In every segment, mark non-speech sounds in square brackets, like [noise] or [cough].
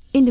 verscheen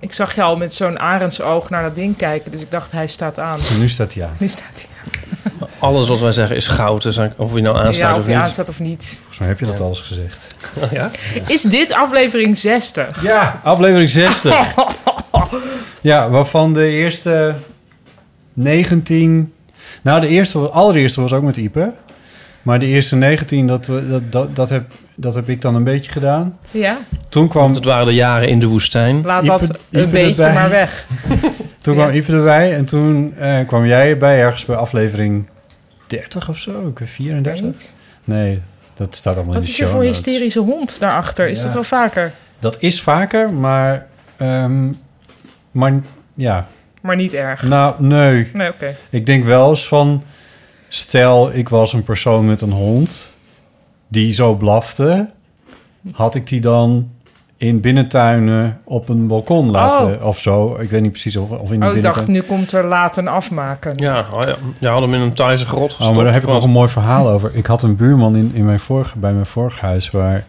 Ik zag jou al met zo'n arendsoog naar dat ding kijken, dus ik dacht hij staat aan. Nu staat hij aan. Nu staat hij. [laughs] Alles wat wij zeggen is goud, dus of hij nou aanstaat ja, of of hij niet. aanstaat of niet. Volgens mij heb je dat alles gezegd. Ja? Is dit aflevering 60? Ja, aflevering [laughs] 60. ja, waarvan de eerste 19... Nou, de eerste, was- allereerste was ook met Ipe. Maar de eerste 19, dat, dat, dat, dat, heb, dat heb ik dan een beetje gedaan. Ja, Toen kwam, Want het waren de jaren in de woestijn. laat Ieper- dat Ieper een beetje erbij. maar [laughs] weg. toen kwam Ipe erbij en toen eh, kwam jij erbij ergens bij aflevering 30 of zo. Ik weet 34? Niet. Nee, dat staat allemaal Wat in de is er show voor notes. hysterische hond daarachter? Is Ja. dat wel vaker? Dat is vaker, maar... ehm, maar ja, Maar niet erg. nou, nee. Nee, oké. Ik denk wel eens van... Stel, ik was een persoon met een hond... die zo blafte... had ik die dan in binnentuinen op een balkon laten of zo. Ik weet niet precies of, of in de Oh, ik dacht, binnentuin... nu komt er laten afmaken. Ja, oh ja, je had hem in een Thaise grot gestopt. Oh, maar daar heb ik want- nog een mooi verhaal [laughs] over. Ik had een buurman in, in mijn vorige, bij mijn vorig huis... waar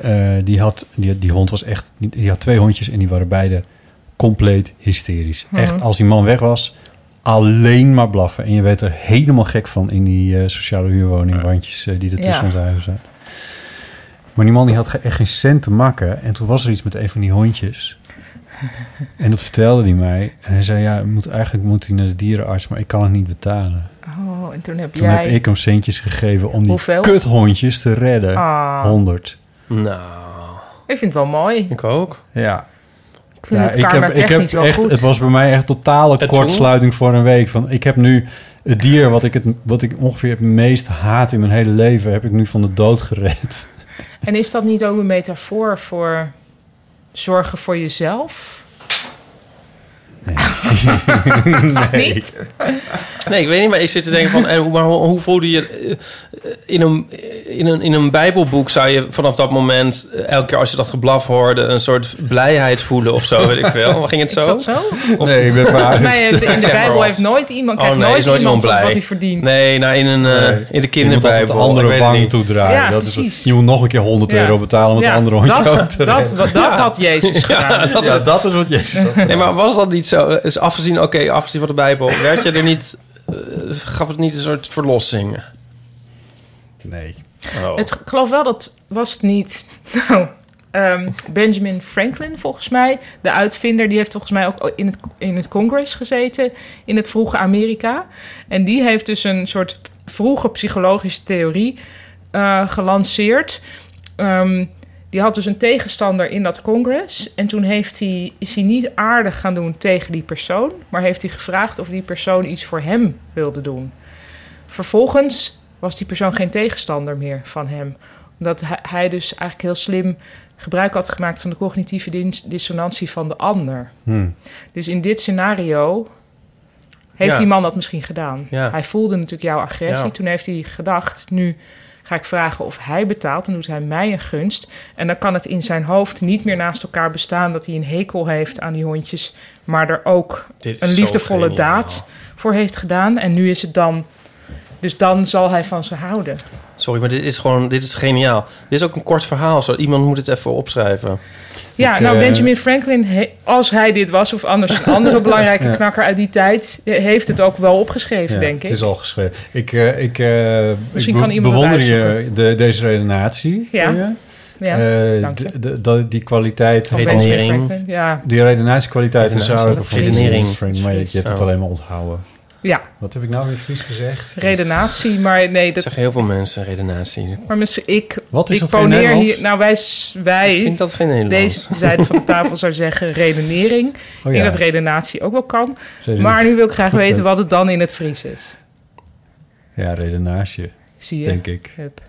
eh, die, had, die, die hond was echt... Die had twee hondjes en die waren beide compleet hysterisch. Echt, als die man weg was... Alleen maar blaffen. En je werd er helemaal gek van in die eh, sociale huurwoningbandjes eh, die er tussen Ja. ons huizen zaten. Maar die man die had ge- echt geen cent te makken. En toen was er iets met een van die hondjes. En dat vertelde hij mij. En hij zei, ja, moet, eigenlijk moet hij naar de dierenarts, maar ik kan het niet betalen. Oh, en toen heb Toen jij... heb ik hem centjes gegeven om die Hoeveel? kuthondjes te redden. Ah. 100. Nou, Ik vind het wel mooi. ik ook. Ja. Ik vind het ik heb, ik heb karma-technisch wel echt, goed. het was bij mij echt totale toen? kortsluiting voor een week. Van, ik heb nu het dier wat ik, het, wat ik ongeveer het meest haat in mijn hele leven, heb ik nu van de dood gered. En is dat niet ook een metafoor voor zorgen voor jezelf? [laughs] Nee. Ah, Niet? [laughs] Nee, ik weet niet, maar ik zit te denken van... En, hoe- maar hoe, hoe voelde je... eh, In een, in, een, in een bijbelboek zou je vanaf dat moment... eh, elke keer als je dat geblaf hoorde... een soort blijheid voelen of zo, weet ik veel. Ging het [laughs] Is zo? dat zo? Of- nee, ik [laughs] ben Volgens verhuisd. mij heeft [laughs] in de Zeg maar Bijbel wat. heeft nooit iemand, krijgt Oh, nee, nooit is nooit iemand iemand blij. wat hij verdient. Nee, nou, in, een, eh, Nee. in de Je moet altijd de kinderbijbel. ik andere weet het niet. bang toedragen. Ja, dat is- precies. je moet nog een keer 100 Ja. euro betalen om de andere hondje dat, ook te dat, redden. dat, had Jezus [laughs] gedaan. dat- [laughs] ja, dat is wat Jezus had. Nee, maar was dat niet zo? Is afgezien, oké, afgezien van de Bijbel, werd je er niet, eh, gaf het niet een soort verlossing? Nee. Oh. Het, ik geloof wel dat was het niet. [laughs] Nou, ehm, Benjamin Franklin, volgens mij, de uitvinder, die heeft volgens mij ook in het, in het congres gezeten in het vroege Amerika. En die heeft dus een soort vroege psychologische theorie eh, gelanceerd. Ehm, die had dus een tegenstander in dat congres. En toen heeft hij, is hij niet aardig gaan doen tegen die persoon, maar heeft hij gevraagd of die persoon iets voor hem wilde doen. Vervolgens was die persoon geen tegenstander meer van hem. Omdat hij- hij dus eigenlijk heel slim gebruik had gemaakt van de cognitieve dis- dissonantie van de ander. Hmm. Dus in dit scenario heeft Ja. die man dat misschien gedaan. Ja. Hij voelde natuurlijk jouw agressie. Ja. Toen heeft hij gedacht, nu ga ik vragen of hij betaalt. Dan doet hij mij een gunst. En dan kan het in zijn hoofd niet meer naast elkaar bestaan... dat hij een hekel heeft aan die hondjes... maar er ook Dit is een zo liefdevolle geniaal. daad voor heeft gedaan. En nu is het dan... Dus dan zal hij van ze houden. Een sorry, maar dit is gewoon, dit is geniaal. Dit is ook een kort verhaal. Zo, iemand moet het even opschrijven. Ja, Ik, nou eh, Benjamin Franklin, he- als hij dit was of anders een [laughs] andere belangrijke knakker uit die tijd, eh, heeft het ook wel opgeschreven, Ja, denk ik. Het is al geschreven. Ik, eh, ik, eh, ik Misschien kan iemand het bewonder je de, deze redenatie. Ja, van je. ja, Eh, dank je. d- d- dat- die kwaliteit Van van... Redenering. Benjamin Franklin, ja. Die redenatiekwaliteit is Redenatie, zou ik dat van is Redenering. Frank, maar je, je hebt het Oh. alleen maar onthouden. ja, Wat heb ik nou weer vies gezegd? redenatie, maar nee, Dat dat, zeggen heel veel mensen, redenatie. maar mis- ik, Wat is ik dat voor poneer Nederland? hier, nou wij, s- wij Ik vind dat geen Nederlands. deze zijde van de tafel zou zeggen redenering. [laughs] Oh Ik denk ja, dat redenatie ook wel kan. reden- Maar nu wil ik graag Goed weten punt. wat het dan in het Fries is. ja, redenatie, Zie je? denk ik. Hup.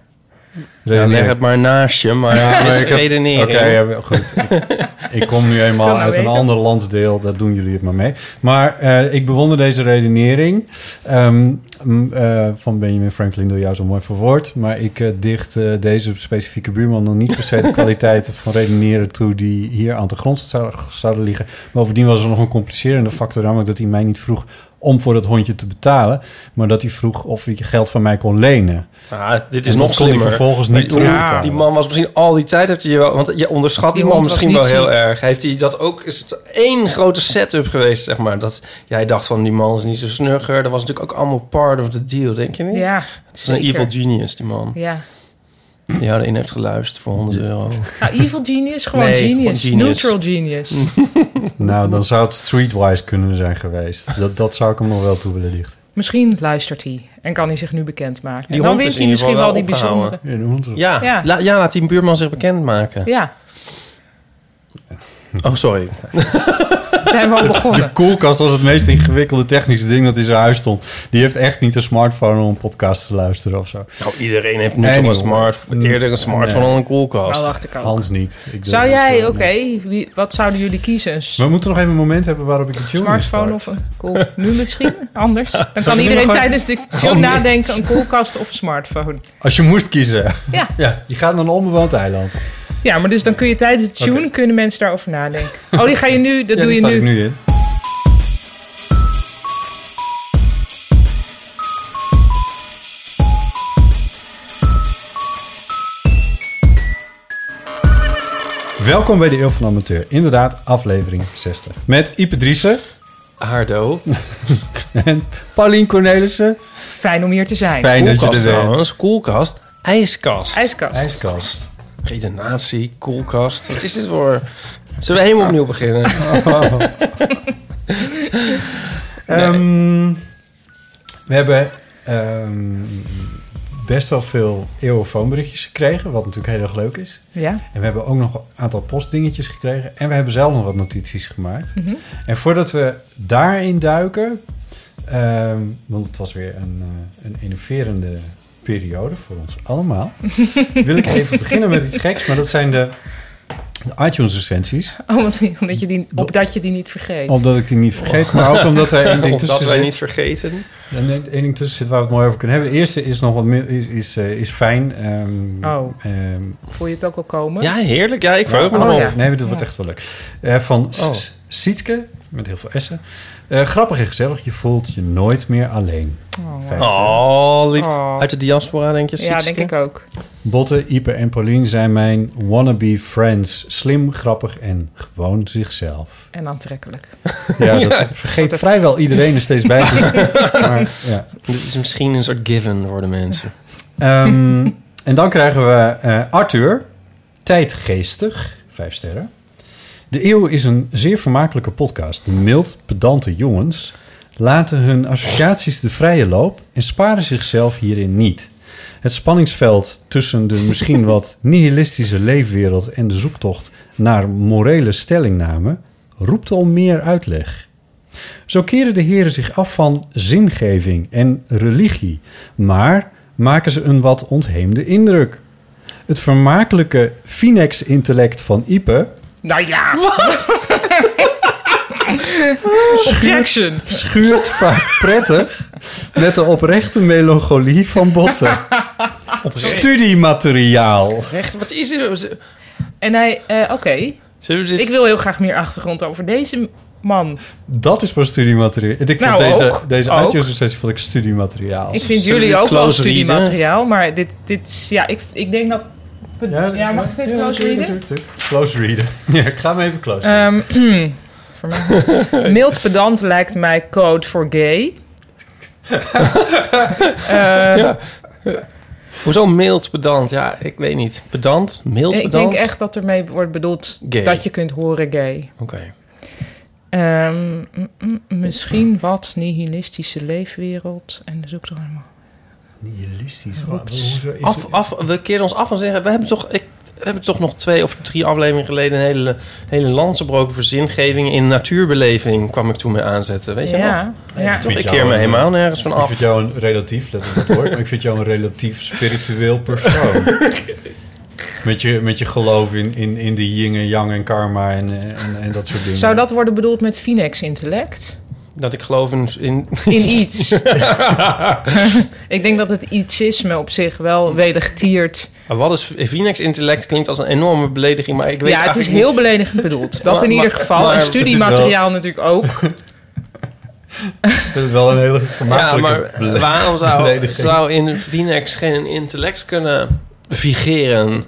Ja, leg Redenering. het maar naast je, maar Ja, het maar is ik heb- redenering. Oké, ja, wel goed. Ik- [laughs] ik kom [laughs] nu eenmaal Kan nou uit een weten. ander landsdeel, daar doen jullie het maar mee. Maar eh, ik bewonder deze redenering ehm, m, eh, van Benjamin Franklin door jou zo mooi verwoord. Maar ik eh, dicht eh, deze specifieke buurman nog niet per se de kwaliteiten van redeneren toe die hier aan de grond zou- zouden liggen. Bovendien was er nog een complicerende factor, namelijk dat hij mij niet vroeg om voor dat hondje te betalen, maar dat hij vroeg of hij geld van mij kon lenen. Ah, dit is En dat nog kon hij slimmer. vervolgens Maar niet die- terugbetalen. Die man was misschien al die tijd... Heeft hij wel, want je onderschat die, Die man hond was misschien wel niet heel ziek. erg. Heeft hij dat ook... Is het één grote setup geweest, zeg maar. Dat jij dacht van, die man is niet zo snugger. Dat was natuurlijk ook allemaal part of the deal, denk je niet? Ja, Het is een zeker. evil genius, die man. Ja. Die jou erin heeft geluisterd voor 100 euro. Nou, evil genius, gewoon Nee, genius. gewoon genius. Neutral genius. [laughs] Nou, dan zou het streetwise kunnen zijn geweest. Dat, dat zou ik hem nog wel toe willen dichten. Misschien luistert hij en kan hij zich nu bekendmaken. Die en dan hond wint is hij in ieder misschien wel geval wel die opgehouden. bijzondere. Ja, de hond is- Ja, Ja. La, ja, laat die buurman zich bekendmaken. Ja, Oh, sorry. daar zijn [laughs] we al begonnen. De koelkast was het meest ingewikkelde technische ding dat in zijn huis stond. Die heeft echt niet een smartphone om een podcast te luisteren of zo. Nou, iedereen heeft nu Nee, toch een joh. smart, Nee. eerder een smartphone dan een koelkast. Nou, wacht ik ook. Hans niet. Ik denk Zou dat, jij, eh, oké, wie- wat zouden jullie kiezen? Een We moeten nog even een moment hebben waarop ik de tune smartphone of een cool. Nu misschien, [laughs] anders. Dan kan iedereen gewoon- tijdens de show Gewoon nadenken, een koelkast of een smartphone. Als je moest kiezen. [laughs] Ja. ja. Je gaat naar een onbewoond eiland. Ja, maar dus dan kun je tijdens het tune, Oké. kunnen mensen daarover nadenken. Oh, die ga je nu, dat doe ja, daar je sta nu. ik nu in. Welkom bij de Eeuw van de Amateur. Inderdaad, aflevering 60. Met Ipe Driessen Hardo. en Paulien Cornelissen. Fijn om hier te zijn. Fijn dat je Koelkast er bent. trouwens. Koelkast. IJskast. IJskast. IJskast. Redenatie, koelkast. Wat is dit voor... Zullen we helemaal opnieuw beginnen? [laughs] Ehm, we hebben ehm, best wel veel eeuwenfoonberichtjes gekregen, wat natuurlijk heel erg leuk is. Ja, En we hebben ook nog een aantal postdingetjes gekregen. En we hebben zelf nog wat notities gemaakt. En voordat we daarin duiken... ehm, want het was weer een, eh, een innoverende periode voor ons allemaal... wil ik even beginnen met iets geks. Maar dat zijn de, de iTunes-recensies. Oh, omdat, die- omdat je die, opdat je die niet vergeet. Omdat ik die Oh. niet vergeet, maar ook omdat er één [laughs] ding Omdat tussen wij zit. niet vergeten. En één ding tussen zit waar we het mooi over kunnen hebben. De eerste is nog wat meer, is, is, eh, is fijn. ehm, Oh. ehm, Voel je het ook al komen? Ja, heerlijk. Ja, ik verheug me Oh, erop. ja. Nee, maar dat wordt echt wel leuk. Eh, van S- Oh. S- Sietske, met heel veel S'en. Eh, grappig en gezellig, je voelt je nooit meer alleen. Oh. Vijf sterren. Oh, lief. Oh. Uit de diaspora, denk je? Ja, denk ik ook. Botte, Ipe en Paulien zijn mijn wannabe friends. Slim, grappig en gewoon zichzelf. En aantrekkelijk. [laughs] Ja, dat vergeet vrijwel iedereen er steeds bij. [laughs] te- maar, ja. Dit is misschien een soort given voor de mensen. Eh, Ehm, [laughs] en dan krijgen we eh, Arthur, tijdgeestig, vijf sterren. De Eeuw is een zeer vermakelijke podcast. De mild, pedante jongens laten hun associaties de vrije loop en sparen zichzelf hierin niet. Het spanningsveld tussen de misschien wat nihilistische leefwereld en de zoektocht naar morele stellingnamen roept om meer uitleg. Zo keren de heren zich af van zingeving en religie, maar maken ze een wat ontheemde indruk. Het vermakelijke Finex-intellect van Ipe Nou ja! [laughs] Objection! [laughs] schuurt vaak prettig met de oprechte melancholie van [laughs] botten. Studiemateriaal. Echt, wat is dit? En hij, eh, oké. Zullen we dit... Ik wil heel graag meer achtergrond over deze man. Dat is pas studiemateriaal. Ik Nou, vond deze, ook. deze Ook. uitjaarsrecensie vond ik studiemateriaal. Ik vind zullen we jullie dit ook wel close readen? studiemateriaal, maar dit, dit is- ja, ik, ik denk dat... Ja, mag ik het even close readen? Close readen. [laughs] Ja, ik ga hem even close readen. Ehm, [clears throat] voor mij. [laughs] Mild pedant lijkt mij code voor gay. [laughs] Eh, Hoezo mild pedant? Ja, ik weet niet. Pedant? Mild ik pedant? denk echt dat ermee wordt bedoeld Gay. dat je kunt horen gay. Oké. Ehm, mm, mm, misschien wat nihilistische leefwereld. En de zoektocht helemaal. Nihilistisch. Oeps. Hoezo is Af, af, we keren ons af en zeggen... We hebben toch, ik, we hebben toch nog twee of drie afleveringen geleden... een hele, hele lans gebroken voor zingeving in natuurbeleving... kwam ik toen mee aanzetten. Weet je nog? ja, ja. Toch, vind ik jou keer me een- helemaal nergens van Ik af. vind jou een relatief, let op dat woord, maar ik vind jou een relatief spiritueel persoon. Met je, met je geloof in, in, in de yin en yang en karma en, eh, en, en dat soort dingen. Zou dat worden bedoeld met Finex intellect? Dat ik geloof in... in [laughs] In [laughs] iets. ik denk dat het ietsisme op zich wel wedergetiert. Maar wat is... Phoenix intellect klinkt als een enorme belediging... maar ik weet ja, het is eigenlijk heel beledigend bedoeld. Dat Maar- in ieder maar- geval. maar en het is studiemateriaal natuurlijk [laughs] ook. Dat is wel een hele Ja, vermakelijke... maar bele- [laughs] waarom zou, belediging. zou in Phoenix geen intellect kunnen figeren?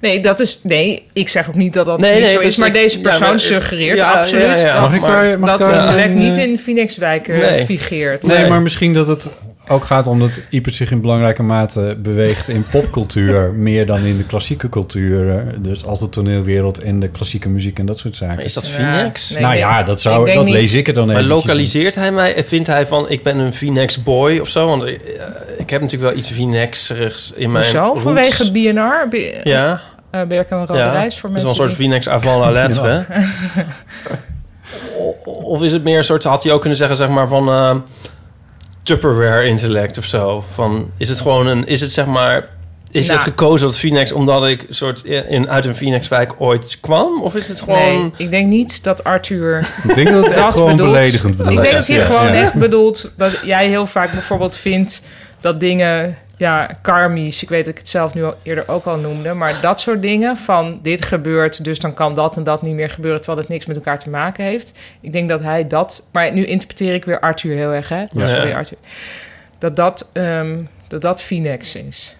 Nee, dat is, nee, ik zeg ook niet dat dat Nee, niet nee, zo dus is. Maar ik- deze ja, persoon maar- suggereert ja, absoluut ja, ja. dat, Mag ik daar- mag dat ik daar het een- direct niet in Phoenixwijk eh, Nee. figeert. Nee. Nee, maar misschien dat het ook gaat om dat Iepert zich in belangrijke mate beweegt in [laughs] popcultuur... meer dan in de klassieke cultuur. eh, Dus als de toneelwereld en de klassieke muziek en dat soort zaken. Maar is dat Ja, Phoenix? nee, nou nee. ja, dat, Ik zou, denk dat niet. lees ik er dan Maar even. lokaliseert hij mij? Vindt hij van, ik ben een Phoenix boy of zo? Want eh, ik heb natuurlijk wel iets Phoenixerigs in mijn Zo, roots. vanwege BNR, Be- Ja, eh, Berk en Rode ja. Reis voor mensen is wel een soort die- Phoenix [laughs] avant la lettre. Ja. hè? O- of is het meer een soort, had hij ook kunnen zeggen, zeg maar van eh, Tupperware intellect of zo? Van, is het gewoon een, is het zeg maar... Is Nou. het gekozen dat Phoenix omdat ik soort in, uit een Phoenixwijk ooit kwam? Of is het gewoon... Nee, ik denk niet dat Arthur... Ik denk dat het echt Dat gewoon bedoelt- beledigend bedoeld ik denk dat is. hij Ja, gewoon ja. echt bedoelt dat jij heel vaak bijvoorbeeld vindt dat dingen... Ja, karmisch, ik weet dat ik het zelf nu al eerder ook al noemde... maar dat soort dingen van dit gebeurt, dus dan kan dat en dat niet meer gebeuren... terwijl het niks met elkaar te maken heeft. Ik denk dat hij dat... Maar nu interpreteer ik weer Arthur heel erg, hè? Ja. Sorry, Arthur. Dat dat, ehm dat dat Phoenix is.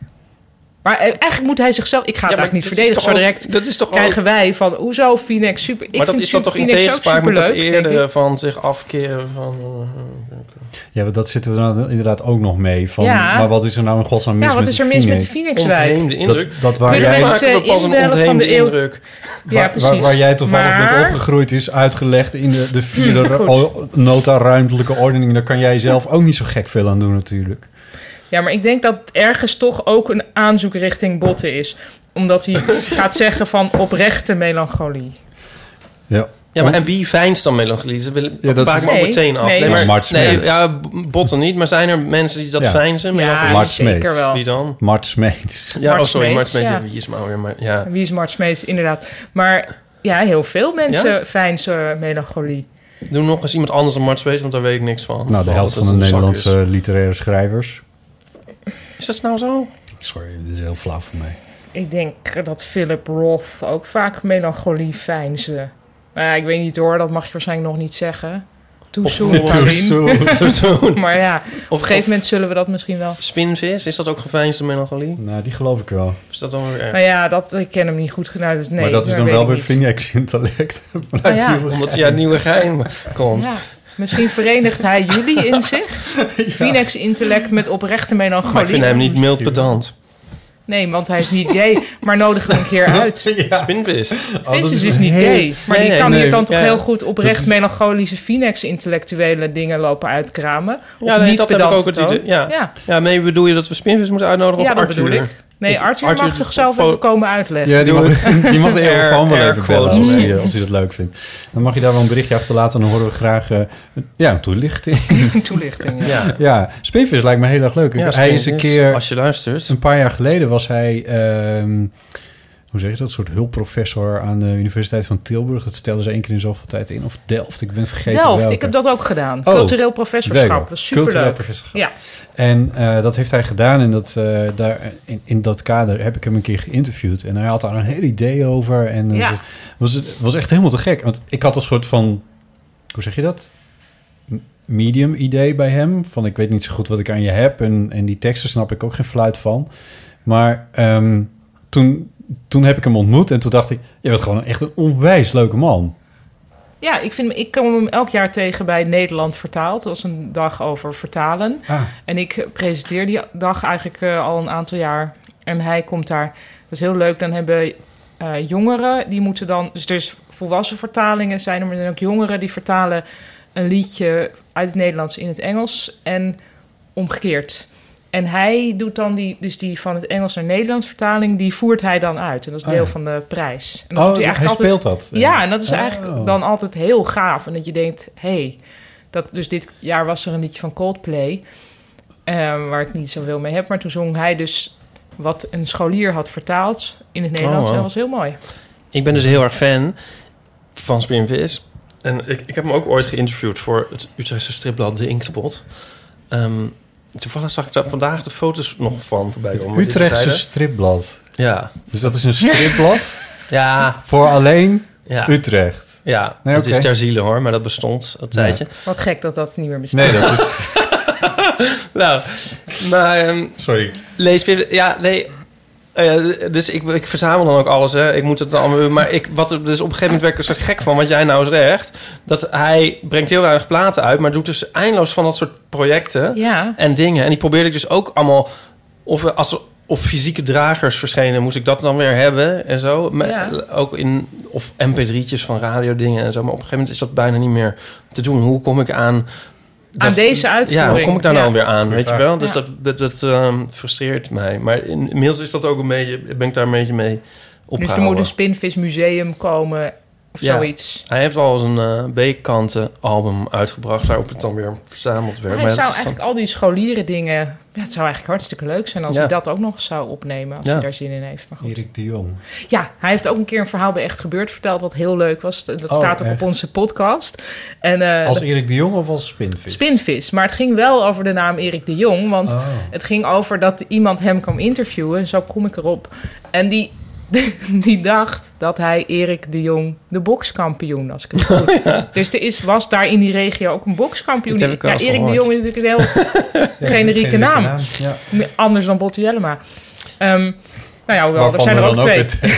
Maar eh, eigenlijk moet hij zichzelf... Ik ga het Ja, maar eigenlijk niet dat verdedigen, is zo toch ook- direct Dat is toch ook- krijgen wij van hoezo Phoenix super. Ik maar dat vind is dan toch in Phoenix ook tegenspraak met dat superleuk. denk ik. eerdere van zich afkeren van... eh, Ja, maar dat zitten we dan inderdaad ook nog mee. Van, Ja. Maar wat is er nou in godsnaam mis Ja, wat met is die er mis met Phoenix? de eh, Phoenixwijk? ontheemde indruk. Dat, dat waar, Kunnen jij, wij- waar, mensen maken we pas een inbellen van de ontheemde eeuw? indruk. Ja, waar, precies. waar jij toevallig Maar- met opgegroeid is, uitgelegd in de, de [laughs] vierde Goed. ro- nota ruimtelijke ordening. Daar kan jij zelf ook niet zo gek veel aan doen natuurlijk. Ja, maar ik denk dat het ergens toch ook een aanzoek richting botten is, omdat [laughs] hij gaat zeggen van oprechte melancholie. Ja. Ja, maar en wie fijnst dan melancholie? Dat, wil, ik- Ja, dat- dat maakt me Nee, ook meteen af. nee. Ja, maar, Mart nee Smeets. ja, b- botten niet, maar zijn er mensen die dat Ja. fijnsen? Ja, Melancholie? Mart zeker Smeets. wel. Wie dan? Mart Smeets. Ja, Mart oh, sorry, Mart Smeets, Smeets. ja. Ja, Wie is maar weer, maar ja. Wie is Mart Smeets? Inderdaad. Maar ja, heel veel mensen Ja? fijnsen melancholie. Doe nog eens iemand anders dan Mart Smeets, want daar weet ik niks van. Nou, de Oh, helft dat van de het een zak Nederlandse literaire schrijvers. Is. is dat nou zo? Sorry, dit is heel flauw voor mij. Ik denk dat Philip Roth ook vaak melancholie fijnsen. Nou ja, ik weet niet hoor, dat mag je waarschijnlijk nog niet zeggen. Too Of- soon, Too Karim. Doe zo. [laughs] Maar ja, op een Of- gegeven of- moment zullen we dat misschien wel. Spinvis, is dat ook geveinsde melancholie? Nou, die geloof ik wel. Of is dat dan weer erg? Nou ja, dat, ik ken hem niet goed genoeg. Dus nee, maar dat is dan weet wel ik weer niet. [laughs] Phoenix-intellect. Ah, ja. [laughs] Omdat ja, het nieuwe geheim komt. Ja. Misschien verenigt hij jullie [laughs] in zich. Phoenix intellect met oprechte melancholie. Maar ik vind hem niet mild pedant. Nee, want hij is niet gay. Maar nodig hem een Oh, keer [laughs] uit. Spinvis. Oh, Vincent is, niet gay. Maar Nee, die nee, kan nee. hier dan toch Ja. heel goed oprecht Dat is- melancholische Phoenix intellectuele dingen lopen uitkramen. Op Ja, nee, niet dat heb ik pedante ook het toon. idee. Ja. Ja. Ja, nee, bedoel je dat we Spinvis moeten uitnodigen Ja, of dat Arthur? bedoel ik. Nee, Ik- Arthur, Arthur- mag zichzelf po- even komen uitleggen. Ja, die Doe mag, [laughs] [laughs] die mag de Air- Airfoon wel air even bellen als quotes. hij, eh, als hij dat leuk vindt. Dan mag je daar wel een berichtje achterlaten. Dan horen we graag eh, een- ja, een toelichting. [laughs] Toelichting. Ja. Ja. Ja, Spinvis lijkt me heel erg leuk. Ja, hij is een Spinvis, keer, Als je luistert. een paar jaar geleden was hij ehm, hoe zeg je dat, een soort hulpprofessor aan de Universiteit van Tilburg. Dat stellen ze één keer in zoveel tijd in. Of Delft, ik ben vergeten Delft, welke. ik heb dat ook gedaan. Oh, Cultureel professorschap, Wego, dat is cultureel superleuk. professorschap. Ja, En eh, dat heeft hij gedaan. En dat, eh, daar, in, in dat kader heb ik hem een keer geïnterviewd. En hij had daar een heel idee over. En Ja. het was, het was echt helemaal te gek. Want ik had een soort van, hoe zeg je dat? M- Medium idee bij hem. Van ik weet niet zo goed wat ik aan je heb. En, en die teksten snap ik ook geen fluit van. Maar ehm, toen, toen heb ik hem ontmoet. En toen dacht ik, je bent gewoon echt een onwijs leuke man. ja ik, vind, hem- ik kom hem elk jaar tegen bij Nederland Vertaald. Dat was een dag over vertalen. Ah. En ik presenteer die dag eigenlijk eh, al een aantal jaar. En hij komt daar. Dat is heel leuk. Dan hebben eh, jongeren, die moeten dan... Dus er is volwassen vertalingen zijn er, maar er zijn ook jongeren die vertalen een liedje uit het Nederlands in het Engels. En omgekeerd. En hij doet dan die, dus die van het Engels naar Nederlands vertaling, die voert hij dan uit. En dat is Ah, deel ja. van de prijs. En dat Oh, doet hij eigenlijk altijd- speelt dat. eh. ja, en dat is eigenlijk Oh. dan altijd heel gaaf. En dat je denkt, hé, hey, dat- dus dit jaar was er een liedje van Coldplay... eh, waar ik niet zoveel mee heb. Maar toen zong hij dus wat een scholier had vertaald in het Nederlands. wow. En dat was heel mooi. Oh, Ik ben dus heel erg fan van Spinvis. En ik, ik heb hem ook ooit geïnterviewd voor het Utrechtse stripblad De Inkspot. Ehm, toevallig zag ik daar vandaag de foto's nog van voorbij Het komen. dit Utrechtse terzijde. stripblad. Ja. Dus dat is een stripblad [laughs] Ja, voor alleen ja. Utrecht. Ja, Nee, het oké. is ter ziele hoor, maar dat bestond een tijdje. Wat gek dat dat niet meer bestaat. Nee, dat is... [laughs] Nou, maar ehm, Sorry. lees weer... Ja, nee... eh, dus ik, ik verzamel dan ook alles, hè. Ik moet het dan allemaal... Maar ik, wat, er- dus op een gegeven moment werd ik er soort gek van wat jij nou zegt. Dat hij brengt heel weinig platen uit... maar doet dus eindeloos van dat soort projecten. Ja, en dingen. En die probeerde ik dus ook allemaal... Of eh, als er op fysieke dragers verschenen, moest ik dat dan weer hebben en zo. Maar Ja. Ook in, of mp3'tjes van radiodingen en zo. Maar op een gegeven moment is dat bijna niet meer te doen. Hoe kom ik aan... Aan deze uitvoering. Ja, hoe kom ik daar nou Ja. weer aan, weet je wel? Dus Ja. dat, dat, dat, ehm, frustreert mij. Maar in- inmiddels is dat ook een beetje, ben ik daar een beetje mee dus opgehouden. er moet een Spinvis Museum komen of Ja. zoiets. Hij heeft al eens een eh B-kanten album uitgebracht... waarop het dan weer verzameld werd. Maar hij Maar dat zou is dan- eigenlijk al die scholieren dingen... Ja, het zou eigenlijk hartstikke leuk zijn als Ja. hij dat ook nog zou opnemen. Als Ja. hij daar zin in heeft. Maar goed. Erik de Jong. Ja, hij heeft ook een keer een verhaal bij Echt Gebeurd verteld... wat heel leuk was. Dat Oh, staat ook echt? op onze podcast. En, eh, Als Erik de Jong of als Spinvis? Spinvis. Maar het ging wel over de naam Erik de Jong. Want Oh. het ging over dat iemand hem kwam interviewen. Zo kom ik erop. En die, [laughs] die dacht dat hij Erik de Jong de bokskampioen, als ik het goed Dus er is, was daar in die regio ook een bokskampioen. Dit heb ik wel ja, eens Erik de gehoord. Jong is natuurlijk een heel generieke naam. Ja. Anders dan Botte Jellema. Ehm, nou ja, hoewel, er Waarvan zijn er er ook dan ook twee.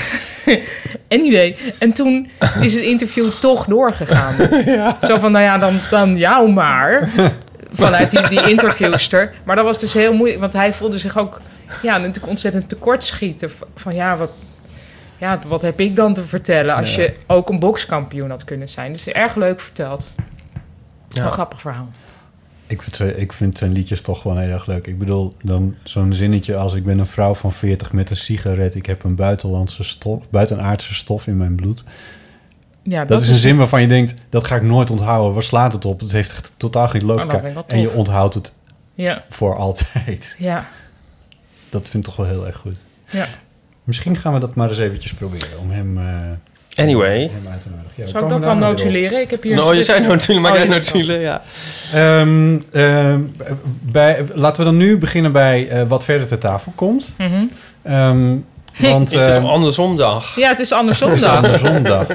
[laughs] het... Anyway, en toen is het interview toch doorgegaan. [laughs] Zo van, nou ja, dan, dan jou maar. Vanuit die, die interviewster. Maar dat was dus heel moeilijk, want hij voelde zich ook... Ja, natuurlijk ontzettend tekortschieten. v- Van ja, wat, ja, wat heb ik dan te vertellen... als je ook een bokskampioen had kunnen zijn. Dus erg leuk verteld. Ja. Een grappig verhaal. Ik vind, zijn- ik vind zijn liedjes toch gewoon heel erg leuk. Ik bedoel, dan zo'n zinnetje als... Ik ben een vrouw van 40 met een sigaret. Ik heb een buitenlandse stof, buitenaardse stof in mijn bloed. Ja, Dat, is een zin waarvan je denkt... Dat ga ik nooit onthouden. Waar slaat het op? Het heeft echt totaal geen Oh, dat logica. vind ik wel en je tof. onthoudt het Ja, voor [laughs] altijd. ja. Dat vind ik toch wel heel erg goed. Ja. Misschien gaan we dat maar eens eventjes proberen. Om hem... eh, Anyway... Hem uit te nodigen. Ja, we Zou komen ik dat daar dan nog weer op. notuleren? Ik heb hier Nou, een je stuk zei van- notulen, maar Oh, jij ja. notulen, ja. Ehm, ehm, bij, laten we dan nu beginnen bij eh, wat verder ter tafel komt. Mhm. [laughs] Ehm, want, Het is ehm, een andersom dag. Ja, het is andersom het is dan. andersom dag.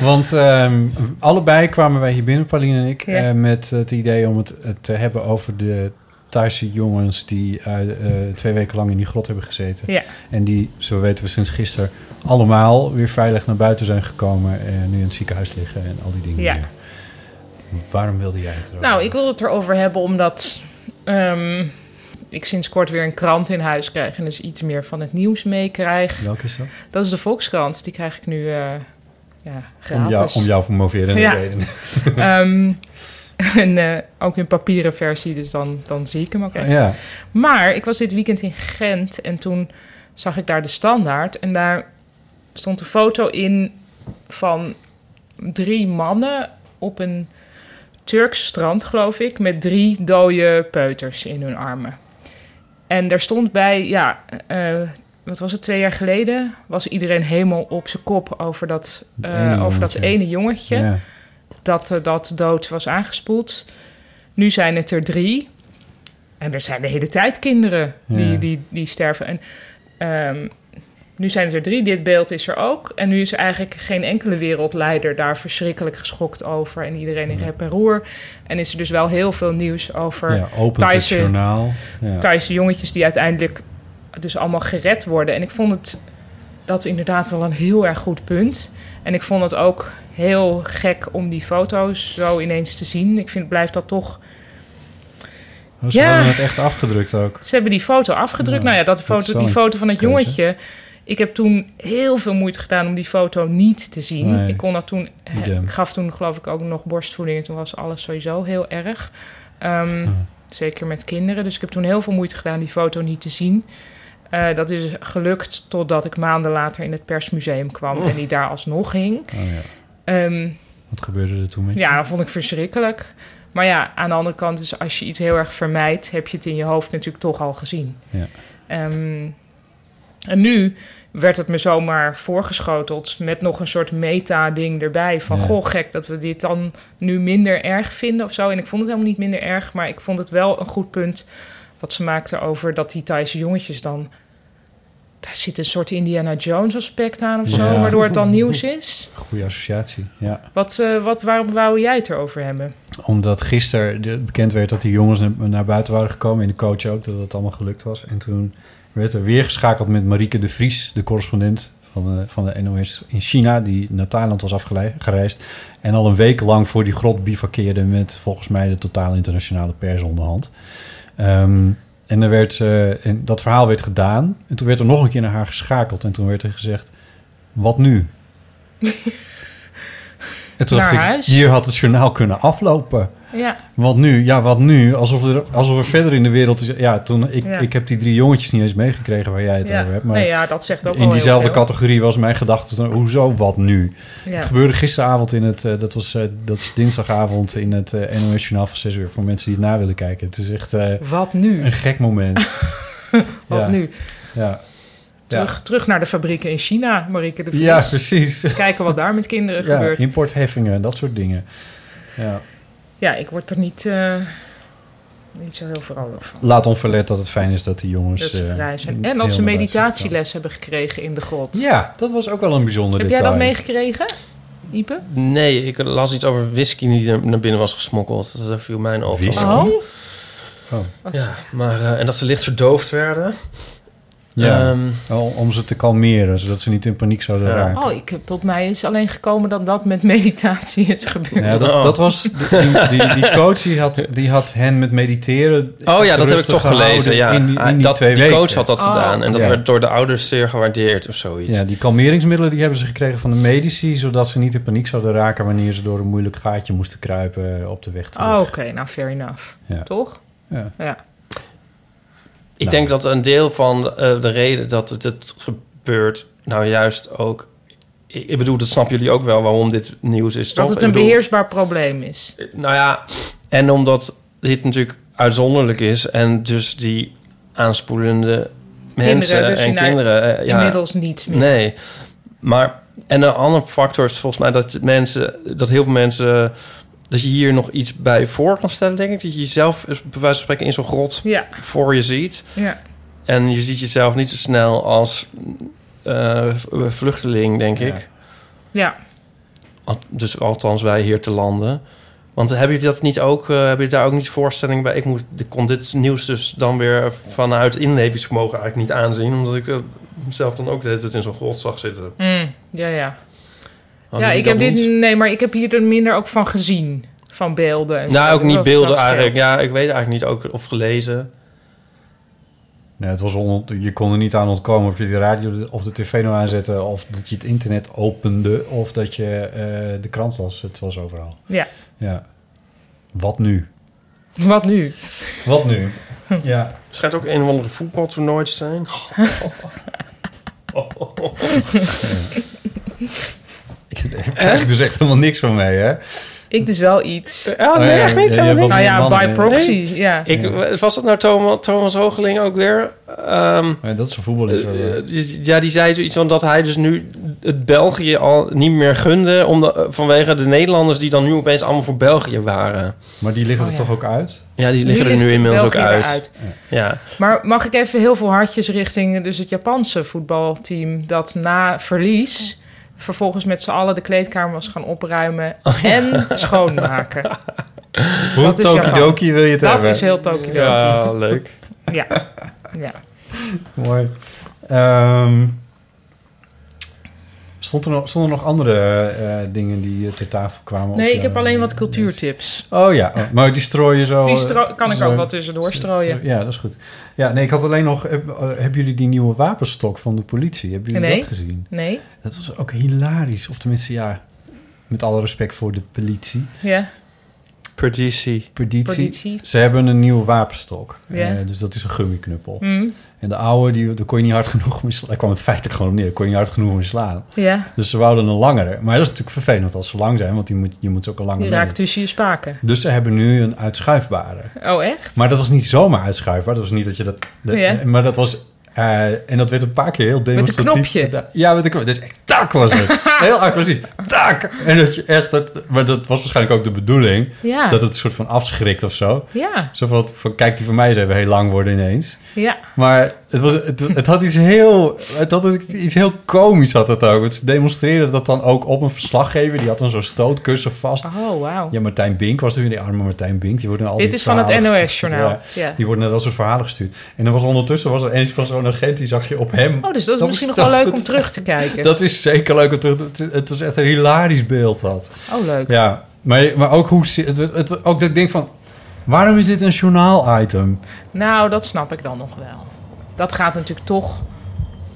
Want ehm, allebei kwamen wij hier binnen, Pauline en ik, Ja. eh, met het idee om het eh, te hebben over de Thaise jongens die eh, eh, twee weken lang in die grot hebben gezeten. Ja. En die, zo weten we sinds gisteren, allemaal weer veilig naar buiten zijn gekomen en nu in het ziekenhuis liggen en al die dingen. Ja. meer. Waarom wilde jij het erover Nou, ik hebben? wil het erover hebben omdat ehm, ik sinds kort weer een krant in huis krijg en dus iets meer van het nieuws meekrijg. Welke is dat? Dat is de Volkskrant, die krijg ik nu eh, ja, Om jou, gratis. om jou voor moverende Ja. redenen. [laughs] [laughs] Ehm, en eh, ook in papieren versie, dus dan, dan zie ik hem ook echt. Ja. Maar ik was dit weekend in Gent en toen zag ik daar de standaard. En daar stond een foto in van drie mannen op een Turks strand, geloof ik, met drie dode peuters in hun armen. En daar stond bij, ja, eh, wat was het, twee jaar geleden, was iedereen helemaal op zijn kop over dat, Dat eh, ene over dat jongetje. ene jongetje. Ja. Dat eh, dat dood was aangespoeld. Nu zijn het er drie. En er zijn de hele tijd kinderen die, Ja. die, die sterven. En ehm, nu zijn het er drie, dit beeld is er ook. En nu is eigenlijk geen enkele wereldleider daar verschrikkelijk geschokt over. En iedereen in rep en roer. En is er dus wel heel veel nieuws over Ja, opent het Thaise- journaal. Ja. Thaise jongetjes die uiteindelijk dus allemaal gered worden. En ik vond het dat inderdaad wel een heel erg goed punt. En ik vond het ook heel gek om die foto's zo ineens te zien. Ik vind, blijft dat toch... Oh, ze Ja. hadden het echt afgedrukt ook. Ze hebben die foto afgedrukt. Ja, nou ja, dat dat foto, is wel die een foto van het keuze. jongetje. Ik heb toen heel veel moeite gedaan om die foto niet te zien. Nee. Ik kon dat toen... Idem. Ik gaf toen geloof ik ook nog borstvoeding. En toen was alles sowieso heel erg. Ehm, Zeker met kinderen. Dus ik heb toen heel veel moeite gedaan die foto niet te zien. Eh, dat is gelukt totdat ik maanden later in het persmuseum kwam en die daar alsnog hing. Oh, ja. Ehm, Wat gebeurde er toen met je? ja, dat vond ik verschrikkelijk. Maar ja, aan de andere kant is als je iets heel erg vermijdt, heb je het in je hoofd natuurlijk toch al gezien. Ja. Ehm, en nu werd het me zomaar voorgeschoteld met nog een soort meta-ding erbij. Van Ja. goh, gek dat we dit dan nu minder erg vinden of zo. En ik vond het helemaal niet minder erg, maar ik vond het wel een goed punt wat ze maakten over dat die Thaise jongetjes dan. Daar zit een soort Indiana Jones aspect aan of zo, Ja. waardoor het dan nieuws is. Goede associatie. Ja. Wat, eh, wat, waarom wou jij het erover hebben? Omdat gisteren bekend werd dat die jongens naar, naar buiten waren gekomen. In de coach ook, dat het allemaal gelukt was. En toen werd er weer geschakeld met Marieke de Vries, de correspondent van de, van de NOS in China, die naar Thailand was afgereisd. En al een week lang voor die grot bivakkeerde met volgens mij de totale internationale pers onderhand. Ehm, en, er werd, eh, en dat verhaal werd gedaan. En toen werd er nog een keer naar haar geschakeld. En toen werd er gezegd, wat [laughs] nu? en toen Naar dacht ik, huis? hier had het journaal kunnen aflopen. Ja, Wat nu? Ja, wat nu? Alsof er, alsof er verder in de wereld is. Ja, toen, ik, Ja. ik heb die drie jongetjes niet eens meegekregen waar jij het ja. over hebt. Maar nee, ja, dat zegt ook wel in heel diezelfde veel. categorie was mijn gedachte, toen, hoezo, wat nu? Ja. Het gebeurde gisteravond in het, eh, dat, was, eh, dat is dinsdagavond in het eh, NOS Journaal van 6 uur. Voor mensen die het na willen kijken. Het is echt eh, Wat nu? een gek [laughs] moment. Wat ja, nu? Ja. Terug, terug naar de fabrieken in China, Marieke de Vries. Ja, precies. [laughs] Kijken wat daar met kinderen Ja, gebeurt. importheffingen en dat soort dingen. Ja. Ja, ik word er niet, eh, niet zo heel vrolijk van. Laat onverlet dat het fijn is dat die jongens... Dat ze eh, vrij zijn. En helemaal dat ze buiten zijn. meditatieles hebben gekregen in de grot. Ja, dat was ook wel een bijzonder Heb jij detail. dat meegekregen, Ipe? Nee, ik las iets over whisky die er naar binnen was gesmokkeld. Dat viel mijn op. Whisky? Oh. Oh, Ja, maar, eh, en dat ze licht verdoofd werden. Ja. Ehm, Om- om ze te kalmeren, zodat ze niet in paniek zouden Ja. raken. oh, ik heb, tot mij is alleen gekomen dat dat met meditatie is gebeurd. Nou Ja, dat, Oh. dat was die, die, die coach die had, die had hen met mediteren. oh ja, dat heb ik rustig toch gelezen. gehouden Ja. in die, in Ah, die dat, twee die weken. coach had dat Oh. gedaan. En dat Ja. werd door de ouders zeer gewaardeerd of zoiets. Ja, die kalmeringsmiddelen die hebben ze gekregen van de medici, zodat ze niet in paniek zouden raken wanneer ze door een moeilijk gaatje moesten kruipen op de weg. terug. Oh, Oké, nou fair enough. Ja. Toch? Ja. ja. Ik Nou. denk dat een deel van eh, de reden dat het, het gebeurt, nou juist ook. Ik, ik bedoel, dat snappen jullie ook wel waarom dit nieuws is. Dat toch? het een Ik bedoel, beheersbaar probleem is. Nou ja, en omdat dit natuurlijk uitzonderlijk is en dus die aanspoelende mensen dus en in haar- kinderen. eh, ja, Inmiddels niet meer. Nee, maar en een andere factor is volgens mij dat mensen, dat heel veel mensen, dat je hier nog iets bij voor kan stellen, denk ik, dat je jezelf eens bij wijze van spreken in zo'n grot Ja, voor je ziet. ja. En je ziet jezelf niet zo snel als eh, v- vluchteling, denk Ja. ik. ja. Al- Dus althans wij hier te landen. Want hebben jullie dat niet ook? eh, hebben jullie daar ook niet voorstellingen bij? Ik moet, ik kon dit nieuws dus dan weer vanuit inlevingsvermogen eigenlijk niet aanzien, omdat ik eh, mezelf dan ook de hele tijd in zo'n grot zag zitten. Mm, ja, ja. Hadden ja, jullie ik heb Oh, dat dit. niet? Nee, maar ik heb hier er minder ook van gezien. Van beelden. en Nou, zo. ook niet Dat- dat beelden scheelt. eigenlijk. Ja, ik weet eigenlijk niet ook of gelezen. Nee, het was on, je kon er niet aan ontkomen of je de radio of de tv nou aanzette, of dat je het internet opende, of dat je eh, de krant las. Het was overal. Ja. Ja. Wat nu? Wat nu? Wat nu? Hm. Ja. Het schijnt ook een of andere voetbaltoernooi te [laughs] zijn. [laughs] Oh. [laughs] Ik krijg er dus echt helemaal niks van mee, hè? Ik dus wel iets. Ja, nee, Oh ja, echt niet. ja, zo jij niks. was- Nou ja, mannen, by ja. proxy, ja. Ik, was dat nou Thomas, Thomas Hoogeling ook weer? Ehm, Ja, dat is een voetballer. zo, eh, eh. die- ja, die zei zoiets van dat hij dus nu het België al niet meer gunde... Omdat, vanwege de Nederlanders die dan nu opeens allemaal voor België waren. maar die liggen Oh, er ja. toch ook uit? Ja, die liggen er ligt nu het inmiddels ook België uit. eruit. Ja. Maar mag ik even heel veel hartjes richting dus het Japanse voetbalteam... dat na verlies vervolgens met z'n allen de kleedkamer was gaan opruimen... Oh, en [laughs] schoonmaken. Hoe Dat is tokidoki wil je het Dat hebben? is heel Tokio. Ja. ja, leuk. Ja. ja. [laughs] Mooi. Ehm, stond er nog, stonden er nog andere eh, dingen die eh, ter tafel Nee, kwamen? op eh, ik jouw- heb alleen wat cultuurtips. Oh ja, oh, maar die strooi je zo... Die eh, stro- kan ik zo- ook wat tussendoor strooien. Ja, dat is goed. Ja, nee, ik had alleen nog... heb- eh, Hebben jullie die nieuwe wapenstok van de politie? Hebben jullie Nee. dat gezien? Nee? Dat was ook hilarisch. Of tenminste, ja... Met alle respect voor de politie. Ja. Perditie. Politie. Politie. Ze hebben een nieuwe wapenstok. Ja. Eh, dus dat is een gummiknuppel. Hm. En de oude, die, daar kon je niet hard genoeg mee slaan. Daar kwam het feitelijk gewoon op neer. Daar kon je niet hard genoeg mee slaan. Ja. Dus ze wouden een langere. Maar dat is natuurlijk vervelend als ze lang zijn, want die moet, je moet ze ook een lange Die nemen. raakt tussen je spaken. Dus ze hebben nu een uitschuifbare. Oh, echt? Maar dat was niet zomaar uitschuifbaar. Dat was niet dat je dat... dat- Oh Ja. Maar dat was... eh, en dat werd een paar keer heel demonstratief. knopje. gedaan. Ja, met een knopje. Dus echt, tak was het. [laughs] heel agressief. Tak! En dat je echt... Dat, maar dat was waarschijnlijk ook de bedoeling. Ja. Dat het een soort van afschrikt of zo. Ja. Zo van, van, kijk die van mij, ze hebben heel lang worden ineens. Ja. Maar het, was, het, het had iets heel... Het had ook iets heel komisch had het ook. Want Ze demonstreerden dat dan ook op een verslaggever. Die had dan zo'n stootkussen vast. Oh, wauw. Ja, Martijn Bink was er weer. Die arme Martijn Bink. Die worden al Dit die is van het verhalen NOS gestuurd. journaal. Ja, Ja. Die worden net als een verhalen gestuurd. En dan was ondertussen was er eentje van zo'n agent. Die zag je op hem. Oh, dus dat is Dan misschien nog staat wel leuk het- om terug te kijken. Dat is zeker leuk. om terug te- Het, het was echt een hilarisch beeld dat. Oh, leuk. Ja, maar, maar ook hoe... ze- Het, het, het- ook dat ik denk van... Waarom is dit een journaal-item? Nou, dat snap ik dan nog wel. Dat gaat natuurlijk toch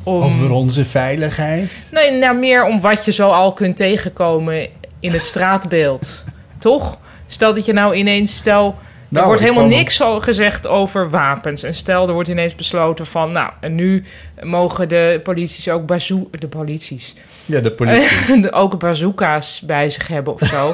om... Over onze veiligheid. Nee, nou, meer om wat je zo al kunt tegenkomen in het [laughs] straatbeeld. toch? Stel dat je nou ineens... Stel, er Nou, wordt ik helemaal kwam- niks zo gezegd over wapens. En stel, er wordt ineens besloten van... Nou, en nu mogen de polities ook bazoo... De polities. Ja, de [laughs] politie. ook bazooka's bij zich hebben of [laughs] zo.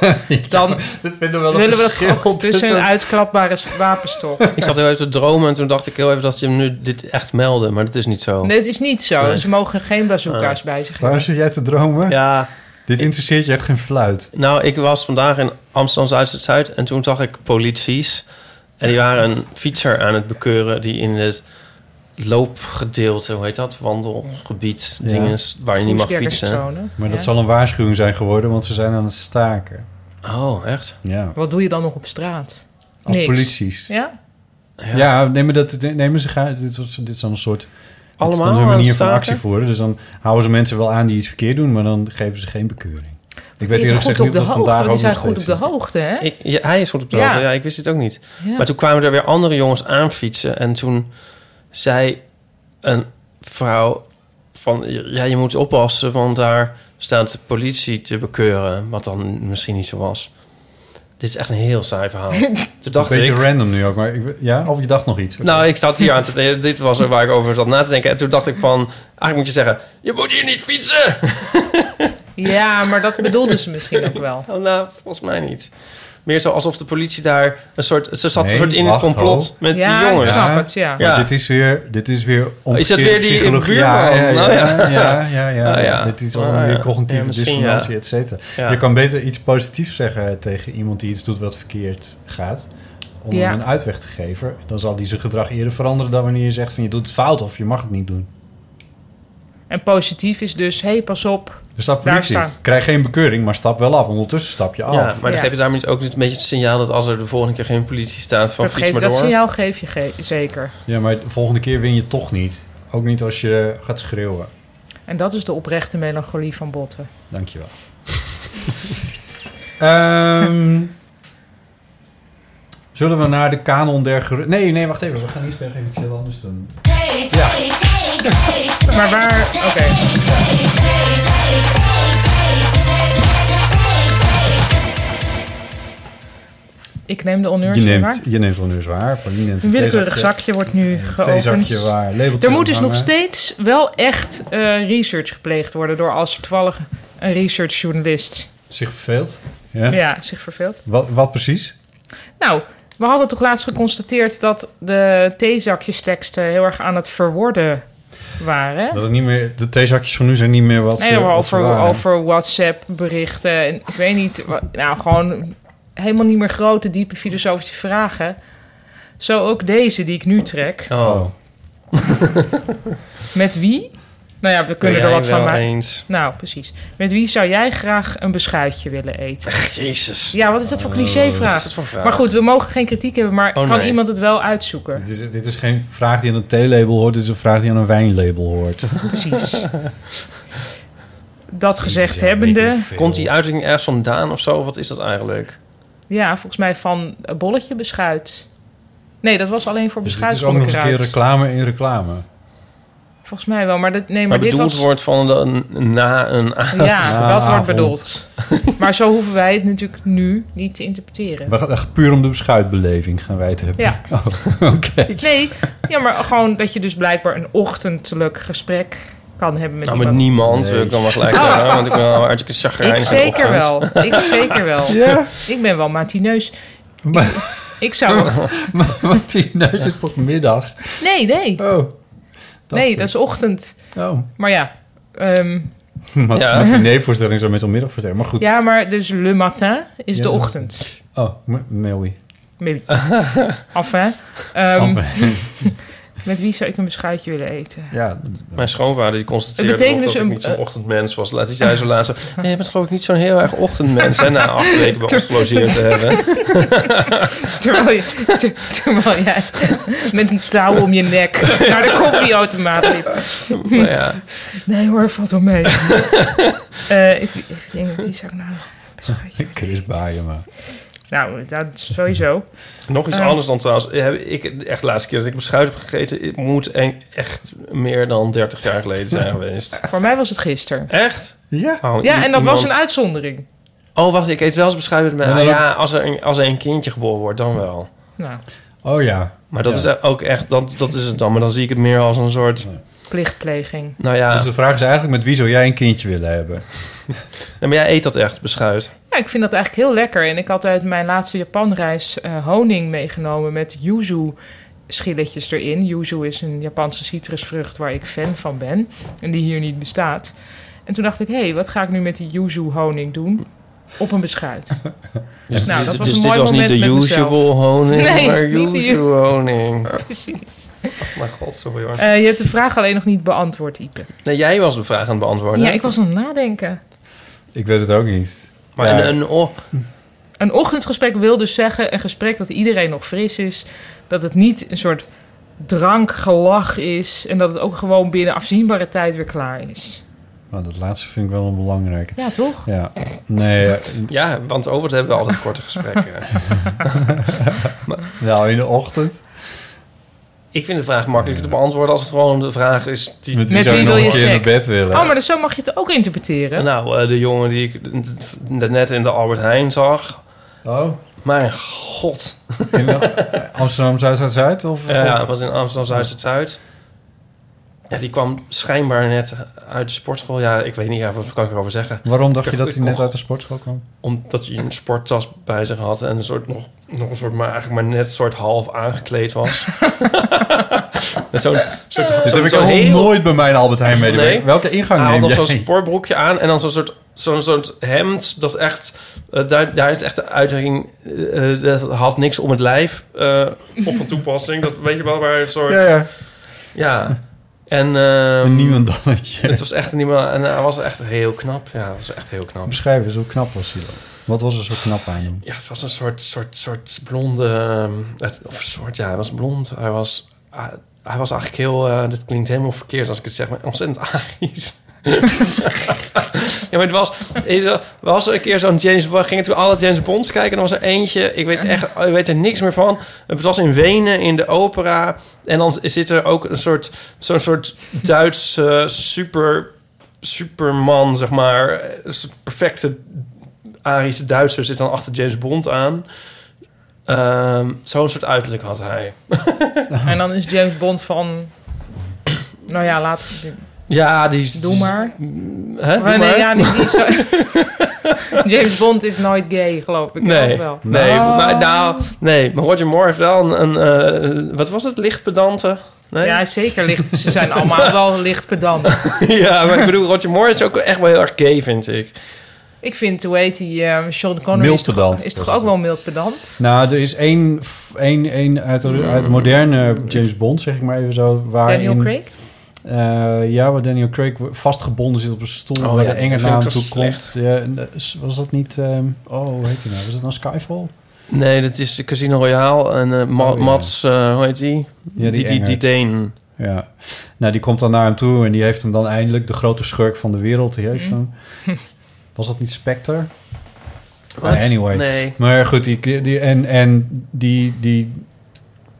Dan dat vinden we wel een willen we dat verschil gewoon tussen een uitklapbare wapenstok. Ik zat heel even te dromen en toen dacht ik heel even dat je hem nu dit echt meldde. Maar dat is niet zo. Nee, het is niet zo. Ze mogen geen bazooka's Oh. bij zich Waarom hebben. [laughs] zit jij te dromen? Ja, Dit interesseert je echt geen fluit. nou, ik was vandaag in Amsterdam Zuid-Zuid en toen zag ik polities. En die waren een fietser aan het bekeuren die in het loopgedeelte, hoe heet dat? Wandelgebied, Ja. dingen is waar je niet mag fietsen. Voetgangerszone. Maar dat Ja. zal een waarschuwing zijn geworden, want ze zijn aan het staken. Oh, echt? Ja. Wat doe je dan nog op straat? Als Niks. polities. Ja, Ja? nemen, dat, nemen ze gaan. Dit, was- dit is dan een soort. dit is Allemaal dan aan hun het manier van staken? actie voeren. Dus dan houden ze mensen wel aan die iets verkeerd doen, maar dan geven ze geen bekeuring. Die Ik weet eerlijk zijn gezegd goed op niet de of dat vandaag hoogte. ook Die nog zijn goed op steeds de hoogte, hè? Ik, ja, hij is goed op de Ja. hoogte. ja, ik wist het ook niet. Ja. Maar toen kwamen er weer andere jongens aanfietsen. En toen zei een vrouw van... Ja, je moet oppassen, want daar staat de politie te bekeuren. Wat dan misschien niet zo was. Dit is echt een heel saai verhaal. [laughs] toen dacht Een beetje ik... random nu ook, maar ik, ja, of je dacht nog iets. Nou, ik zat hier aan te denken. Dit was er waar ik over zat na te denken. En toen dacht ik van... Eigenlijk moet je zeggen... Je moet hier niet fietsen! Ja, maar dat bedoelden ze misschien ook wel. Nou, [laughs] nou, volgens mij niet. Meer zo alsof de politie daar een soort... Ze zat Nee, een soort in het wacht, complot ho. met Ja, die ik jongens. snap Ja. het, ja. Maar Ja. Oh, dit is weer, dit is weer omgekeerde weer die psychologie. buurman? Ja, ja, ja, Nou ja, ja. ja, ja, ja. Ah, ja. Dit is allemaal Ah, ja. weer cognitieve Ja, misschien, dissonantie, ja. et cetera. Ja. Je kan beter iets positiefs zeggen tegen iemand die iets doet wat verkeerd gaat, om Ja. hem een uitweg te geven. Dan zal die zijn gedrag eerder veranderen dan wanneer je zegt van je doet het fout of je mag het niet doen. En positief is dus, hé, hey, pas op. Er staat Daar Dus politie. staan. Krijg geen bekeuring, maar stap wel af. Ondertussen stap je af. Ja, maar dan Ja. geef je daarmee ook een beetje het signaal dat als er de volgende keer geen politie staat van Dat, fiets geef, maar dat door. signaal geef je ge- zeker. Ja, maar de volgende keer win je toch niet. Ook niet als je gaat schreeuwen. En dat is de oprechte melancholie van Botten. Dankjewel. [laughs] Ehm zullen we naar de kanon der geru- Nee, nee, wacht even. We gaan eerst nog even iets heel anders doen. Maar waar... Oké. Ik neem de honneurs Je weer waar. neemt, je neemt wel nu zwaar. Pauline neemt Een een willekeurig theezakje- zakje wordt nu een Theezakje geopend. waar. labeltjes Er moet dus ophangen. nog steeds wel echt eh, research gepleegd worden door als er toevallig een researchjournalist Zich verveelt. Ja? Ja, zich verveelt. Wat, wat precies? Nou, we hadden toch laatst geconstateerd dat de theezakjesteksten heel erg aan het verworden waren. Dat het niet meer, de theezakjes van nu zijn niet meer wat ze, nee, maar wat ze over, waren. over WhatsApp-berichten. En ik weet niet, wa- nou gewoon helemaal niet meer grote, diepe filosofische vragen. Zo ook deze die ik nu trek. Oh, Met wie? Nou ja, we ben kunnen er jij wat van wel maken. eens. Nou, precies. Met wie zou jij graag een beschuitje willen eten? Jezus. Oh, Ja, wat is dat voor Wat clichévraag? is dat voor vraag? Maar goed, we mogen geen kritiek hebben, maar Oh, kan nee. iemand het wel uitzoeken? Dit is, dit is geen vraag die aan een theelabel hoort, dit is een vraag die aan een wijnlabel hoort. [laughs] Precies. Dat gezegd Ja, weet hebbende, ik veel. Komt die uitdrukking ergens vandaan of zo? Wat is dat eigenlijk? ja, volgens mij van een bolletje beschuit. Nee, dat was alleen voor Dus dit beschuit. is ook nog eens een kom ik keer eruit. reclame in reclame. Volgens mij wel, maar, dat, nee, maar, Maar dit bedoeld was... wordt van de, na een [laughs] a- Ja, Na dat wordt avond. [laughs] bedoeld. Maar zo hoeven wij het natuurlijk nu niet te interpreteren. [laughs] We gaan echt puur om de beschuitbeleving gaan wij het hebben. Ja. [laughs] Oh, Oké. [laughs] Nee, ja, maar gewoon dat je dus blijkbaar een ochtendelijk gesprek kan hebben met Nou, met iemand. Ah. niemand, Nee. wil ik dan wel gelijk zeggen. Want ik ben wel hartstikke chagrijnig. Ik in de zeker ochtend. wel. Ik zeker wel. [laughs] Ja. Ik ben wel matineus. Maar, Ik zou... [laughs] maar Martineus is toch middag? Nee, nee. Oh. dacht Nee, ik. dat is ochtend. Oh. Maar ja, ehm, [laughs] Ma Ja. Matinee-voorstelling zou middag Maar goed. ja, maar dus le matin is de Ja, dat- ochtend. Oh, m- Melwie. [laughs] Maybe. Enfin. Ehm, Oh, [laughs] met wie zou ik een beschuitje willen eten? ja. Mijn schoonvader die constateerde Het betekent nog dus dat ik een- niet zo'n ochtendmens was. Laat hij zei zo laatst... [laughs] zo, "Nee, je bent geloof ik niet zo'n heel erg ochtendmens, hè? Na acht weken bij ons gelogeerd te hebben. [laughs] Terwijl, je, ter- terwijl jij met een touw om je nek naar de koffieautomaat liep. Nou Maar Nou ja, Nee hoor, valt wel [laughs] mee. Eh, ik, ik denk dat die zou ik nou nog een beschuitje... [laughs] Chris Baaien, maar. Nou, dat is sowieso. nog iets Eh. anders dan trouwens. Heb ik echt de laatste keer dat ik beschuit heb gegeten... het moet en- echt meer dan 30 jaar geleden [laughs] zijn geweest. Voor mij was het gisteren. Echt? Ja. Oh, Ja, i- en dat was iemand- een uitzondering. Oh, wacht, ik eet wel eens beschuit met mij. En dan Ah, ja, als er, een, als er een kindje geboren wordt, dan wel. Nou, Oh ja. Maar dat Ja. is ook echt... Dat, dat is het dan. Maar dan zie ik het meer als een soort... plichtpleging. Nou ja, Dus de vraag is eigenlijk met wie zou jij een kindje willen hebben? nee, maar jij eet dat echt, beschuit. Ja, ik vind dat eigenlijk heel lekker. En ik had uit mijn laatste Japanreis eh, honing meegenomen met yuzu schilletjes erin. Yuzu is een Japanse citrusvrucht waar ik fan van ben en die hier niet bestaat. En toen dacht ik, hé, hey, wat ga ik nu met die yuzu honing doen? Op een beschuit. Dus, Nou, dit- dat was dus een dit mooi was niet moment de met mezelf. usual honing, Nee, maar niet de usual honing. [laughs] Precies. Maar god, sorry hoor. Eh, je hebt de vraag alleen nog niet beantwoord, Ipe. Nee, jij was de vraag aan het beantwoorden. Ja, ik was aan het nadenken. Ik weet het ook niet. [laughs] Maar Ja. een, een, oh, Een ochtendgesprek wil dus zeggen een gesprek dat iedereen nog fris is. Dat het niet een soort drankgelach is. En dat het ook gewoon binnen afzienbare tijd weer klaar is. Maar dat laatste vind ik wel een belangrijke. Ja, toch? Ja. Nee, eh, ja, want over het hebben we altijd korte [laughs] gesprekken. nou in de ochtend. ik vind de vraag makkelijker te beantwoorden als het gewoon de vraag is... Die, Met wie Met zou je wie nog wil een je keer naar seks? bed willen? Oh, maar dus zo mag je het ook interpreteren. Nou, eh, de jongen die ik d- net in de Albert Heijn zag. Oh, Mijn god. in de- Amsterdam Zuid-Zuid-Zuid? Of, Ja, of- het was in Amsterdam Zuid het Zuid. Ja, die kwam schijnbaar net uit de sportschool. Ja, ik weet niet, ja, wat kan ik erover zeggen? Waarom dacht je dat Ik hij net kocht- uit de sportschool kwam? omdat hij een sporttas bij zich had en een soort nog, nog een soort maar eigenlijk maar net soort half aangekleed [laughs] was. Met zo'n soort Dus zo'n- dat heb ik zo'n ook heel- nooit bij mijn Albert Heijn medewerker. Nee. Welke ingang Hij had neem nog jij? zo'n sportbroekje aan en dan zo'n soort, zo'n soort hemd dat echt eh, daar, daar is echt de uitdrukking eh, eh, dat had niks om het lijf eh, op een toepassing. Dat weet je wel waar een soort ja, ja. ja. En ehm, Een niemendannetje. het was echt niemand en hij was echt heel knap. Ja, het was echt heel knap. Beschrijf eens, hoe knap was hij dan? Wat was er zo knap aan hem? Ja, het was een soort, soort, soort blonde... ehm, het- Of een soort, ja, hij was blond. Hij was, ah, hij was eigenlijk heel... eh, dit klinkt helemaal verkeerd als ik het zeg, maar ontzettend Arisch. [laughs] ja, maar het was, er was een keer zo'n James Bond. Gingen toen alle James Bonds kijken. En er was er eentje, ik weet, echt, ik weet er niks meer van. Het was in Wenen, in de opera. En dan zit er ook een soort, zo'n soort Duits eh, super, superman, zeg maar. Een soort perfecte Arische Duitser zit dan achter James Bond aan. Ehm, Zo'n soort uiterlijk had hij. En dan is James Bond van... Nou ja, laat... Ja, die... Doe maar. Hè, doe nee, [laughs] maar. ja, die, die is zo- [laughs] James Bond is nooit gay, geloof ik. Nee, Ook wel. Ah. nee, maar, nou, nee, maar Roger Moore heeft wel een, een, eh, wat was het, lichtpedante? Nee? Ja, zeker licht. Ze zijn allemaal wel licht pedant. [laughs] ja, maar ik bedoel, Roger Moore is ook echt wel heel erg gay, vind ik. Ik vind, hoe heet die, eh, Sean Connery Mild is toch, pedant. is toch Dat is ook wel mild pedant? Nou, er is één, f- één, één uit, de, uit de moderne James Bond, zeg ik maar even zo. Waarin, Daniel Craig? Eh, ja, waar Daniel Craig vastgebonden zit op een stoel Oh waar ja, de enge dat vind naam ik zo toe komt. slecht. Ja, en, eh, s- was dat niet... ehm, oh, hoe heet hij nou? Was dat nou Skyfall? Nee, dat is de Casino Royale en eh, Ma- Oh, ja. Mats, eh, hoe heet die? Ja, die die, die, Engert. Deen. Ja. Nou, die komt dan naar hem toe en die heeft hem dan eindelijk... de grote schurk van de wereld, die heeft hem. Was dat niet Spectre? Wat? Anyway. Nee. Maar goed, die, die, en, en die, die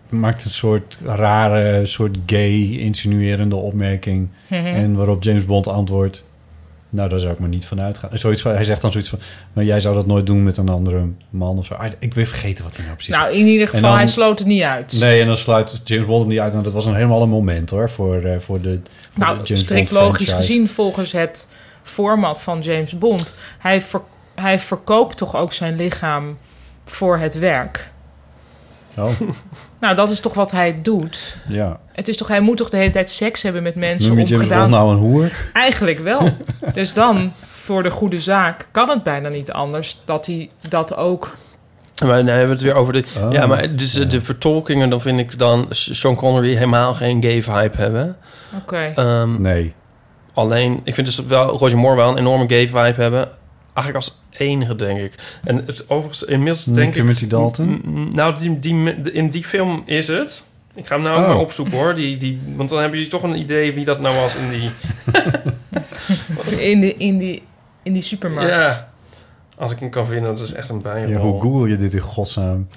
maakt een soort rare, soort gay, insinuerende opmerking. En waarop James Bond antwoordt... Nou, daar zou ik maar niet van uitgaan. Zoiets van, hij zegt dan zoiets van... Maar jij zou dat nooit doen met een andere man of zo. Ah, Ik weet vergeten wat hij nou precies... Nou, in ieder geval, dan- hij sloot het niet uit. Nee, en dan sluit James Bond het niet uit. En dat was een helemaal een moment hoor, voor, eh, voor de voor de Nou, James strikt Bond logisch franchise. gezien, volgens het format van James Bond, hij, ver- hij verkoopt toch ook zijn lichaam voor het werk. Oh, Nou, dat is toch wat hij doet. ja. Het is toch, hij moet toch de hele tijd seks hebben met mensen Noem je om James gedaan. Bond nou een hoer? Eigenlijk wel. dus dan, voor de goede zaak, kan het bijna niet anders dat hij dat ook. Maar dan hebben we het weer over de... Oh, ja, maar dus de- de vertolkingen, dan vind ik dan Sean Connery helemaal geen gay vibe hebben. Oké. Ehm, Nee. Alleen, ik vind dus dat wel Roger Moore wel een enorme gay vibe hebben. Eigenlijk als enige, denk ik. En het, overigens, inmiddels Niet denk Timothy ik... Dalton? Mm, mm, Nou, die, die, in die film is het. Ik ga hem nou ook Oh. maar opzoeken, hoor. Die, die, want dan hebben jullie toch een idee wie dat nou was in die... In, de, in, die, in die supermarkt. Ja. Als ik hem kan vinden, dat is echt een bijrol. Ja, hoe google je dit in godsnaam?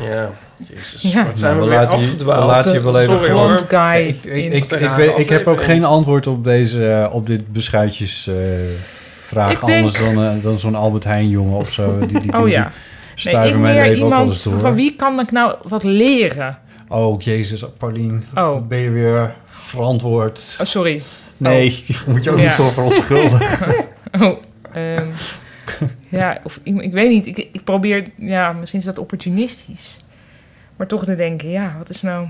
Ja. Jezus, Ja. wat zijn Nou, we, we weer laten je- we afgedwaald. laten je wel even Sorry, gewoon- Blond hoor. guy. Ik, ik, in- ik, ik, Ja, weet- ik heb ook aflevering. geen antwoord op, deze, eh, op dit beschuitjesvraag. Ik denk- Anders dan, eh, dan zo'n Albert Heijn jongen of zo. Die, die, die, oh die ja. Nee, ik stuiven mijn meer leven ook wel eens iemand door. van wie kan ik nou wat leren? Oh, jezus, Paulien. Oh. Ben je weer verantwoord? Oh, sorry. Oh. Nee, die [laughs] moet je ook Ja. niet voor verontschuldigen. [laughs] [laughs] Oh, ehm, ja, of ik, ik weet niet. Ik, ik probeer, ja, misschien is dat opportunistisch. Maar toch te denken, ja, wat is nou...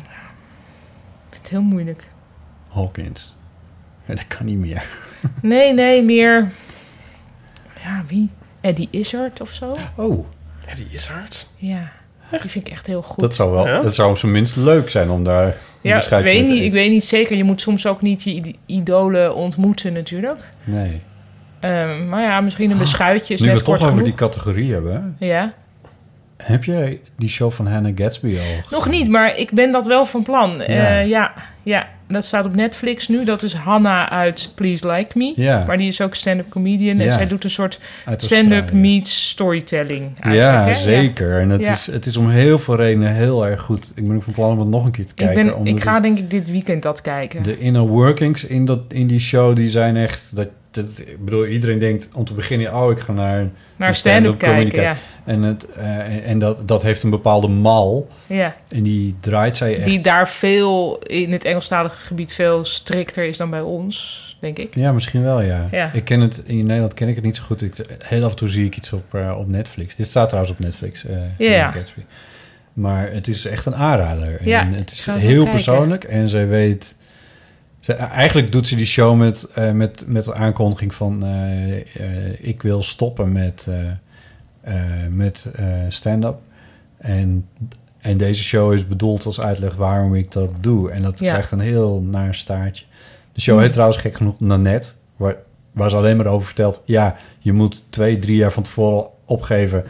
Ik vind het heel moeilijk. Hawkins. Ja, dat kan niet meer. Nee, nee, meer... Ja, wie? Eddie Izzard of zo? Oh, Ja, die is hard. Ja, die vind ik echt heel goed. dat zou wel. Ja? Dat zou op zijn minst leuk zijn om daar. een ja, ik beschuitje weet, mee te niet, ik eten. weet niet zeker. Je moet soms ook niet je ide- idolen ontmoeten natuurlijk. Nee. Ehm, maar ja, misschien een beschuitje is Ah, Nu we net het toch kort over genoeg. die categorie hebben. Ja. hè? Heb jij die show van Hannah Gatsby al? gezien? Nog niet, maar ik ben dat wel van plan. Ja, Ja. ja, ja dat staat op Netflix nu. Dat is Hannah uit Please Like Me. Ja. Maar die is ook stand-up comedian. En Ja. zij doet een soort Uit stand-up Australië. meets storytelling. eigenlijk, hè? Ja, zeker. En het, Ja. is, het is om heel veel redenen heel erg goed. Ik ben ook van plan om het nog een keer te Ik, kijken. ben, ik omdat ga denk ik dit weekend dat kijken. De inner workings in, dat, in die show, die zijn echt... Dat, dat, ik bedoel, iedereen denkt om te beginnen... oh, ik ga naar een Naar een stand-up comedy kijken, ja. En, het, eh, en- en dat, dat heeft een bepaalde mal. ja. En die draait zij echt... Die daar veel, in het Engelstalige gebied, veel strikter is dan bij ons, denk ik. Ja, misschien wel, ja. Ja. Ik ken het, in Nederland ken ik het niet zo goed. Ik, heel af en toe zie ik iets op, eh, op Netflix. Dit staat trouwens op Netflix. eh, Ja. Hannah Gatsby. Maar het is echt een aanrader. Ja, en het ik is ga het heel wel persoonlijk. En zij weet... Ze, eigenlijk doet ze die show met, eh, met, met de aankondiging van... eh, eh, ik wil stoppen met, eh, eh, met eh, stand-up. En, en deze show is bedoeld als uitleg waarom ik dat doe. En dat Ja. Mm. krijgt een heel naar staartje. De show heet trouwens gek genoeg Nanette. Waar, waar ze alleen maar over vertelt... ja, je moet twee, drie jaar van tevoren opgeven...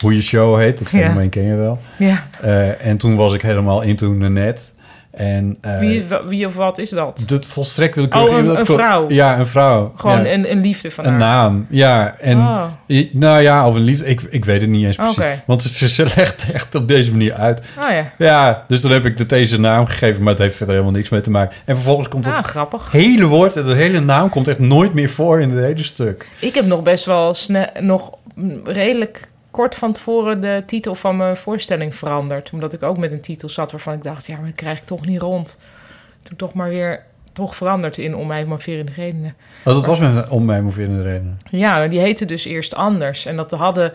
hoe je show heet. Dat Hmm. Ja. fenomeen ken je wel. Ja. Eh, en toen was ik helemaal into Nanette. En eh, Wie, wie of wat is dat? dat volstrekt wil ik Oh, een- een vrouw. Ja, een vrouw. Gewoon Ja. een, een liefde van Een haar. naam, ja. En, Oh. i- Nou ja, of een liefde. Ik, ik weet het niet eens precies. Oké. Want ze, ze legt echt op deze manier uit. Oh ja. Ja, dus dan heb ik het deze naam gegeven, maar het heeft verder helemaal niks mee te maken. En vervolgens komt Ah, het grappig. hele woord en de hele naam komt echt nooit meer voor in het hele stuk. Ik heb nog best wel sne- nog mm, redelijk kort van tevoren de titel van mijn voorstelling veranderd. Omdat ik ook met een titel zat waarvan ik dacht, ja, maar dat krijg ik toch niet rond. Toen toch maar weer toch veranderd in om mij motiverende redenen. Oh, dat was met om mij moverende redenen. Ja, die heette dus eerst anders. En dat hadden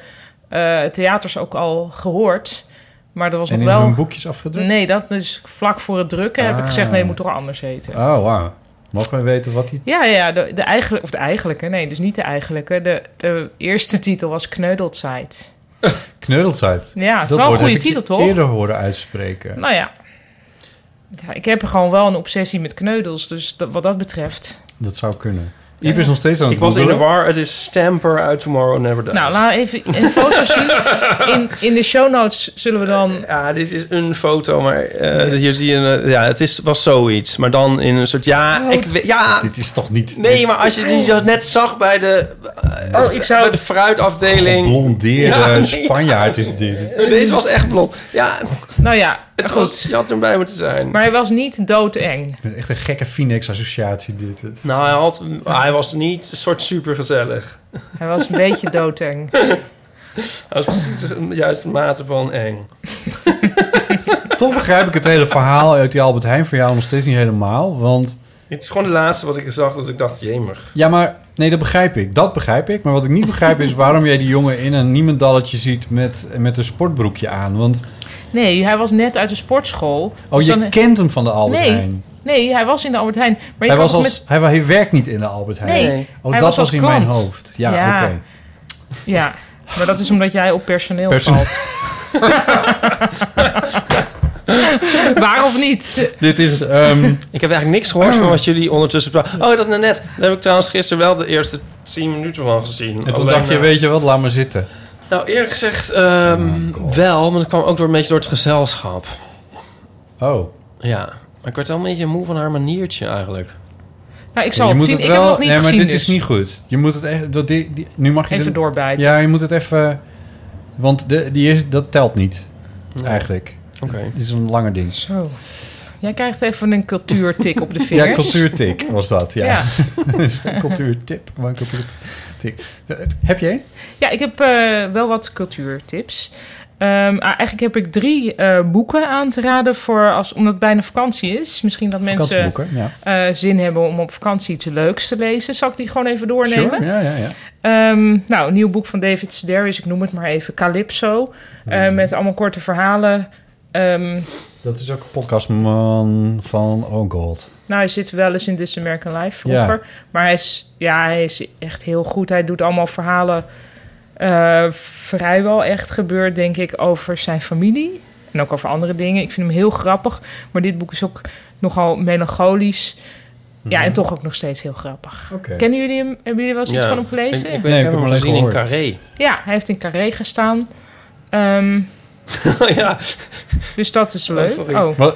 eh, theaters ook al gehoord. Maar er was En in nog wel... hun boekjes afgedrukt? Nee, dat dus vlak voor het drukken heb ik Ah. gezegd... nee, het moet toch anders heten. Oh, wauw. Mogen wij weten wat die... Ja, ja, de, de eigenlijk, of de eigenlijke, nee, dus niet de eigenlijke. De, de eerste titel was Kneudeldzeit. Kneudelzijd. Ja, het is wel een goede titel, toch? eerder horen uitspreken. Nou ja. ja, ik heb gewoon wel een obsessie met kneudels, dus dat- wat dat betreft. Dat zou kunnen. Iep is nog steeds aan het Ik was in de googelen. war. Het is Stamper uit Tomorrow Never Dies. Nou, laat even een foto zien. In, in de show notes zullen we dan... Ja, dit is een foto, maar eh, hier zie je... een, eh, ja, het is, was zoiets, maar dan in een soort... Ja, Oh. ik, weet- ja Dit is toch niet... nee, maar als je dus dat net zag bij de, eh, Oh, ik zou- bij de fruitafdeling... Blondeerde Ja, nee. [laughs] Spanjaard is Oh. dit. Deze was echt blond. Ja, Nou ja, het was, goed. je had erbij moeten zijn. Maar hij was niet doodeng. Met Echt een gekke Phoenix-associatie dit. Het- Nou, hij, had, hij was niet een soort supergezellig. Hij was een beetje doodeng. [laughs] Hij was precies de juiste mate van eng. Toch begrijp ik het hele verhaal uit die Albert Heijn voor jou nog steeds niet helemaal. Want Het is gewoon de laatste wat ik zag dat ik dacht, jemig. ja, maar nee, dat begrijp ik. Dat begrijp ik. Maar wat ik niet begrijp is waarom jij die jongen in een niemendalletje ziet met, met een sportbroekje aan. Want Nee, hij was net uit de sportschool. oh, Dus je dan- kent hem van de Albert Nee, Heijn. Nee, hij was in de Albert Heijn. Maar je Hij, kan was toch als, met- hij, wa- hij werkt niet in de Albert Heijn. Nee, hij Oh, dat was als was in klant. mijn hoofd. Ja, Ja. oké. Ja, maar dat is omdat jij op personeel Person- valt. [laughs] Waar of niet? Dit is... ehm, Ik heb eigenlijk niks gehoord van wat jullie ondertussen... pra- Oh, dat net. Daar heb ik trouwens gisteren wel de eerste 10 minuten van gezien. en toen Alleen, dacht je, eh, weet je Oh wat, laat maar zitten. Nou, eerlijk gezegd ehm, wel, maar dat kwam ook door een beetje door het gezelschap. Oh. Ja, maar ik werd wel een beetje moe van haar maniertje eigenlijk. Nou, ik zal je het moet zien. het ik wel, heb nog niet nee, maar gezien. dit dus. is niet goed. Je moet het echt... Dat, die, die- nu mag je Even de- doorbijten. Ja, je moet het even... Want de, die is, dat telt niet, eigenlijk. Oké. Het is een langer ding. Zo. Jij krijgt even een cultuurtik op de vingers. Ja, cultuurtik was dat, [laughs] ja. Ja. cultuurtip, maar een [laughs] cultuurtik. Eh, Heb jij? Ja, ik heb eh, wel wat cultuurtips. Ehm, ah, eigenlijk heb ik drie eh, boeken aan te raden voor als, omdat het bijna vakantie is. Misschien dat [laughs] mensen Vakantieboeken, ja. eh, zin hebben om op vakantie iets leuks te lezen. Zal ik die gewoon even doornemen? Sure, ja, ja, ja. Ehm, nou, een nieuw boek van David Sedaris, ik noem het maar even Calypso. eh, Hmm. Met allemaal korte verhalen. Ehm, Dat is ook een podcastman van Oh God. nou, hij zit wel eens in This American Life Ja. vroeger. Maar hij is, ja, hij is echt heel goed. Hij doet allemaal verhalen eh, vrijwel echt gebeurd, denk ik, over zijn familie. En ook over andere dingen. Ik vind hem heel grappig. Maar dit boek is ook nogal melancholisch. Ja, en toch ook nog steeds heel grappig. Mhm. Oké. Kennen jullie hem? Hebben jullie wel eens iets Ja. van hem gelezen? Ik, ik, ik Nee, ik heb heb hem hem alleen gezien in gehoord. Carré. Ja, hij heeft in Carré gestaan. [laughs] Ehm, Oh ja, Dus dat is leuk. sorry. Oh, Wat,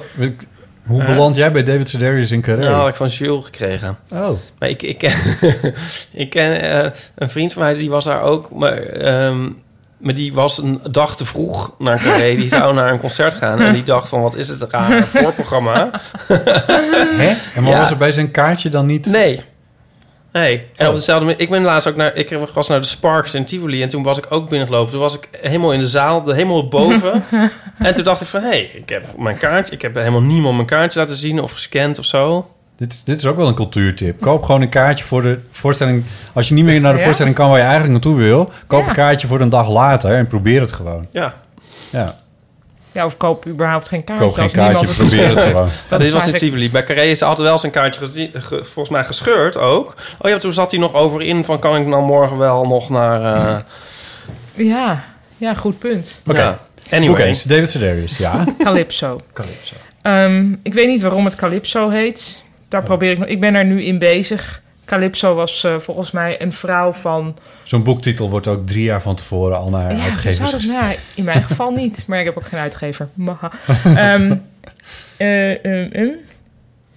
hoe Eh. beland jij bij David Sedaris in Carré? nou had ik van Jules gekregen. oh. Maar ik, ik ken, [laughs] ik ken eh, een vriend van mij, die was daar ook. Maar, ehm, maar die was een dag te vroeg naar Carré. [laughs] Die zou naar een concert gaan. En die dacht van, wat is het een raar voorprogramma. Hè? En maar Ja. was er bij zijn kaartje dan niet... Nee. Nee. En op Oh. dezelfde manier... Ik ben laatst ook naar... Ik was naar de Sparks in Tivoli. En toen was ik ook binnengelopen. Toen was ik helemaal in de zaal. de- Helemaal [laughs] boven. en toen dacht ik van... Hé, hey, ik heb mijn kaartje... Ik heb helemaal niemand mijn kaartje laten zien. Of gescand of zo. Dit, is- dit is ook wel een cultuurtip. Koop gewoon een kaartje voor de voorstelling. Als je niet meer naar de Ja. voorstelling kan waar je eigenlijk naartoe wil, koop Ja. een kaartje voor een dag later en probeer het gewoon. Ja. Ja, ja, of koop überhaupt geen kaartje. koop geen als niemand kaartje, het probeer het gewoon. [laughs] Dat dit is was in eigenlijk- Tivoli. Bij Carré is altijd wel eens een kaartje gezien- ge- volgens mij gescheurd ook. Oh ja, toen zat hij nog over in van... Kan ik dan morgen wel nog naar... [laughs] eh, Ja, ja, goed punt. Oké. ja. Oké, Anyway. dus David [laughs] Sedaris, ja. Calypso. Calypso. Ehm, ik weet niet waarom het Calypso heet. Daar probeer ik nog. Ik ben er nu in bezig. Calypso was eh, volgens mij een vrouw van. Zo'n boektitel wordt ook drie jaar van tevoren al naar uitgevers zou dat- gestuurd. dus nou, in mijn geval niet. Maar ik heb ook geen uitgever. Maha. Ehm, eh, ehm, ehm.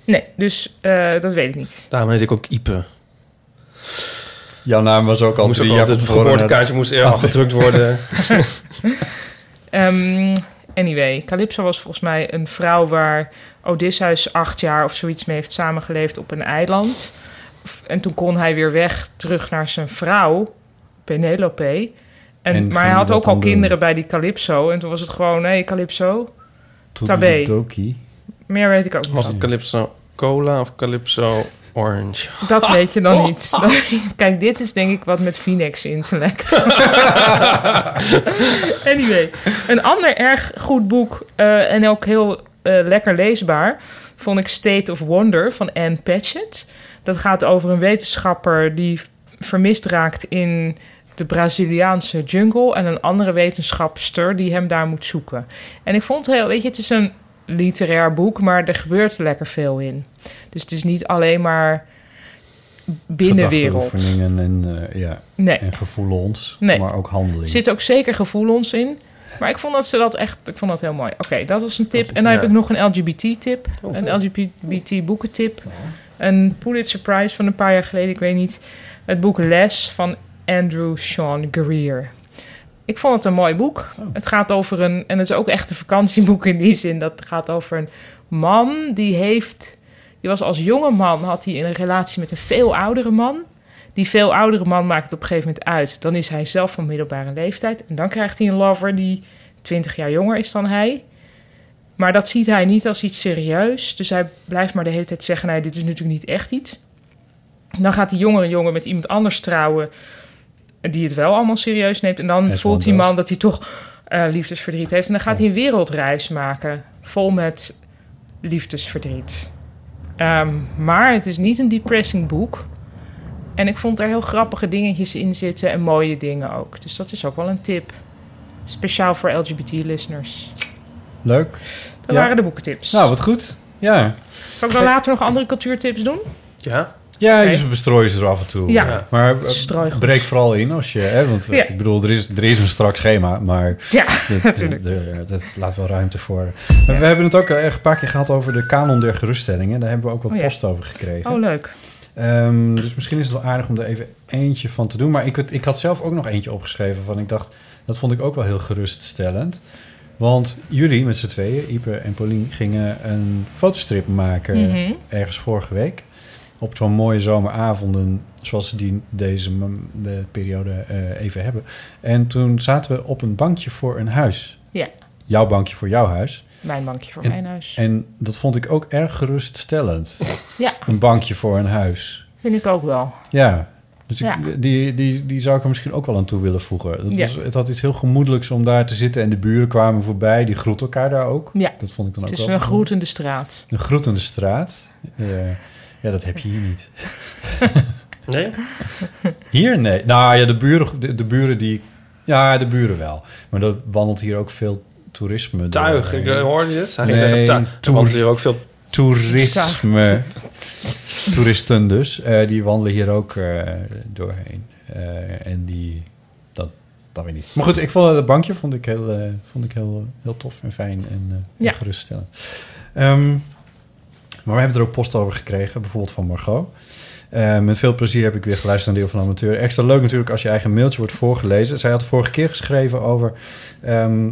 Nee, dus eh, dat weet ik niet. Daarom heet ik ook Ipe. Jouw naam was ook al Moest ook drie jaar van altijd, het tevoren. geboortekaartje moest [laughs] er afgedrukt worden. Ehm, anyway, Calypso was volgens mij een vrouw waar Odysseus acht jaar of zoiets mee heeft samengeleefd op een eiland. F- En toen kon hij weer weg terug naar zijn vrouw, Penelope. En, En maar hij ging had dat ook al dan doen? kinderen bij die Calypso. En toen was het gewoon, hé Calypso, Toedeledokie. meer weet ik ook niet. Was het Calypso? Cola of Calypso Orange. Dat weet je dan niet. [laughs] Kijk, dit is denk ik wat met Phoenix intellect. [laughs] anyway, een ander erg goed boek eh, en ook heel eh, lekker leesbaar vond ik State of Wonder van Anne Patchett. Dat gaat over een wetenschapper die vermist raakt in de Braziliaanse jungle en een andere wetenschapster die hem daar moet zoeken. En ik vond het heel, weet je, het is een literair boek, maar er gebeurt lekker veel in. Dus het is niet alleen maar binnenwereld. Gedachteoefeningen en, eh, ja, Nee, en gevoelens, Nee. maar ook er handeling. zit ook zeker gevoelens in. Maar ik vond dat ze dat echt, ik vond dat heel mooi. Oké, dat was een tip. Dat- En dan heb ja. ik nog een LGBT-tip, Oh, een LGBT boekentip. Een Pulitzer Prize van een paar jaar geleden, ik weet niet. Het boek Les van Andrew Sean Greer. Ik vond het een mooi boek. Het gaat over een, en het is ook echt een vakantieboek in die zin. Dat gaat over een man die heeft, die was als jonge man, had hij een relatie met een veel oudere man. Die veel oudere man maakt het op een gegeven moment uit. Dan is hij zelf van middelbare leeftijd. En dan krijgt hij een lover die 20 jaar jonger is dan hij. Maar dat ziet hij niet als iets serieus. Dus hij blijft maar de hele tijd zeggen: nee, dit is natuurlijk niet echt iets. Dan gaat die jongere jongen met iemand anders trouwen. Die het wel allemaal serieus neemt. En dan As voelt one die does. man dat hij toch eh, liefdesverdriet heeft. En dan gaat hij een wereldreis maken. Vol met liefdesverdriet. Ehm, maar het is niet een depressing boek. En ik vond er heel grappige dingetjes in zitten en mooie dingen ook. Dus dat is ook wel een tip. Speciaal voor LGBT-listeners. Leuk. Dat Ja. waren de boekentips. Nou, wat goed. Ja, Kan ik dan later nog andere cultuurtips doen? Ja, ja Oké. dus we bestrooien ze er af en toe. Ja. Ja. Maar eh, Strooigoed. breek vooral in als je... Hè, want eh, Ja. ik bedoel, er is, er is een strak schema, maar... Ja, [laughs] dit- natuurlijk. dit- er- Dat laat wel ruimte voor. Maar We hebben het ook eh, een paar keer gehad over de kanon der geruststellingen. Daar hebben we ook wat Oh ja. post over gekregen. Oh, leuk. Ehm, dus misschien is het wel aardig om er even eentje van te doen. Maar ik, had- ik had zelf ook nog eentje opgeschreven van ik dacht, dat vond ik ook wel heel geruststellend. Want jullie met z'n tweeën, Ipe en Paulien, gingen een fotostrip maken Mhm. ergens vorige week. Op zo'n mooie zomeravonden, zoals ze die deze m- de periode eh, even hebben. En toen zaten we op een bankje voor een huis. Ja. Jouw bankje voor jouw huis. Mijn bankje voor mijn huis. En dat vond ik ook erg geruststellend. Ja. Een bankje voor een huis. Vind ik ook wel. Ja, dus ik- Ja. Die, die, die zou ik er misschien ook wel aan toe willen voegen. Dat Ja. was, het had iets heel gemoedelijks om daar te zitten. En de buren kwamen voorbij, die groeten elkaar daar ook. Ja. Dat vond ik dan Het ook is wel... een groetende straat. Een groetende straat. Eh, ja, dat heb je hier niet. [laughs] nee? Hier? Nee. Nou ja, de buren, de, de buren die... Ja, de buren wel. Maar dat wandelt hier ook veel toerisme. Tuig, ik doorheen. hoorde je het. Hij Nee, nee, zeggen, toer. tuig. Want hier ook veel... Toerisme. Toeristen dus. eh, die wandelen hier ook eh, doorheen. Eh, en die... Dat, dat weet ik niet. Maar goed, ik vond het bankje vond ik heel, eh, vond ik heel, heel tof en fijn en eh, Ja. en geruststellend. Ehm, maar we hebben er ook post over gekregen. Bijvoorbeeld van Margot. Eh, met veel plezier heb ik weer geluisterd naar Deel van de Amateur. Extra leuk natuurlijk als je eigen mailtje wordt voorgelezen. Zij had vorige keer geschreven over ehm,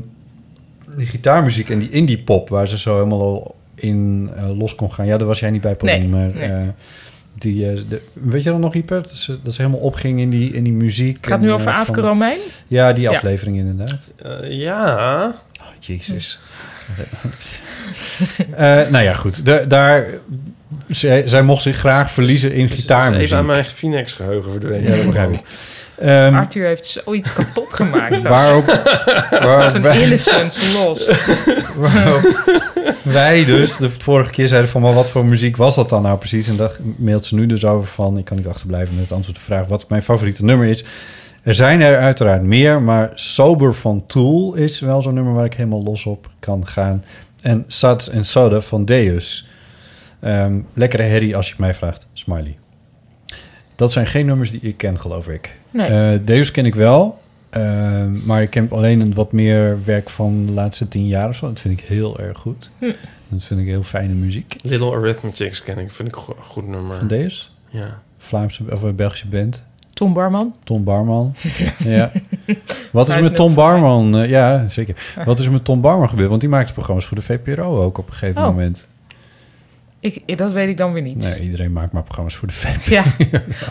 die gitaarmuziek en die indie pop... waar ze zo helemaal al in eh, los kon gaan. Ja, daar was jij niet bij, Pauline. Nee, maar nee. eh, die, eh, de- weet je dat nog, Ieper? Dat ze, dat ze helemaal opging in die, in die muziek. Het gaat en, nu eh, over van- Aafke Romein. Ja, die Ja. aflevering inderdaad. eh, ja, Oh, Jezus. Eh, nou ja, goed. Da- daar, zij, zij mocht zich graag verliezen in Is gitaarmuziek. even aan mijn Phoenix geheugen verdwenen. Ja, dat begrijp ik. Ehm, Arthur heeft zoiets kapot gemaakt. waar ook, [laughs] Dat is waar, een wij, innocent lost. [laughs] waar ook wij dus de vorige keer zeiden van... maar wat voor muziek was dat dan nou precies? En daar mailt ze nu dus over van... ik kan niet achterblijven met het antwoord op de vraag... wat mijn favoriete nummer is. Er zijn er uiteraard meer, maar Sober van Tool... is wel zo'n nummer waar ik helemaal los op kan gaan. En Sats en Soda van Deus. Ehm, lekkere herrie als je het mij vraagt. Smiley. Dat zijn geen nummers die ik ken, geloof ik. Nee. Eh, Deus ken ik wel. eh, maar ik ken alleen een wat meer werk van de laatste tien jaar of zo. Dat vind ik heel erg goed. Hm. Dat vind ik heel fijne muziek. Little Arithmetics ken ik, vind ik go- een goed nummer. Van Deus. Ja. Vlaamse of eh, Belgische band. Tom Barman. Tom [laughs] Barman. ja. Wat is er met 5-0 Tom voor mij. Barman? Eh, ja, Ah. zeker. Wat is er met Tom Barman gebeurd? Want die maakte programma's voor de VPRO ook op een gegeven Oh. moment. Ik, dat weet ik dan weer niet. Nee, iedereen maakt maar programma's voor de VPRO. Ja.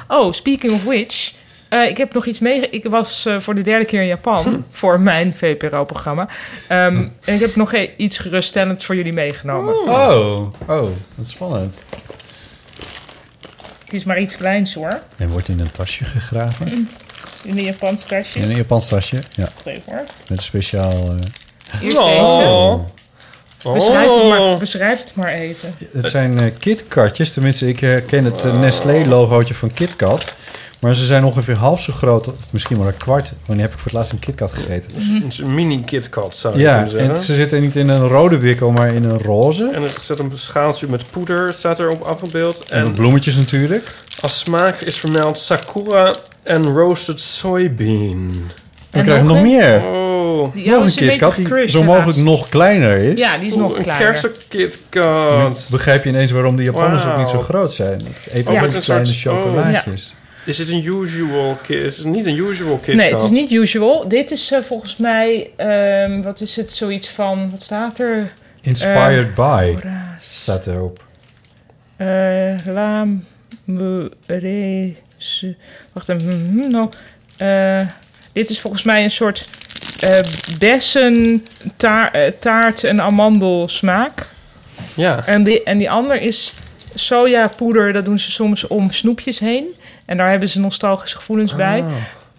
Oh, speaking of which. Eh, ik heb nog iets mee. Ik was eh, voor de derde keer in Japan Hm. voor mijn VPRO-programma. Ehm, En ik heb nog e- iets geruststellends voor jullie meegenomen. Oh, oh, wat spannend. Het is maar iets kleins hoor. En wordt in een tasje gegraven. In een Japans tasje. Hm. In een Japans tasje. Ja, Wacht even hoor. met een speciaal... eh, Eerst deze. Oh. Beschrijf, het maar, Oh. beschrijf het maar even. Het zijn eh KitKatjes. Tenminste, ik herken het Oh. eh, Nestlé-logootje van KitKat. Maar ze zijn ongeveer half zo groot, misschien wel een kwart. Wanneer heb ik voor het laatst een KitKat gegeten? Dus Het is een mini KitKat zou je Ja, kunnen zeggen. en ze zitten niet in een rode wikkel, maar in een roze. En er zit een schaaltje met poeder, staat erop afgebeeld. En En met bloemetjes natuurlijk. als smaak is vermeld sakura en roosted soybean. We En krijgen nog een? meer. Oh, Die Nog oude een is een beetje KitKat die gecrushed, zo helaas. mogelijk nog kleiner is. Ja, die is nog een kleiner. kersen KitKat. Begrijp je ineens waarom de Japanners ook niet zo Wauw. groot zijn? Het eten Oh, met met een kleine soort- oh. chocolaatjes. Is dit een usual kit? Is het niet een usual KitKat? Nee, het is niet usual. Dit is eh, volgens mij, ehm, wat is het, zoiets van, wat staat er? Eh, Inspired by Raas. staat erop. Eh, Laam, mu, re, su. Wacht even. hm, hm, nou. Eh, dit is volgens mij een soort eh, bessen, taar- eh, taart en amandelsmaak. Ja. En die, en die ander is sojapoeder. Dat doen ze soms om snoepjes heen. En daar hebben ze nostalgische gevoelens bij.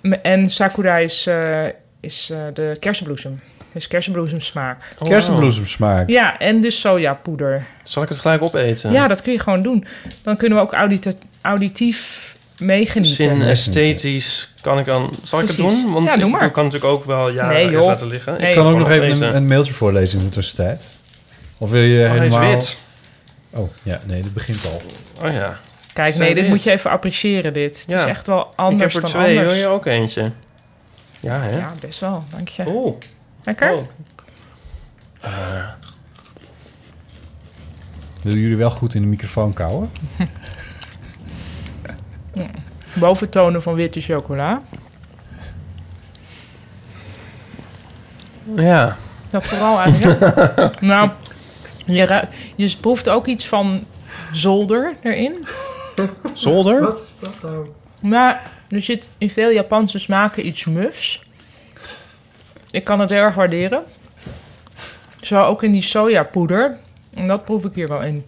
M- En sakura is, eh, is eh, de kersenbloesem. Dus kersenbloesemsmaak. Oh, Kersenbloesemsmaak. Ja, en dus sojapoeder. wauw. Zal ik het gelijk opeten? Ja, dat kun je gewoon doen. Dan kunnen we ook audita- auditief meegenieten. Zin esthetisch kan ik dan... Zal ik het Precies. doen? Want Ja, doe ik maar. kan natuurlijk ook wel ja Nee, joh. laten liggen. Nee, Ik joh. kan ook gewoon nog even opeten. een, een mailtje voorlezen in de tussentijd. Of wil je Oh, hij is helemaal... wit. Oh, ja, nee, dat begint al. Oh ja. Kijk, Zijn nee, dit dit. moet je even appreciëren, dit. Het Ja. is echt wel ik heb anders er dan twee. anders. Wil je ook eentje? Ja, hè? Ja, best wel. Dank je. Oh. Lekker? oh. Willen Eh, jullie wel goed in de microfoon kouwen? Boventonen van witte chocola. Ja. Dat vooral Ah, eigenlijk. [laughs] [laughs] nou, je, ru- je proeft ook iets van zolder [laughs] erin. Zolder? nou? Maar er zit in veel Japanse smaken iets mufs. Ik kan het heel erg waarderen. Zo ook in die sojapoeder. En dat proef ik hier wel in.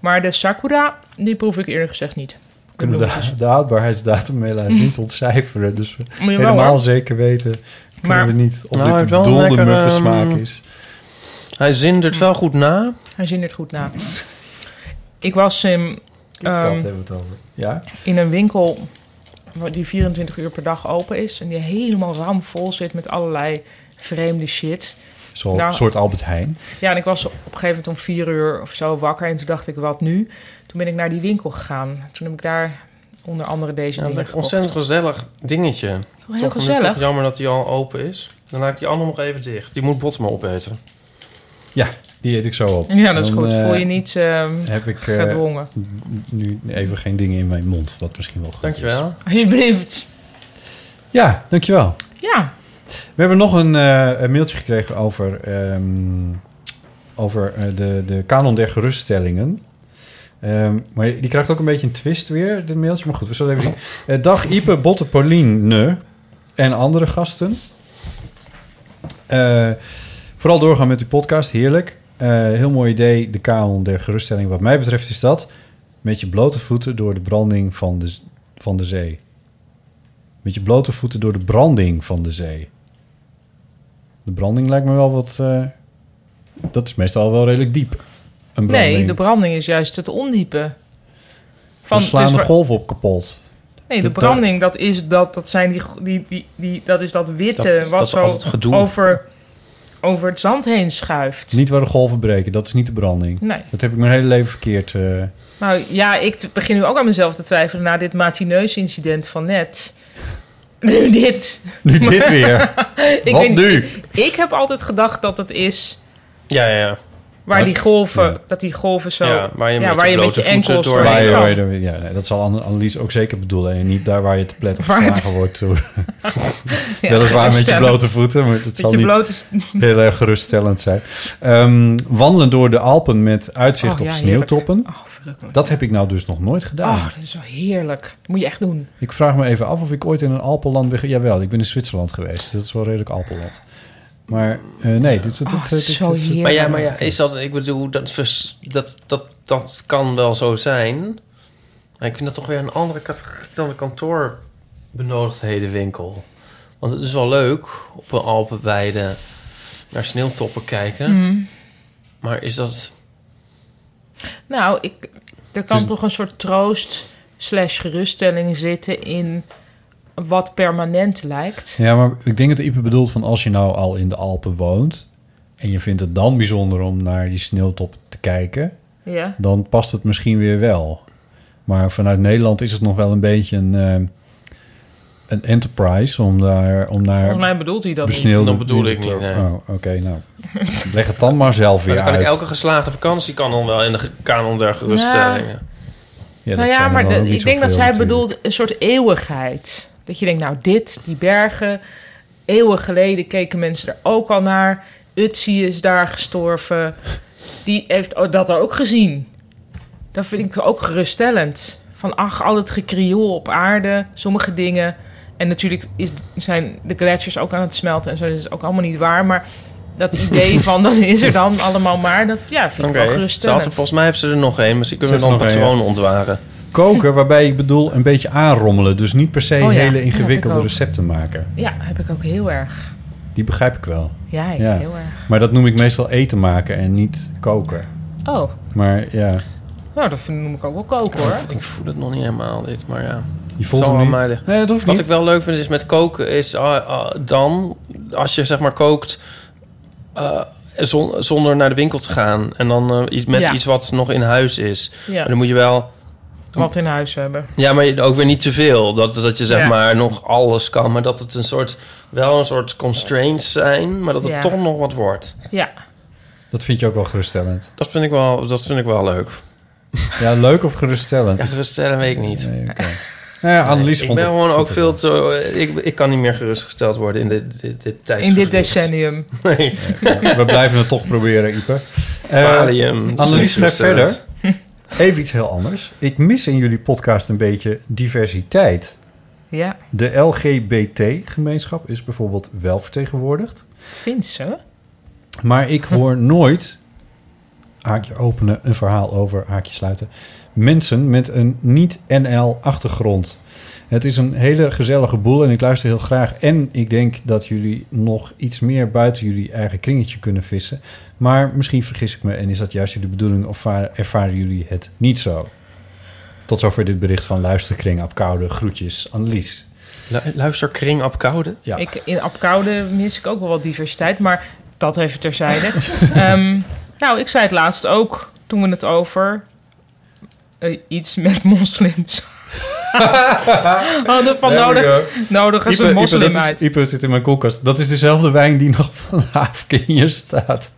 Maar de sakura, die proef ik eerlijk gezegd niet. Kunnen we de, de houdbaarheidsdatum [laughs] helaas niet ontcijferen. Dus we Moet je wel, helemaal hoor. zeker weten kunnen Maar- we niet of Nou, hij dit heeft een wel een dolde lekker, muffe ehm, smaak is. Hij zindert wel goed na. Hij zindert goed na. Ik was in, KitKat ehm, hebben we het over. Ja? in een winkel waar- die 24 uur per dag open is. En die helemaal ramvol zit met allerlei vreemde shit. Zo'n nou- soort Albert Heijn. Ja, en ik was op een gegeven moment om vier uur of zo wakker. En toen dacht ik, wat nu? Toen ben ik naar die winkel gegaan. Toen heb ik daar onder andere deze Ja, dingen een gekocht. ontzettend gezellig dingetje. Het is wel heel Toch, nu gezellig. toch jammer dat die al open is. Dan laat ik die andere nog even dicht. Die moet Bot maar opeten. Ja, die eet ik zo op. Ja, dat is Dan, goed. eh, Voel je niet ehm, Heb ik eh, gedwongen. nu even geen dingen in mijn mond, wat misschien wel goed is. [laughs] Dankjewel. Alsjeblieft. Ja, dankjewel. Ja, We hebben nog een, eh, een mailtje gekregen over, ehm, over eh, de, de kanon der geruststellingen. Ehm, maar die krijgt ook een beetje een twist weer, dit mailtje. Maar goed, we zullen even zien. Eh, dag Ipe, Botte, Pauline en andere gasten. Eh, vooral doorgaan met uw podcast, heerlijk. Eh, heel mooi idee, de kanon der geruststelling. Wat mij betreft is dat met je blote voeten door de branding van de, z- van de zee. Met je blote voeten door de branding van de zee. De branding lijkt me wel wat. eh, dat is meestal wel redelijk diep. Een branding. nee, de branding is juist het ondiepe. van Van, slaan dus de ver- golf op kapot. nee, de de branding, dat is dat, dat, zijn die, go- die, die, die, dat, is dat witte Dat- wat dat is zo altijd gedoe. over, over het zand heen schuift. Niet waar de golven breken, dat is niet de branding. Nee. Dat heb ik mijn hele leven verkeerd. eh, Nou ja, ik t- begin nu ook aan mezelf te twijfelen na dit matineus incident van net. [laughs] Nu dit. nu dit weer. [laughs] Ik, Wat weet niet, nu? Ik, ik heb altijd gedacht dat het is Ja, ja, ja. Waar Wat? die golven, Ja. dat die golven zo... Ja, waar je met je blote voeten enkels doorheen doorheen kan. kan. Waar je- waar je- ja, nee, dat zal Anne- Annelies ook zeker bedoelen. En niet daar waar je te pletter Waar het- geslagen [laughs] wordt. door- Ja, Weliswaar met je geruststellend. blote voeten, maar dat Met zal je niet blote... [laughs] heel erg geruststellend zijn. Ehm, wandelen door de Alpen met uitzicht Oh, op ja, sneeuwtoppen. heerlijk. Oh, verrukkelijk. Dat heb ik nou dus nog nooit gedaan. Oh, dat is zo heerlijk. Dat moet je echt doen. Ik vraag me even af of ik ooit in een Alpenland ben. ge- Jawel, ik ben in Zwitserland geweest. Dat is wel redelijk Alpenland. Maar eh, nee, dit, dit, Oh, dit- dat dit- is zo dit- dit- heerlijk. Maar ja, maar ja, is dat, ik bedoel, dat, vers- dat, dat, dat kan wel zo zijn. Maar ik vind dat toch weer een andere categorie dan de kantoorbenodigdhedenwinkel. Want het is wel leuk op een Alpenweide naar sneeuwtoppen kijken. Mhm. Maar is dat... Nou, ik, er Dus- kan toch een soort troost slash geruststelling zitten in wat permanent lijkt. Ja, maar ik denk dat Ipe bedoelt van als je nou al in de Alpen woont... en je vindt het dan bijzonder om naar die sneeuwtop te kijken... Ja. dan past het misschien weer wel. Maar vanuit Nederland is het nog wel een beetje een, eh, een enterprise... om daar, om daar Volgens mij bedoelt hij dat niet. besneeuwde... Dat bedoel ik winter- niet, nee. Oh, oké, nou. [laughs] Leg het dan maar zelf weer Maar dan kan ik uit. elke geslaagde vakantie kan dan wel in de ge- kanon der geruststellingen. Ja, nou ja, zijn er maar dan de- ook niet ik denk dat zoveel zij natuurlijk. bedoelt een soort eeuwigheid. Dat je denkt, nou dit, die bergen, eeuwen geleden keken mensen er ook al naar. Utsi is daar gestorven. Die heeft o- dat ook gezien. Dat vind ik ook geruststellend. Van ach, al het gekrioel op aarde, sommige dingen. En natuurlijk is, zijn de gletsjers ook aan het smelten en zo. Dat is ook allemaal niet waar, maar... Dat [laughs] idee van dat is er dan allemaal maar, dat ja, vind ik wel Oké, ze had geruststellend. er- volgens mij heeft ze er nog één. Misschien kunnen we Ze dan een heeft er nog patroon ontwaren. Koken, waarbij ik bedoel een beetje aanrommelen. Dus niet per se Oh ja, ja, hele heb ik ingewikkelde ook. recepten maken. Ja, heb ik ook heel erg. Die begrijp ik wel. Ja, ik Ja. heel erg. Maar dat noem ik meestal eten maken en niet koken. Oh, Maar ja, nou, dat vind- noem ik ook wel koken hoor. Ik voel het nog niet helemaal, dit, maar ja. je voelt Zal hem wel niet. maar liggen. Nee, dat hoeft Wat niet. ik wel leuk vind is met koken is ah, ah, dan als je zeg maar kookt eh, zon- zonder naar de winkel te gaan en dan eh, iets met Ja. iets wat nog in huis is. Ja, Maar dan moet je wel, wat in huis hebben. ja, maar ook weer niet te veel. Dat, dat je zeg Ja. maar nog alles kan, maar dat het een soort wel een soort constraints zijn, maar dat het Ja. toch nog wat wordt. Ja, Dat vind je ook wel geruststellend. Dat vind ik wel, dat vind ik wel leuk. Ja, leuk of geruststellend? Ja, geruststellen weet ik niet. Nee, oké. [laughs] Nou ja, Annelies Ik vond ben het- gewoon vond ook het veel wel. te. Ik, ik kan niet meer gerustgesteld worden in dit, dit, dit in dit tijdsgevricht. decennium. [laughs] Nee. We blijven het toch proberen, Ipe. Eh, Valium. Dat is Annelies niet schrijft geruststellend. verder. [laughs] Even iets heel anders. Ik mis in jullie podcast een beetje diversiteit. Ja, De LGBT-gemeenschap is bijvoorbeeld wel vertegenwoordigd. vindt ze? Maar ik hoor nooit, haakje openen, een verhaal over, haakje sluiten, mensen met een niet-NL-achtergrond. Het is een hele gezellige boel en ik luister heel graag. En ik denk dat jullie nog iets meer buiten jullie eigen kringetje kunnen vissen. Maar misschien vergis ik me en is dat juist jullie bedoeling of vaar- ervaren jullie het niet zo? Tot zover dit bericht van Luisterkring op Koude. Groetjes, Annelies. Lu- Luister Kring op Koude. Ja. Ik, in Apkoude mis ik ook wel wat diversiteit, maar dat even [laughs] terzijde. Ehm, nou, ik zei het laatst ook toen we het over eh, iets met [laughs] moslims hadden van nodig, nodig is een Ipe, Ipe, dat moslim is- uit. Ipe zit in mijn koelkast. Dat is dezelfde wijn die nog van Haafke hier staat.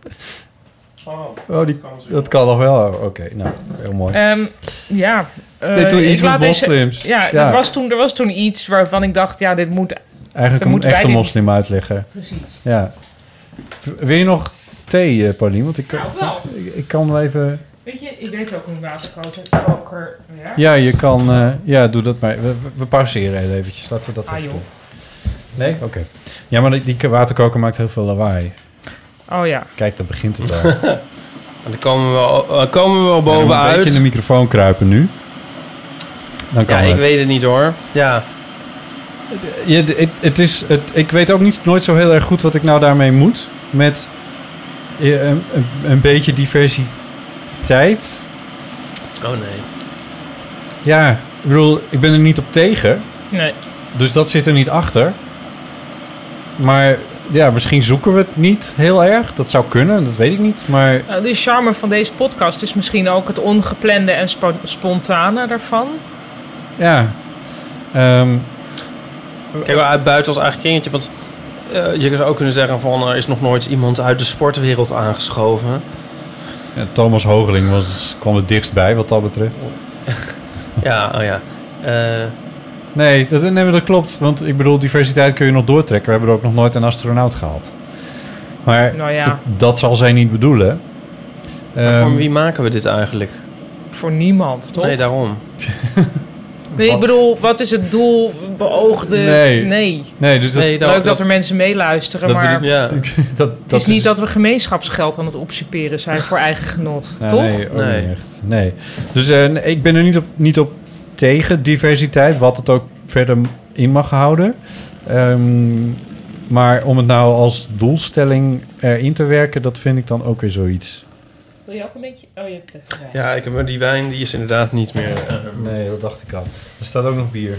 Oh, die, dat kan nog wel. Oké, nou, heel mooi. Ehm, ja. eh, nee, toen ik iets met laat deze- moslims. Ja, dat was toen, er was toen iets waarvan ik dacht, ja, dit moet... Eigenlijk dan een moeten wij echte dit- moslim uitleggen. Precies. Ja. V- Wil je nog thee, eh, Paulien? Want ik, Nou, wel. ik, ik kan wel even... Weet je, ik weet ook niet watergroot is. Koker, ja. Ja, je kan... eh, ja, doe dat maar. We, we- we pauzeren heel eventjes. Laten we dat Ah, even joh. doen. Nee? Oké. Ja, maar die, die waterkoker maakt heel veel lawaai. Oh ja. Kijk, daar [laughs] begint het al. En dan komen we wel, eh, komen we wel Een bovenuit. beetje in de microfoon kruipen nu. Dan kan Ja, het. ik weet het niet hoor. Ja, Ja, d- het, het is, het, ik weet ook niet, nooit zo heel erg goed wat ik nou daarmee moet. Met eh, een, een, een beetje diversiteit. oh nee. Ja, ik bedoel, ik ben er niet op tegen. Nee. Dus dat zit er niet achter. Maar ja, misschien zoeken we het niet heel erg. Dat zou kunnen, dat weet ik niet. Maar Nou, de charme van deze podcast is misschien ook het ongeplande en spo- spontane daarvan. ja. Ehm, Kijk, wel uit buiten als eigen kringetje. Want eh, je zou ook kunnen zeggen van er is nog nooit iemand uit de sportwereld aangeschoven. Ja, Thomas Hogeling was, kwam het dichtst bij wat dat betreft. Ja, oh ja. Eh, Nee dat, nee, maar dat klopt. Want ik bedoel, diversiteit kun je nog doortrekken. We hebben er ook nog nooit een astronaut gehad. Maar Nou ja. dat, dat zal zij niet bedoelen. maar Ehm, voor wie maken we dit eigenlijk? Voor niemand, toch? Nee, daarom. Nee, ik bedoel, wat is het doel beoogde? Nee. nee. Nee, dus dat, Leuk Nee, dat, dat- er mensen meeluisteren, dat maar bedoel- Ja. [laughs] dat, dat het is, niet dat we gemeenschapsgeld aan het opsuperen zijn voor eigen genot, Nou, toch? Nee, ook Nee. niet echt. Nee. Dus eh, nee, ik ben er niet op, niet op tegen diversiteit, wat het ook verder in mag houden. Ehm, maar om het nou als doelstelling erin te werken, dat vind ik dan ook weer zoiets. Wil je ook een beetje? Oh, je hebt het ja. Ja, ik heb, maar die wijn die is inderdaad niet meer... eh, Nee, dat dacht ik al. Er staat ook nog bier.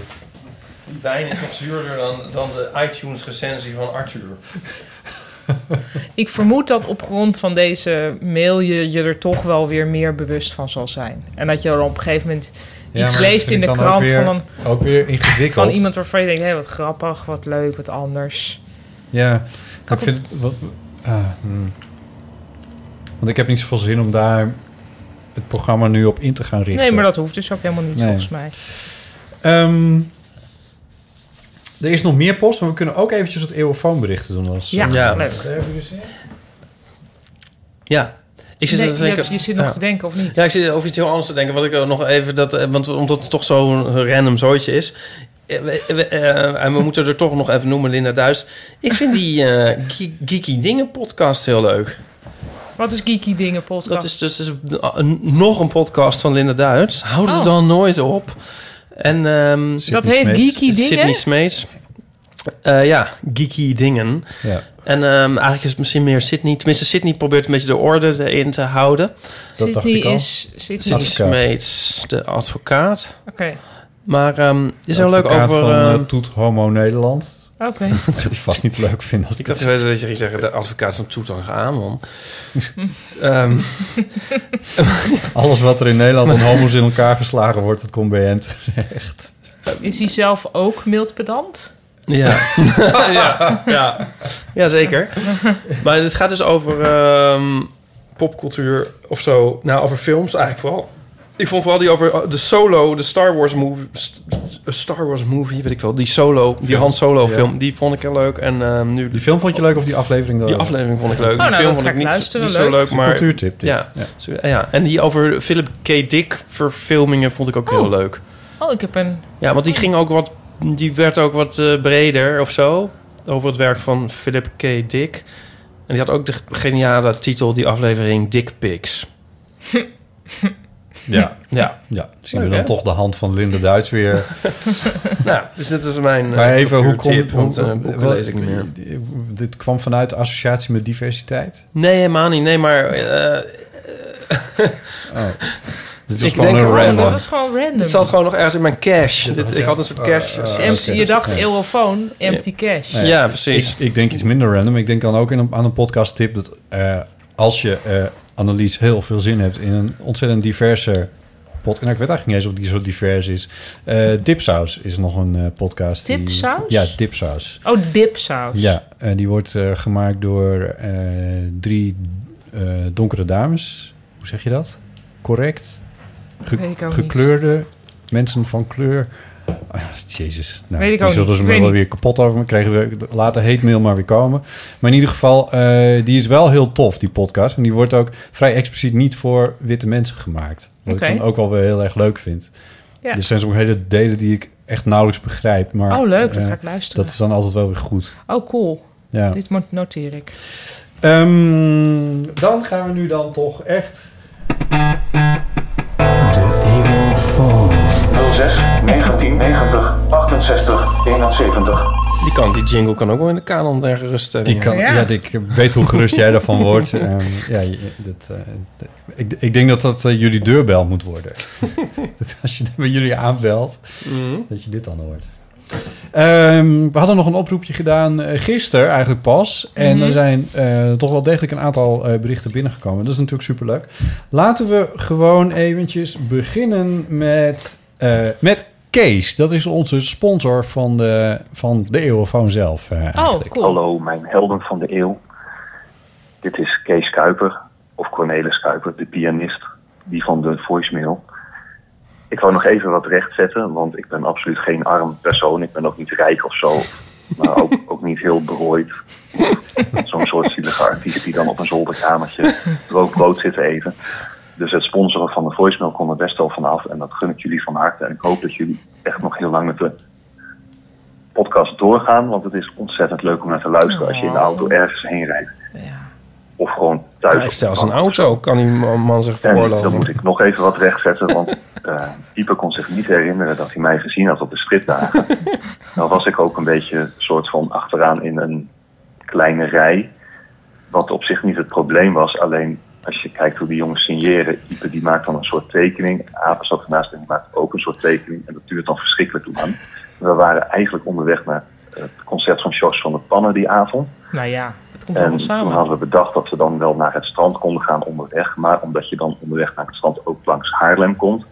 Die wijn is nog zuurder dan, dan de iTunes-recensie van Arthur. Ik vermoed dat op grond van deze mail je je er toch wel weer meer bewust van zal zijn. En dat je er op een gegeven moment iets leest in de krant van, een, Ook weer ingewikkeld. van iemand waarvan je denkt, hé, wat grappig, wat leuk, wat anders. Ja, ik vind het... Wat, ah, hmm. Want ik heb niet zoveel zin om daar het programma nu op in te gaan richten. Nee, maar dat hoeft dus ook helemaal niet, Nee. volgens mij. Ehm, er is nog meer post, maar we kunnen ook eventjes wat eeuwenfoonberichten doen. Als, eh, Ja, Ja. leuk. eh, Ja. Ik zit Nee, er dus je, zeker- hebt- je zit nog ja. te denken, of niet? Ja, ik zit over iets heel anders te denken. Wat ik ook nog even dat, eh, want omdat het toch zo'n random zooitje is. Eh, we- we- eh, en we moeten er toch nog even noemen, Linda Duis. Ik vind die eh, Ge- Geeky Dingen podcast heel leuk. Wat is Geeky Dingen podcast? Dat is dus is een- nog een podcast van Linda Duits. Houd het Oh. dan nooit op. En ehm dat heet Geeky Sydney Dingen? Smeets. Eh, ja, Geeky Dingen. Ja, En ehm, eigenlijk is het misschien meer Sydney. Tenminste, Sydney probeert een beetje de orde erin te houden. dat dacht ik Sydney al. is... Sydney Sydney is... Advocaat. Smeets, de advocaat. Oké, Maar ehm, het is wel leuk Advocaat over... van eh, ehm, Toet Homo Nederland. oké. [laughs] Dat zou die vast niet leuk vinden als ik ik had dat... zo dat je ging zeggen, de advocaat van [laughs] Toetangamon. Ehm Alles wat er in Nederland aan homo's in elkaar geslagen wordt, dat komt bij hem terecht. Is hij zelf ook mild pedant? ja. [laughs] ja, ja. Ja, zeker. Maar het gaat dus over ehm, popcultuur of zo. Nou, over films eigenlijk vooral. Ik vond vooral die over oh, de solo, de Star Wars movie, st- Star Wars movie, weet ik wel. Die solo, die Film. Han Solo Ja. film, die vond ik heel leuk. En ehm, nu Die film vond je leuk of die aflevering dan? die aflevering vond ik leuk. nou, die dat film vond ga ik ik niet, luisteren, niet zo leuk. leuk, maar Cultuurtip dit. Ja. Zo, Ja, en die over Philip K. Dick verfilmingen vond ik ook heel Oh. leuk. Oh, ik heb een... Ja, want die ging ook wat, die werd ook wat eh, breder of zo over het werk van Philip K. Dick. En die had ook de geniale titel die aflevering Dick Pics. Ja. Ja, Ja. zien we Leuk, dan hè? toch de hand van Linda [laughs] Duits weer. nou, dus dit is mijn eh, Maar even, hoe cultuurtip, komt... want hoe- eh, boeken wat- lees ik niet meer. Dit kwam vanuit de associatie met diversiteit? Nee, helemaal niet. Nee, maar eh, Oh. [laughs] Dit was Ik gewoon denk- een Oh, oh, dat random. was gewoon random. dit zat gewoon nog ergens in mijn cash. Dit, was ik ja. had een soort cash. Eh, eh, Empty- oké. je dacht Ja. eeuwenfoon, empty cash. eh, ja, precies. Ik, ik denk iets minder random. Ik denk dan ook in een, aan een podcast tip dat eh, als je eh Annelies heel veel zin hebt in een ontzettend diverse podcast. En ik weet eigenlijk niet eens of die zo divers is. Eh Dipsaus is nog een eh, podcast. die- Dipsaus? ja, Dipsaus. Oh, dipsaus. Ja, eh, die wordt eh, gemaakt door eh, drie eh, donkere dames. Hoe zeg je dat? Correct? Ge- Weet ik ook gekleurde mensen van kleur. Ah, Jezus, nou, Weet ik die ook zullen niet. ze Ik me weet wel niet. weer kapot over. me Kregen we later hate mail maar weer komen. Maar in ieder geval, eh, die is wel heel tof, die podcast. En die wordt ook vrij expliciet niet voor witte mensen gemaakt. Wat Oké. ik dan ook wel weer heel erg leuk vind. Ja. Er zijn sommige hele delen die ik echt nauwelijks begrijp. Maar, Oh, leuk, dat eh, ga ik luisteren. dat is dan altijd wel weer goed. Oh, cool. Ja. Dit mo- noteer ik. Ehm, dan gaan we nu dan toch echt... 06 1990 68 71. [laughs] die, kan, die jingle kan ook wel in de kanon gerust eh, stellen. Die kan, ja. Ja. ik weet hoe gerust jij [laughs] [laughs] daarvan wordt. Ehm, ja, je- dat, eh, dat- ik, ik denk dat dat eh, jullie deurbel moet [laughs] worden. dat als je bij eh, jullie aanbelt, Mhm. dat je dit dan hoort. Ehm, we hadden nog een oproepje gedaan eh, gisteren eigenlijk pas. En er zijn eh, toch wel degelijk een aantal eh, berichten binnengekomen. Dat is natuurlijk superleuk. Laten we gewoon eventjes beginnen met, eh, met Kees. Dat is onze sponsor van de, van de Eeuwenfoon zelf. eh, Oh, eigenlijk. cool. Hallo, mijn helden van de eeuw. Dit is Kees Kuiper. Of Cornelis Kuiper, de pianist, die van de voicemail. Ik wou nog even wat rechtzetten, want ik ben absoluut geen arm persoon. Ik ben ook niet rijk of [laughs] zo. Maar ook, ook niet heel berooid. Zo'n soort zielige artiest die dan op een zolderkamertje brood zit te eten. Dus het sponsoren van de voicemail kon er best wel vanaf. En dat gun ik jullie van harte. En ik hoop dat jullie echt nog heel lang met de podcast doorgaan. Want het is ontzettend leuk om naar te luisteren als je in de auto ergens heen rijdt. Ja. Of gewoon thuis. Hij heeft op zelfs de een bank. auto, kan die man man zich En dan veroorloven. moet ik nog even wat rechtzetten, want eh Ieper kon zich niet herinneren dat hij mij gezien had op de stripdagen. Dan was ik ook een beetje soort van achteraan in een kleine rij. Wat op zich niet het probleem was, alleen als je kijkt hoe die jongens signeren. Ieper die maakt dan een soort tekening. Apen zat ernaast en die maakt ook een soort tekening. En dat duurt dan verschrikkelijk lang. We waren eigenlijk onderweg naar het concert van Jos van de Pannen die avond. Nou ja, het komt En allemaal toen samen. hadden we bedacht dat we dan wel naar het strand konden gaan onderweg. Maar omdat je dan onderweg naar het strand ook langs Haarlem komt.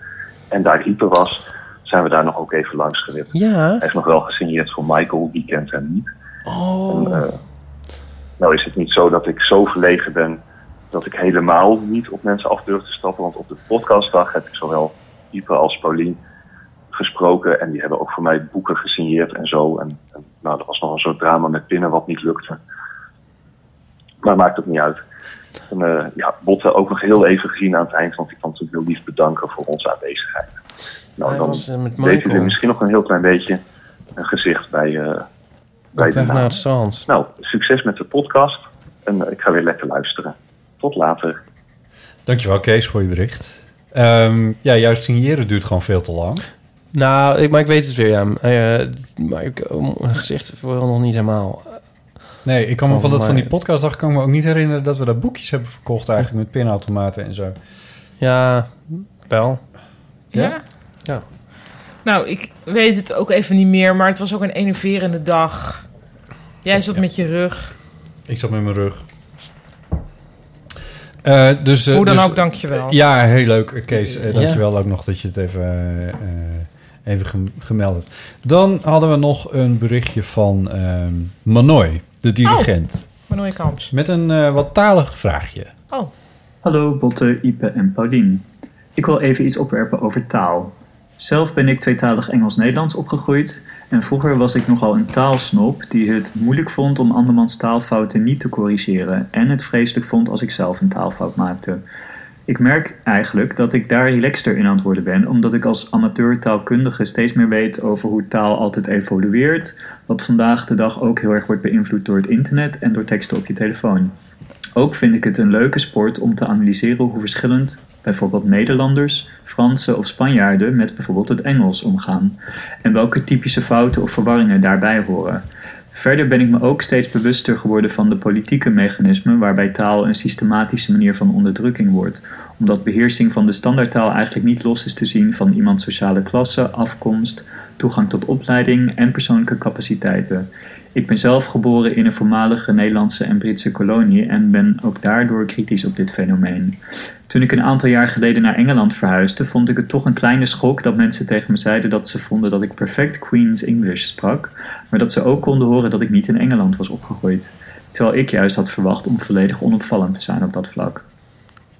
En daar Ieper was, zijn we daar nog ook even langs gewipt. Ja. Hij heeft nog wel gesigneerd voor Michael, die kent hem niet. eh, Oh. Nou is het niet zo dat ik zo verlegen ben dat ik helemaal niet op mensen af durf te stappen. Want op de podcastdag heb ik zowel Ieper als Paulien gesproken. En die hebben ook voor mij boeken gesigneerd en zo. En, en nou, er was nog een soort drama met pinnen wat niet lukte. Maar maakt ook niet uit. En, eh, ja, Botte ook nog heel even gezien aan het eind. Want ik kan natuurlijk heel lief bedanken voor onze aanwezigheid. Nou, Hij dan was, eh, met weet jullie Michael. misschien nog een heel klein beetje een gezicht bij, eh, bij Op de weg naam. naar het strand. Nou, succes met de podcast. En eh, ik ga weer lekker luisteren. Tot later. Dankjewel Kees voor je bericht. Ehm, ja, juist signeren duurt gewoon veel te lang. Nou, ik, maar ik weet het weer, ja. Eh, maar ik, oh, mijn gezicht wel nog niet helemaal. eh, Nee, ik kan me Oh, van, dat, van maar- die podcastdag kan ik me ook niet herinneren dat we daar boekjes hebben verkocht eigenlijk met pinautomaten en zo. Ja, wel. Ja? Ja. Nou, ik weet het ook even niet meer, maar het was ook een enerverende dag. Jij zat met je rug. Ik zat met mijn rug. Eh, dus, eh, Hoe dan dus- ook, dankjewel. Ja, heel leuk. Kees, eh, Ja. dankjewel ook nog dat je het even, eh, eh, even gem- gemeld hebt. Dan hadden we nog een berichtje van ehm Manoy, de dirigent. Manoy Kamps. Met een eh, wat talig vraagje. Oh, Hallo Botte, Ipe en Paulien. Ik wil even iets opwerpen over taal. Zelf ben ik tweetalig Engels-Nederlands opgegroeid en vroeger was ik nogal een taalsnop die het moeilijk vond om andermans taalfouten niet te corrigeren en het vreselijk vond als ik zelf een taalfout maakte. Ik merk eigenlijk dat ik daar relaxter in aan het worden ben, omdat ik als amateur taalkundige steeds meer weet over hoe taal altijd evolueert, wat vandaag de dag ook heel erg wordt beïnvloed door het internet en door teksten op je telefoon. Ook vind ik het een leuke sport om te analyseren hoe verschillend bijvoorbeeld Nederlanders, Fransen of Spanjaarden met bijvoorbeeld het Engels omgaan en welke typische fouten of verwarringen daarbij horen. Verder ben ik me ook steeds bewuster geworden van de politieke mechanismen waarbij taal een systematische manier van onderdrukking wordt, omdat beheersing van de standaardtaal eigenlijk niet los is te zien van iemands sociale klasse, afkomst, toegang tot opleiding en persoonlijke capaciteiten. Ik ben zelf geboren in een voormalige Nederlandse en Britse kolonie en ben ook daardoor kritisch op dit fenomeen. Toen ik een aantal jaar geleden naar Engeland verhuisde, vond ik het toch een kleine schok dat mensen tegen me zeiden dat ze vonden dat ik perfect Queen's English sprak, maar dat ze ook konden horen dat ik niet in Engeland was opgegroeid. Terwijl ik juist had verwacht om volledig onopvallend te zijn op dat vlak.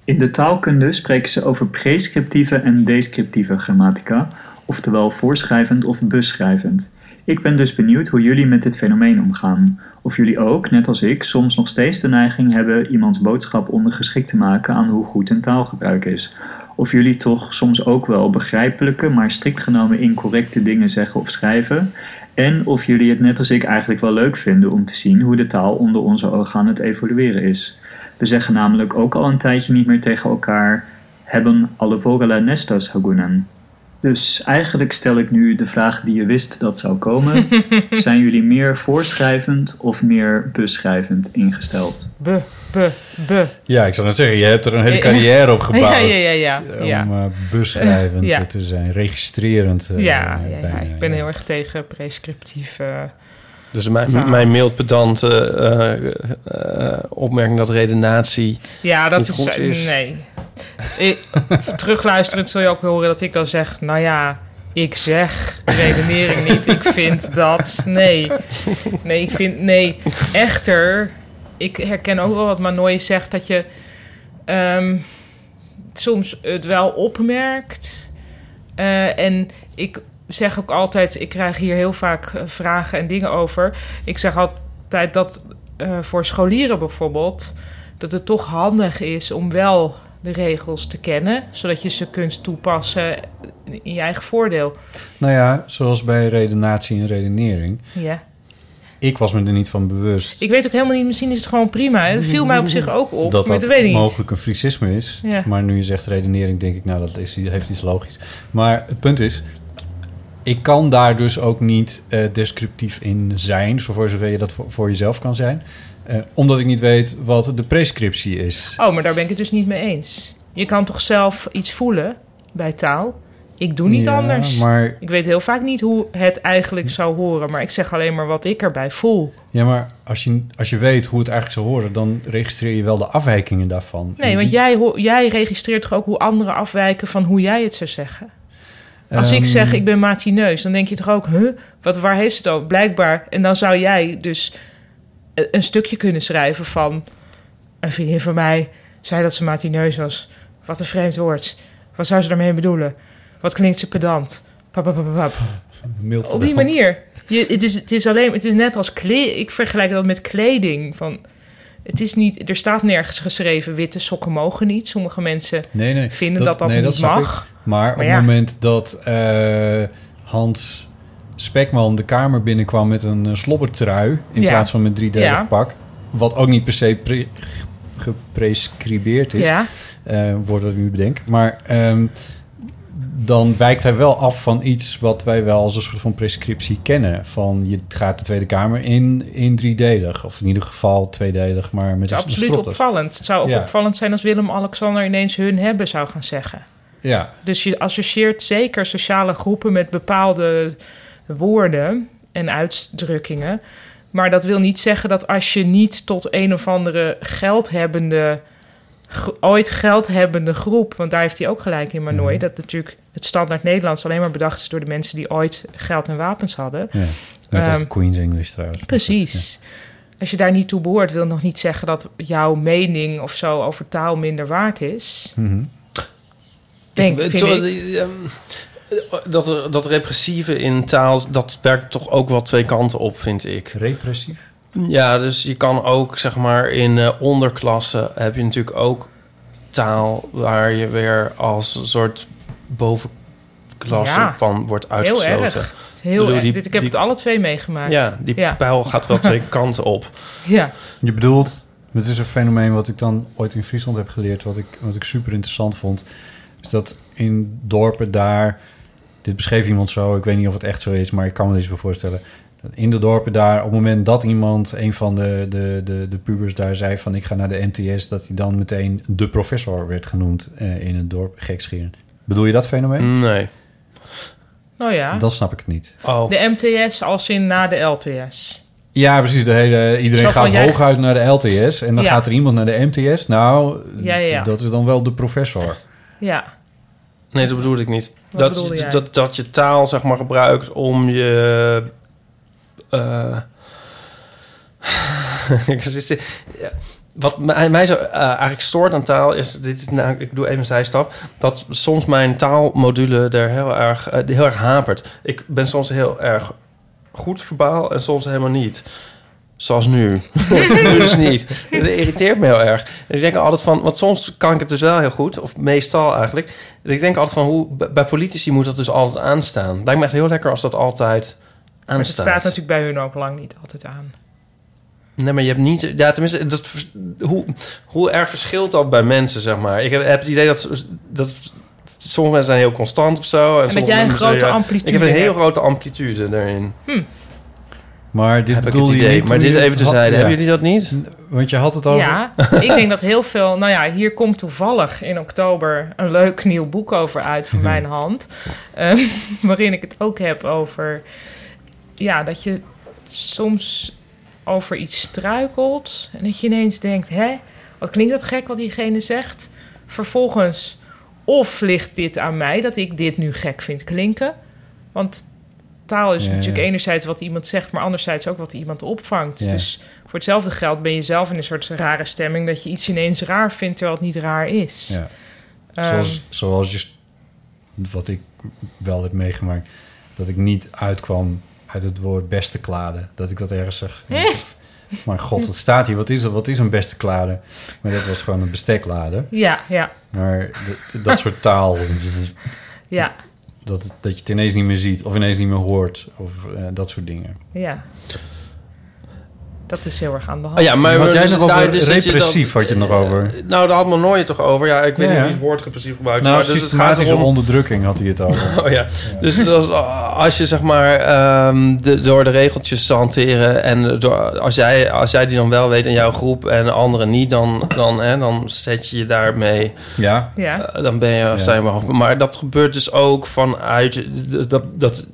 In de taalkunde spreken ze over prescriptieve en descriptieve grammatica, oftewel voorschrijvend of beschrijvend. Ik ben dus benieuwd hoe jullie met dit fenomeen omgaan. Of jullie ook, net als ik, soms nog steeds de neiging hebben iemands boodschap ondergeschikt te maken aan hoe goed een taalgebruik is. Of jullie toch soms ook wel begrijpelijke, maar strikt genomen incorrecte dingen zeggen of schrijven. En of jullie het net als ik eigenlijk wel leuk vinden om te zien hoe de taal onder onze ogen aan het evolueren is. We zeggen namelijk ook al een tijdje niet meer tegen elkaar: hebben alle vogelen nestas hagunen. Dus eigenlijk stel ik nu de vraag die je wist dat zou [laughs] komen. Zijn jullie meer voorschrijvend of meer beschrijvend ingesteld? be, be, be. Ja, ik zou net zeggen, je hebt er een hele [laughs] Ja. carrière op gebouwd. Ja, ja, ja, ja, ja. Om eh, beschrijvend Ja. te zijn, registrerend. eh, ja, ja, ja, bijna, ik ben ja. heel erg tegen prescriptief. eh, Dus mijn, Ja. mijn mild pedante eh, eh, opmerking dat redenatie... ja, dat Niet is, eh, goed is. Nee. Ik, terugluisterend zul je ook horen dat ik dan zeg... Nou ja, ik zeg redenering niet. Ik vind dat... Nee. Nee, ik vind... Nee. Echter, ik herken ook wel wat Manoy zegt... dat je ehm, soms het wel opmerkt. Eh, en ik zeg ook altijd, ik krijg hier heel vaak eh, vragen en dingen over. Ik zeg altijd dat eh, voor scholieren bijvoorbeeld, dat het toch handig is om wel de regels te kennen, zodat je ze kunt toepassen in je eigen voordeel. Nou ja, zoals bij redenatie en redenering. Ja. Ik was me er niet van bewust Ik weet ook helemaal niet, misschien is het gewoon prima. Het viel mij op zich ook op, dat maar dat dat weet ik niet. mogelijk een friksisme is. Ja. Maar nu je zegt redenering, denk ik, nou, dat is, heeft iets logisch. Maar het punt is, ik kan daar dus ook niet eh, descriptief in zijn... voor voor zover je dat voor, voor jezelf kan zijn. Eh, omdat ik niet weet wat de prescriptie is. Oh, maar daar ben ik het dus niet mee eens. Je kan toch zelf iets voelen bij taal? Ik doe niet Ja, anders. Maar, Ik weet heel vaak niet hoe het eigenlijk zou horen, maar ik zeg alleen maar wat ik erbij voel. ja, maar als je, als je weet hoe het eigenlijk zou horen... dan registreer je wel de afwijkingen daarvan. En Nee, want die- jij, ho- jij registreert toch ook hoe anderen afwijken van hoe jij het zou zeggen? Als ik Ehm, zeg ik ben matineus, dan denk je toch ook, huh, wat, waar heeft het over? Blijkbaar. En dan zou jij dus e- een stukje kunnen schrijven van een vriendin van mij zei dat ze matineus was. Wat een vreemd woord. Wat zou ze daarmee bedoelen? Wat klinkt ze pedant? Pap, pap, pap, pap. mild Op die verdacht. manier. Je, het, is, het is alleen, het is net als kleding. Ik vergelijk dat met kleding. Van, het is niet, er staat nergens geschreven witte sokken mogen niet. Sommige mensen nee, nee, vinden dat dat, nee, niet snap ik. mag. Maar, op ja. het moment dat eh, Hans Spekman de kamer binnenkwam met een eh, slobbertrui... in Ja. plaats van met drie Ja. pak... wat ook niet per se pre- ge- geprescribeerd is, Ja, eh, woord dat ik nu bedenk. Maar ehm, dan wijkt hij wel af van iets wat wij wel als een soort van prescriptie kennen. Van je gaat de Tweede Kamer in, in driedelig. Of in ieder geval tweedelig, maar met het is een absoluut stropdas. opvallend. Het zou ook Ja. opvallend zijn als Willem-Alexander ineens hun hebben zou gaan zeggen. Ja, Dus je associeert zeker sociale groepen met bepaalde woorden en uitdrukkingen. Maar dat wil niet zeggen dat als je niet tot een of andere geldhebbende, gro- ooit geldhebbende groep, want daar heeft hij ook gelijk in Manoy, Mhm. dat natuurlijk het standaard Nederlands alleen maar bedacht is door de mensen die ooit geld en wapens hadden. ja. net als Ehm, Queen's English trouwens. Precies. Als je daar niet toe behoort, wil nog niet zeggen dat jouw mening of zo over taal minder waard is. Mhm. Denk, Het- vind zo- ik. die, ehm, dat, dat repressieve in taal, dat werkt toch ook wel twee kanten op, vind ik. Repressief? Ja, dus je kan ook, zeg maar, in eh onderklassen heb je natuurlijk ook taal waar je weer als een soort bovenklasse Ja, van wordt Heel uitgesloten. erg. Heel Bedoel, erg. die- Dit, ik heb die- het alle twee meegemaakt. Ja, die ja. pijl gaat wel [laughs] twee kanten op. ja. Je bedoelt, het is een fenomeen wat ik dan ooit in Friesland heb geleerd, wat ik, wat ik super interessant vond, is dat in dorpen daar, dit beschreef iemand zo, ik weet niet of het echt zo is, maar ik kan me er iets bij voorstellen. dat In de dorpen daar, op het moment dat iemand, een van de, de, de, de pubers daar zei van ik ga naar de MTS, dat hij dan meteen de professor werd genoemd eh, in het dorp, gekscheren. Bedoel je dat fenomeen? Nee. Nou ja. Dan snap ik het niet. Oh. De MTS als in na de LTS. Ja, precies. De hele, iedereen Zo van, gaat jij- hooguit naar de LTS en dan Ja. gaat er iemand naar de MTS. Nou, Ja, ja, ja. dat is dan wel de professor. Ja. Nee, dat bedoelde ik niet. Dat, Oh, bedoelde jij? dat, dat je taal zeg maar gebruikt om je. eh, [laughs] ik zit- ja. Wat mij, mij zo eh, eigenlijk stoort aan taal is, dit, is nou, ik doe even een zijstap, dat soms mijn taalmodule er heel erg, eh, heel erg hapert. Ik ben soms heel erg goed verbaal en soms helemaal niet. Zoals nu. [laughs] nu dus niet. Dat irriteert me heel erg. En ik denk altijd van, want soms kan ik het dus wel heel goed, of meestal eigenlijk. En ik denk altijd van, hoe, b- bij politici moet dat dus altijd aanstaan. Lijkt me echt heel lekker als dat altijd Maar het aanstaat. staat natuurlijk bij hun ook lang niet altijd aan. Nee, maar je hebt niet... Ja, tenminste, dat, vers- hoe, hoe erg verschilt dat bij mensen, zeg maar? Ik heb, heb het idee dat, dat sommige mensen zijn heel constant of zo. En, En dat sommige jij een mensen grote zeggen, amplitude Ik heb een heel hebt. grote amplitude daarin, Maar dit heb ik het bedoelde je idee. niet Maar toen dit je even het had- tezijde. ja. Hebben jullie dat niet? Want je had het over... Ja, ik denk dat heel veel... Nou ja, hier komt toevallig in oktober een leuk nieuw boek over uit Mhm. van mijn hand. Ehm, [laughs] waarin ik het ook heb over... Ja, dat je soms over iets struikelt. En dat je ineens denkt, hè, wat klinkt dat gek wat diegene zegt? Vervolgens, of ligt dit aan mij dat ik dit nu gek vind klinken? Want taal is Ja, natuurlijk ja. enerzijds wat iemand zegt... maar anderzijds ook wat iemand opvangt. Ja. Dus voor hetzelfde geld ben je zelf in een soort rare stemming dat je iets ineens raar vindt terwijl het niet raar is. Ja. Ehm, zoals, zoals je, wat ik wel heb meegemaakt, dat ik niet uitkwam uit het woord beste klade. Dat ik dat ergens zeg. eh, Maar god, wat staat hier? Wat is dat? Wat is een beste klade? Maar dat was gewoon een besteklade. ja, ja, Maar d- dat soort taal, ja, dat, het- dat je het ineens niet meer ziet of ineens niet meer hoort of eh, dat soort dingen. ja. Dat is heel erg aan de hand. Oh ja, maar had jij dus- nog nou, over dus dat je dan- repressief, had je het nog over. Nou, daar had Manoy het toch over. Ja, ik weet Ja, niet ja. wie het woord repressief gebruikt. Nou, maar dus het gaat systematische erom... onderdrukking had hij het over. [laughs] Oh ja. Dus dat is, als je zeg maar ehm, de, door de regeltjes te hanteren en door, als, jij, als jij die dan wel weet in jouw groep en de anderen niet, dan, dan, hè, dan zet je je daarmee. Ja, Ja, eh, dan ben je, sta je maar, maar dat gebeurt dus ook vanuit. Dat, dat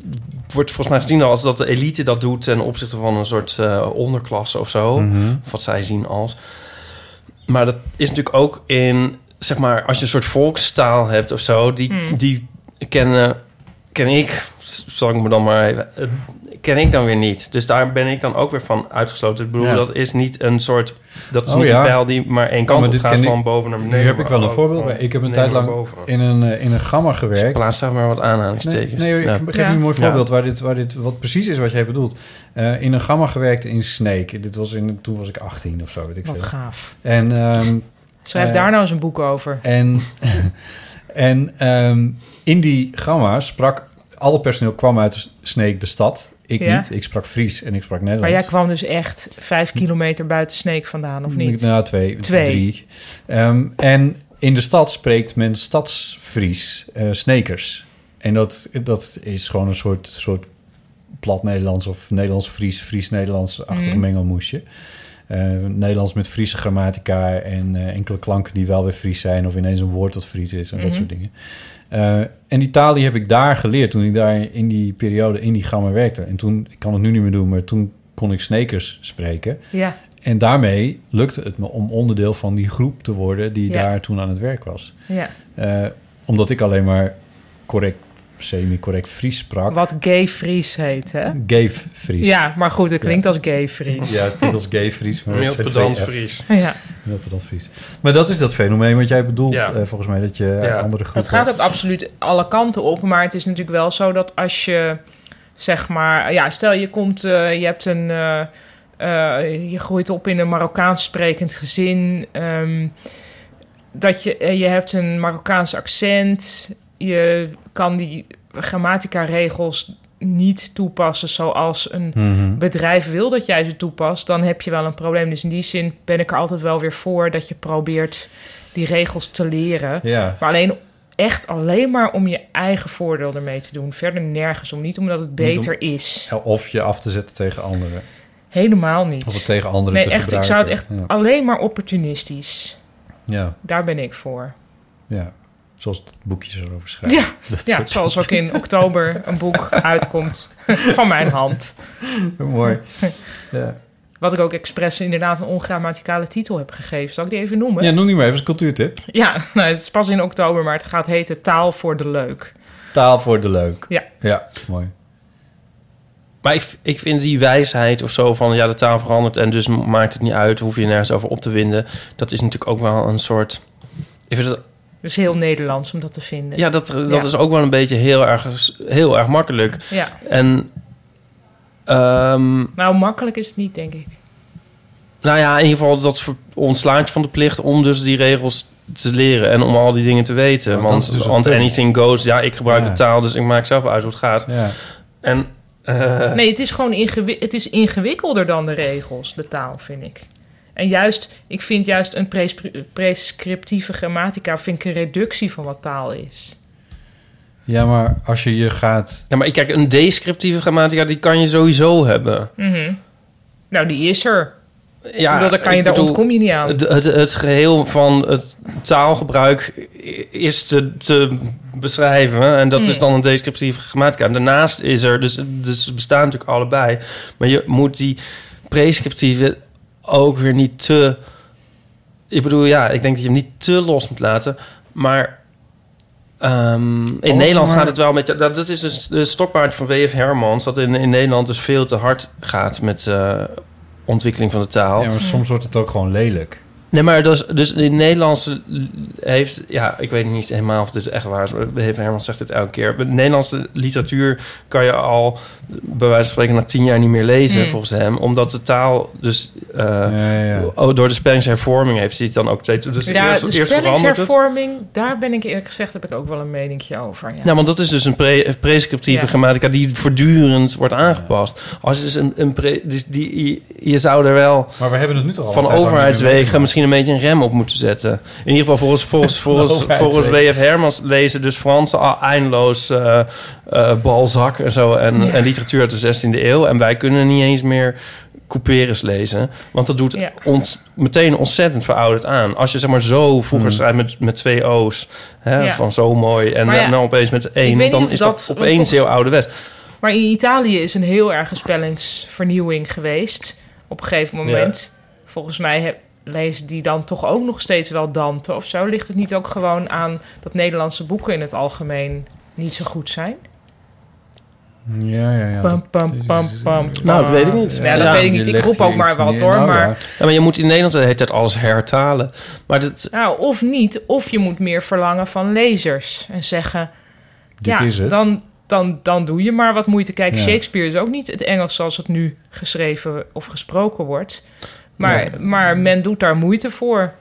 wordt volgens mij gezien als dat de elite dat doet ten opzichte van een soort eh, onderklasse of zo. Of Wat zij zien als. Maar dat is natuurlijk ook in, zeg maar, als je een soort volkstaal hebt of zo, die, die kennen, ken ik, s- zal ik me dan maar even, eh, ken ik dan weer niet. Dus daar ben ik dan ook weer van uitgesloten. Ik bedoel, Ja. dat is niet een soort, dat is Oh niet ja. een pijl die maar één Oh, kant maar op dit gaat, ken ik- van boven naar beneden. nu heb ik maar wel een ook voorbeeld van bij. Ik heb een beneden tijd lang naar boven. in een, eh, in een gamma gewerkt. Plaats daar maar wat Nee, aanhalingstekens. nee, ik Ja. geef Ja. nu een mooi Ja. voorbeeld waar dit, waar dit wat precies is wat jij bedoelt. Eh, in een gamma gewerkt in Snake. Dit was in, toen was ik 18 of zo, weet ik wat veel. gaaf. En, ehm, Schrijf Eh, daar nou eens een boek over. en, [laughs] en ehm, in die gamma sprak... Alle personeel kwam uit S- Snake, de stad. Ik Ja. niet. Ik sprak Fries en ik sprak Nederlands. Maar jij kwam dus echt vijf kilometer buiten Sneek vandaan, of niet? Nou, twee, Twee. drie. Ehm, en in de stad spreekt men stadsfries, eh snekers. En dat, dat is gewoon een soort, soort plat Nederlands of Nederlands-Fries, Mhm. Fries-Nederlands-achtig mengelmoesje. Eh, Nederlands met Friese grammatica en eh, enkele klanken die wel weer Fries zijn... of ineens een woord dat Fries is en Mhm. dat soort dingen. Eh, en die taal die heb ik daar geleerd toen ik daar in die periode in die gamma werkte. En toen, ik kan het nu niet meer doen, maar toen kon ik snekers spreken. Ja, En daarmee lukte het me om onderdeel van die groep te worden die Ja. daar toen aan het werk was. ja. Eh, omdat ik alleen maar correct, semi-correct Fries sprak. Wat gay Fries heet, [laughs] hè? Gave Fries. Ja, maar goed, het klinkt als gay Fries. Ja, het klinkt als gay Fries. Maar Mild het zijn pedant twee F. Fries. ja. Mild pedant Fries. Maar dat is dat fenomeen wat jij bedoelt, Ja. eh, volgens mij, dat je Ja. andere Het groepen... gaat ook absoluut alle kanten op. Maar het is natuurlijk wel zo dat als je, zeg maar, ja, stel je komt, eh, je hebt een. eh, eh, je groeit op in een Marokkaans sprekend gezin. ehm, dat je, eh, je hebt een Marokkaans accent. Je kan die grammatica regels niet toepassen zoals een Mhm. bedrijf wil dat jij ze toepast, dan heb je wel een probleem. Dus in die zin ben ik er altijd wel weer voor dat je probeert die regels te leren. Ja. Maar alleen echt alleen maar om je eigen voordeel ermee te doen. Verder nergens om. Niet omdat het om- beter is. Of je af te zetten tegen anderen. Helemaal Of het niet. tegen anderen Nee, te echt. Ik zou het gebruiken. echt alleen maar opportunistisch. Ja, Daar ben ik voor. ja. ja. Zoals het boekjes erover schrijven. Ja, [laughs] Dat ja soort- zoals ook in oktober een [laughs] boek uitkomt van mijn hand. Mooi. Ja. Wat ik ook expres inderdaad een ongrammaticale titel heb gegeven. Zal ik die even noemen? ja, noem die maar even als cultuurtip. Ja, nou, het is pas in oktober, maar het gaat heten Taal voor de Leuk. Taal voor de leuk. Ja. Ja, mooi. Maar ik, ik vind die wijsheid of zo van ja, de taal verandert en dus maakt het niet uit, hoef je nergens over op te winden. Dat is natuurlijk ook wel een soort. Ik vind dat, Dus heel Nederlands om dat te vinden. ja, dat, dat Ja. is ook wel een beetje heel erg, heel erg makkelijk. Ja. En ehm, Nou, makkelijk is het niet, denk ik. nou ja, in ieder geval, dat ver- ontslaat je van de plicht om dus die regels te leren en om al die dingen te weten. Ja, want dat want is dus het want punt. anything goes, ja, ik gebruik Ja. de taal, dus ik maak zelf uit hoe het gaat. Ja. En eh, Nee, het is gewoon ingewi- het is ingewikkelder dan de regels, de taal, vind ik. En juist, ik vind juist een pres- prescriptieve grammatica vind ik een reductie van wat taal is. ja, maar als je je gaat... ja, maar kijk, een descriptieve grammatica, die kan je sowieso hebben. Nou, die is er. Ja, ik bedoel, daar, kan je, ik daar bedoel, ontkom je niet aan. Het, het, het geheel van het taalgebruik is te, te beschrijven. En dat is dan een descriptieve grammatica. En daarnaast is er, dus, dus ze bestaan natuurlijk allebei. Maar je moet die prescriptieve ook weer niet te. Ik bedoel, ja, ik denk dat je hem niet te los moet laten. Maar. ehm, in Als Nederland maar- gaat het wel met... Dat, dat is dus de stokpaard van W.F. Hermans... dat in, in Nederland dus veel te hard gaat met, eh, ontwikkeling van de taal. Ja, maar soms wordt het ook gewoon lelijk. Nee, maar dus, dus in het Nederlands heeft... Ja, ik weet niet helemaal of dit echt waar is. maar Herman zegt dit elke keer. De Nederlandse literatuur kan je al... bij wijze van spreken na tien jaar niet meer lezen, Mm. volgens hem. Omdat de taal dus... eh, ja, ja. oh, Door de spellingshervorming heeft hij het dan ook steeds... Dus ja, eerst, de eerst verandert het. spellingshervorming, daar ben ik eerlijk gezegd... heb ik ook wel een meningje over. Ja. Nou, want dat is dus een pre- prescriptieve Ja. grammatica die voortdurend wordt aangepast. Als je dus een, een pre- dus die, je- je zou er wel Maar we hebben het nu toch al van overheidswegen misschien een beetje een rem op moeten zetten. In ieder geval volgens, [laughs] volgens, volgens, overheidswegen. volgens W.F. Hermans lezen dus Fransen al eindeloos eh eh, Balzac en zo en, en literatuur uit de 16e eeuw. En wij kunnen niet eens meer couperus lezen. Want dat doet Ja. ons meteen ontzettend verouderd aan. Als je zeg maar zo vroeger Hmm. zei met, met twee O's hè, Ja. van zo mooi en Maar ja, dan opeens met ik één, weet niet dan of is dat- dat want opeens volgens- heel ouderwets. Maar in Italië is een heel erge spellingsvernieuwing geweest. Op een gegeven moment. Volgens mij heb- lezen die dan toch ook nog steeds wel Dante of zo. Ligt het niet ook gewoon aan dat Nederlandse boeken in het algemeen niet zo goed zijn? Ja, ja, ja. Pam, pam, pam, pam. Nou, dat weet ik niet. eh, Ja, Nou, dat Ja, weet ik niet. Ik roep ook maar wat door. Maar, Nou Ja, maar je moet in Nederland de hele tijd alles hertalen. Maar dat, nou, of niet. Of je moet meer verlangen van lezers. En zeggen, Dit ja, is het. Dan, dan, dan doe je maar wat moeite. Kijk, Ja. Shakespeare is ook niet het Engels zoals het nu geschreven of gesproken wordt. Maar, maar men doet daar moeite voor.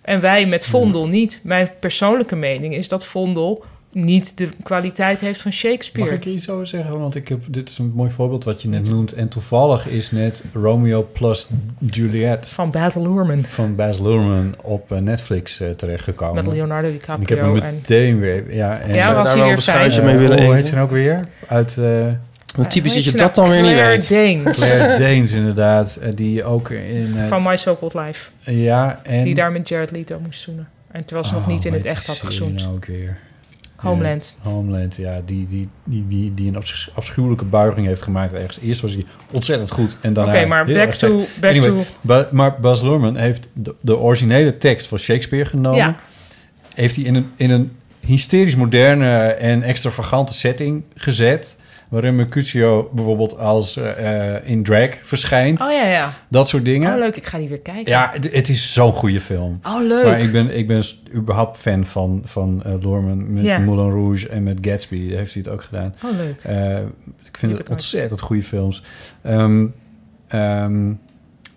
En wij met Vondel niet. Mijn persoonlijke mening is dat Vondel niet de kwaliteit heeft van Mag Shakespeare. ik iets over zeggen? Want ik heb, dit is een mooi voorbeeld wat je net noemt. En toevallig is net Romeo plus Juliet Van Battle Horman van Baz Luhrmann op eh, Netflix eh, terechtgekomen. met Leonardo en ik heb hem DiCaprio. En meteen weer... Ja, Ja, en, zou je was hij daar wel weer een beschuitje fijn. mee eh, willen Hoe eten? heet ze nou ook weer? Uit... eh, Want typisch Hoe dat je heet dat ze nou? dan weer niet Claire weet. Danes Claire Danes inderdaad, eh, die ook in... eh, van My So-Called Life. ja, en... Die daar met Jared Leto moest zoenen. En terwijl ze nog Oh, niet in hoe het heet echt die had serie gezoend. nou ook weer. Homeland. Ja, Homeland, ja. Die, die, die, die, die een afsch- afschuwelijke buiging heeft gemaakt ergens. Eerst was hij ontzettend goed en daarna Oké, maar heel back erg slecht. to... Back Anyway, to Ba- maar Bas Luhrmann heeft de, de originele tekst van Shakespeare genomen. Ja. Heeft hij in een, in een hysterisch moderne en extravagante setting gezet. Waarin Mercutio bijvoorbeeld als eh, eh, in drag verschijnt. Oh ja, ja. Dat soort dingen. Oh, leuk. Ik ga die weer kijken. Ja, het, het is zo'n goede film. Oh, leuk. Maar ik ben, ik ben s- überhaupt fan van, van eh Lorman met Ja. Moulin Rouge en met Gatsby. Heeft hij het ook gedaan. Oh, leuk. Eh, ik heb ik vind het nooit. ontzettend goede films. Ehm, ehm,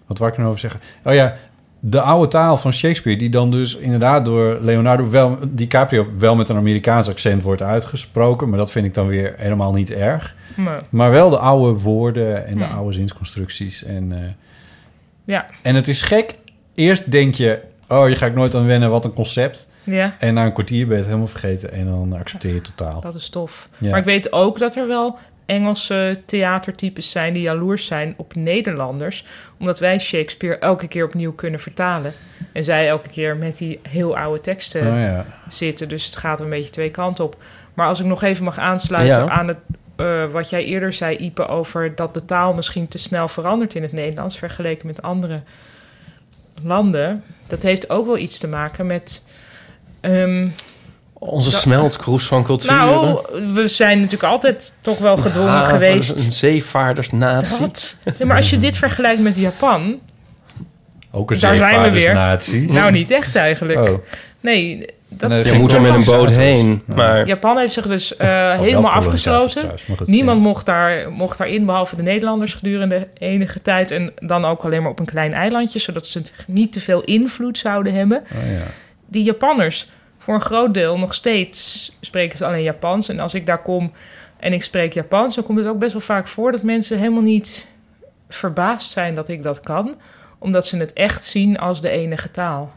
wat wou ik nou over zeggen? Oh ja, de oude taal van Shakespeare... die dan dus inderdaad door Leonardo wel, DiCaprio... wel met een Amerikaans accent wordt uitgesproken. Maar dat vind ik dan weer helemaal niet erg. Maar, Maar wel de oude woorden en de Hmm. oude zinsconstructies. En, eh, ja. en het is gek. Eerst denk je... oh, je ga ik nooit aan wennen, wat een concept. ja, En na een kwartier ben je het helemaal vergeten... en dan accepteer je het totaal. dat is tof. Ja. Maar ik weet ook dat er wel Engelse theatertypes zijn... die jaloers zijn op Nederlanders. Omdat wij Shakespeare elke keer opnieuw kunnen vertalen. En zij elke keer met die heel oude teksten Oh ja. zitten. Dus het gaat een beetje twee kanten op. Maar als ik nog even mag aansluiten Ja. aan het, eh, wat jij eerder zei, Ipe, over dat de taal misschien te snel verandert in het Nederlands vergeleken met andere landen. Dat heeft ook wel iets te maken met. ehm, Onze smeltkroes van culturen. nou, we zijn natuurlijk altijd toch wel gedwongen Ja, Ah, Een geweest. zeevaardersnatie. Wat? Ja, maar als je dit vergelijkt met Japan, Ook een Daar zijn we weer. zeevaardersnatie. nou niet echt eigenlijk. Oh. Nee, dat, Nee, Je Geen moet er met een boot kolonisator. heen. Ja. Maar Japan heeft zich dus eh, wel helemaal kolonisator afgesloten. trouwens, maar goed, Niemand ja. mocht, daar, mocht daarin, behalve de Nederlanders gedurende enige tijd. En dan ook alleen maar op een klein eilandje, zodat ze niet te veel invloed zouden hebben. Oh, ja. Die Japanners, voor een groot deel nog steeds spreken ze alleen Japans. En als ik daar kom en ik spreek Japans, dan komt het ook best wel vaak voor dat mensen helemaal niet verbaasd zijn dat ik dat kan, omdat ze het echt zien als de enige taal.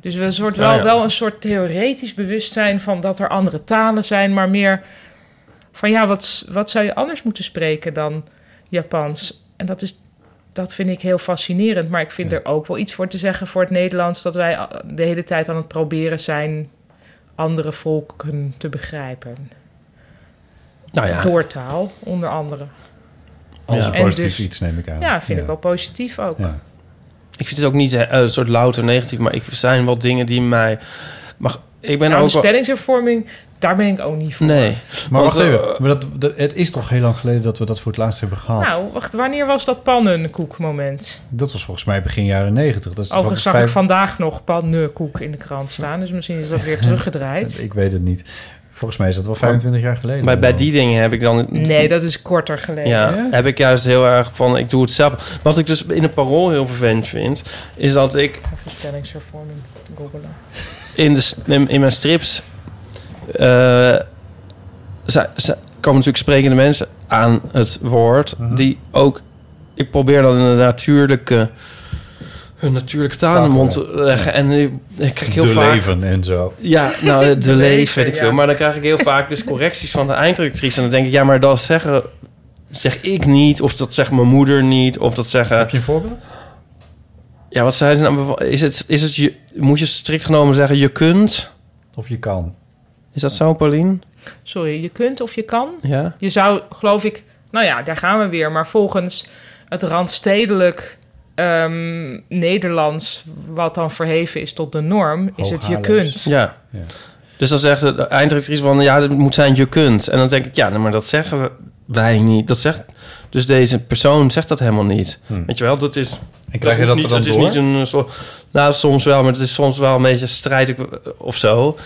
Dus we soort wel, Ah, ja. wel een soort theoretisch bewustzijn van dat er andere talen zijn, maar meer van ja, wat, s- wat zou je anders moeten spreken dan Japans? En dat, is, dat vind ik heel fascinerend, maar ik vind er ook wel iets voor te zeggen voor het Nederlands dat wij a- de hele tijd aan het proberen zijn andere volken te begrijpen. nou ja, Door taal, onder andere. Als Ja. een positief En dus- iets neem ik aan. Ja, vind ik wel positief ook. Ja. ik vind het ook niet eh, een soort louter negatief. Maar ik er zijn wel dingen die mij... Maar Ik ben Nou, ook de wel... spellingshervorming, daar ben ik ook niet voor. Nee. Maar Want, wacht even, eh, maar dat, dat- het is toch heel lang geleden dat we dat voor het laatst hebben gehad? Nou, wacht, wanneer was dat pannenkoekmoment? Dat was volgens mij begin jaren negentig. Dat is wat Overigens zag vijf- ik vandaag nog pannenkoek in de krant staan. Dus misschien is dat [laughs] weer teruggedraaid. Ik weet het niet. Volgens mij is dat wel 25 jaar geleden. Bij, bij die dingen heb ik dan... Nee, dat is korter geleden. Ja, Ja? heb ik juist heel erg van, ik doe het zelf. Wat ik dus in het parool heel vervelend vind, is dat ik Even spellingshervorming googelen. in, de, s- in, in mijn strips... eh, ze- ze komen natuurlijk sprekende mensen aan het woord, die ook... Ik probeer dat in een natuurlijke, een natuurlijke taal in de mond te leggen. En ik, ik krijg heel de vaak... leven en zo. Ja, [laughs] nou, de, de leef, leven, weet ik veel. ja. Maar dan krijg ik heel vaak dus correcties van de eindredactrice. En dan denk ik, ja, maar dat zeggen, zeg ik niet. Of dat zegt mijn moeder niet. Of dat zeggen... Heb je een voorbeeld? Ja, wat zei ze nou? Is het, is het je, moet je strikt genomen zeggen, je kunt? Of je kan. Is dat zo, Paulien? Sorry, je kunt of je kan. Ja. Je zou, geloof ik, nou ja, daar gaan we weer. Maar volgens het randstedelijk ehm, Nederlands, wat dan verheven is tot de norm, is het je Hooghaarlems. kunt. Ja. Ja. Dus dan zegt de eindredactrice van, ja, het moet zijn, je kunt. En dan denk ik, ja, nou, maar dat zeggen we, wij niet. Dat zegt... Dus deze persoon zegt dat helemaal niet. Weet je wel, dat is... Hmm. En krijg je dat hoeft er niet, dan het door? is niet een soort... Nou, soms wel, maar het is soms wel een beetje strijdig of zo.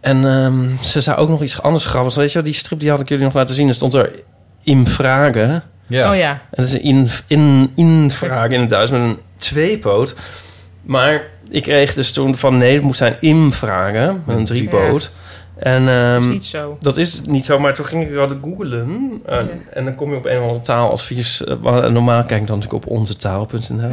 En ehm, ze zei ook nog iets anders grappigs. Weet je wel, die strip die had ik jullie nog laten zien. Er stond er in vragen. En Oh ja, dat is een in, in, in vragen in het Duits met een tweepoot. Maar ik kreeg dus toen van... Nee, het moet zijn in vragen met een driepoot. En, dat is ehm, niet zo. dat is niet zo, maar toen ging ik dat googlen. En, Ja. eh, en dan kom je op een of andere taaladvies. eh, wa- normaal kijk ik dan natuurlijk op [laughs] onzetaal.nl.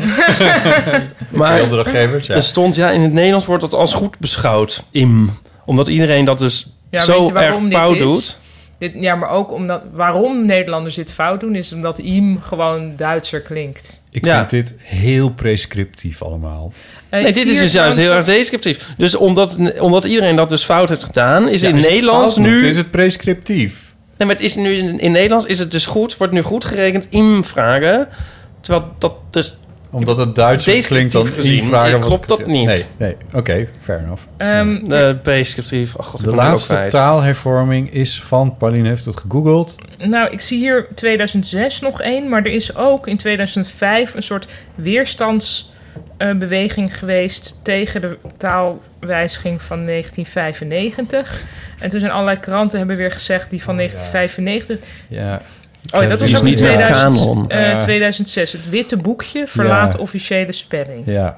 maar Opdrachtgevers, ja. er stond, ja, in het Nederlands wordt dat als goed beschouwd. Im. Omdat iedereen dat dus Ja, weet zo je waarom erg dit fout is? doet. Dit, ja, maar ook omdat waarom Nederlanders dit fout doen, is omdat im gewoon Duitser klinkt. Ik Ja. vind dit heel prescriptief allemaal. Eh, Nee, ik dit zie is hier dus juist heel erg trouwens descriptief. Dus omdat, omdat iedereen dat dus fout heeft gedaan, is in is het Nederlands fout? nu... Is het prescriptief? Nee, maar het is nu in, in Nederlands is het dus goed, wordt nu goed gerekend im vragen. Terwijl dat dus... Omdat het Duits Descriptief klinkt dan gezien, eh, invragen wat- klopt dat niet. Nee, nee. oké, fair enough. dat- Ehm, eh prescriptief. Ach, god, ik De ben er ook laatste kwijt. taalhervorming is van, Pauline heeft het gegoogeld. Nou, ik zie hier 2006 nog één, maar er is ook in 2005 een soort weerstandsbeweging geweest tegen de taalwijziging van 1995. En toen zijn allerlei kranten hebben weer gezegd die van 1995. Oh, Ja, Oh, Ja, dat die was is ook in niet meer 2000, kanon. eh, Ja. 2006. Het witte boekje verlaat Ja. officiële spelling. ja.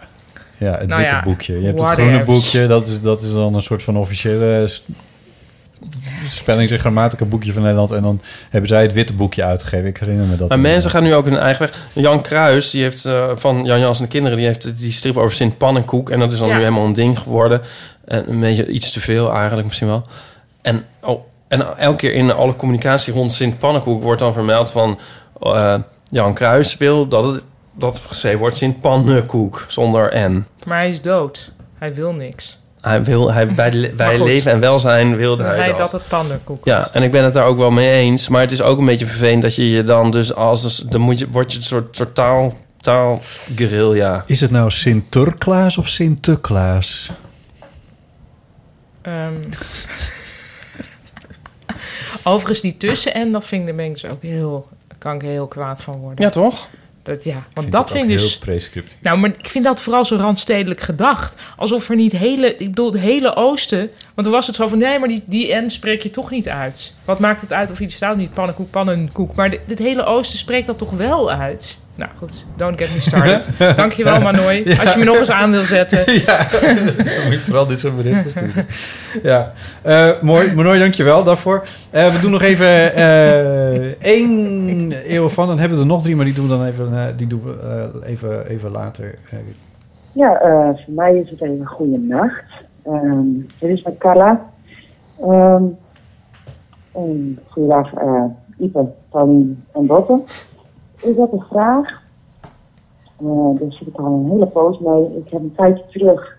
Ja, het Nou witte ja, boekje. Je hebt het whatevs. groene boekje. Dat is, dat is dan een soort van officiële s- spellings- en grammatica boekje van Nederland. En dan hebben zij het witte boekje uitgegeven. Ik herinner me dat. Maar helemaal. mensen gaan nu ook hun eigen weg. Jan Kruis, die heeft eh, van Jan Jans en de kinderen, die heeft die strip over Sint Pannenkoek. En dat is dan Ja. nu helemaal een ding geworden. En een beetje iets te veel eigenlijk misschien wel. En, oh, en elke keer in alle communicatie rond Sint Pannenkoek wordt dan vermeld van eh, Jan Kruis wil dat het dat er geschreven wordt Sint Pannenkoek zonder N. Maar hij is dood. Hij wil niks. Hij wil, hij, bij, le- bij goed. leven en welzijn wilde hij, hij dat. dat het panderkoek Ja, en ik ben het daar ook wel mee eens. Maar het is ook een beetje vervelend dat je je dan dus als... een s- Dan moet je, word je een soort, soort taal... Taal guerrilla. Is het nou Sinterklaas of Sinterklaas? Ehm. Overigens, die tussen en dat vind ik de mensen ook heel. daar kan ik heel kwaad van worden. Ja, toch? Dat, ja. Want vind dat ook vind ik dus. heel prescriptief. Nou, maar ik vind dat vooral zo randstedelijk gedacht. Alsof er niet hele. Ik bedoel, het hele Oosten. Want toen was het zo van. Nee, maar die, die N spreek je toch niet uit. Wat maakt het uit of je die staat niet? Pannenkoek, pannenkoek. Maar dit- dit hele Oosten spreekt dat toch wel uit? Nou goed, don't get me [laughs] started. Dankjewel, Manoy. Als je me nog eens aan wil zetten. Ja, [laughs] dus moet je vooral dit soort berichten sturen. Ja, Eh mooi. Manoy, dankjewel daarvoor. Eh, we doen nog even eh één eeuw van. Dan hebben we er nog drie, maar die doen we dan even, eh, die doen we, eh, even, even later. Eh, Ja, eh, voor mij is het even goede nacht. Ehm, dit is met Carla. Ehm en goedendag, eh Ipe, Pauline en Botte. Ik heb een vraag. Eh daar zit ik al een hele poos mee. Ik heb een tijdje terug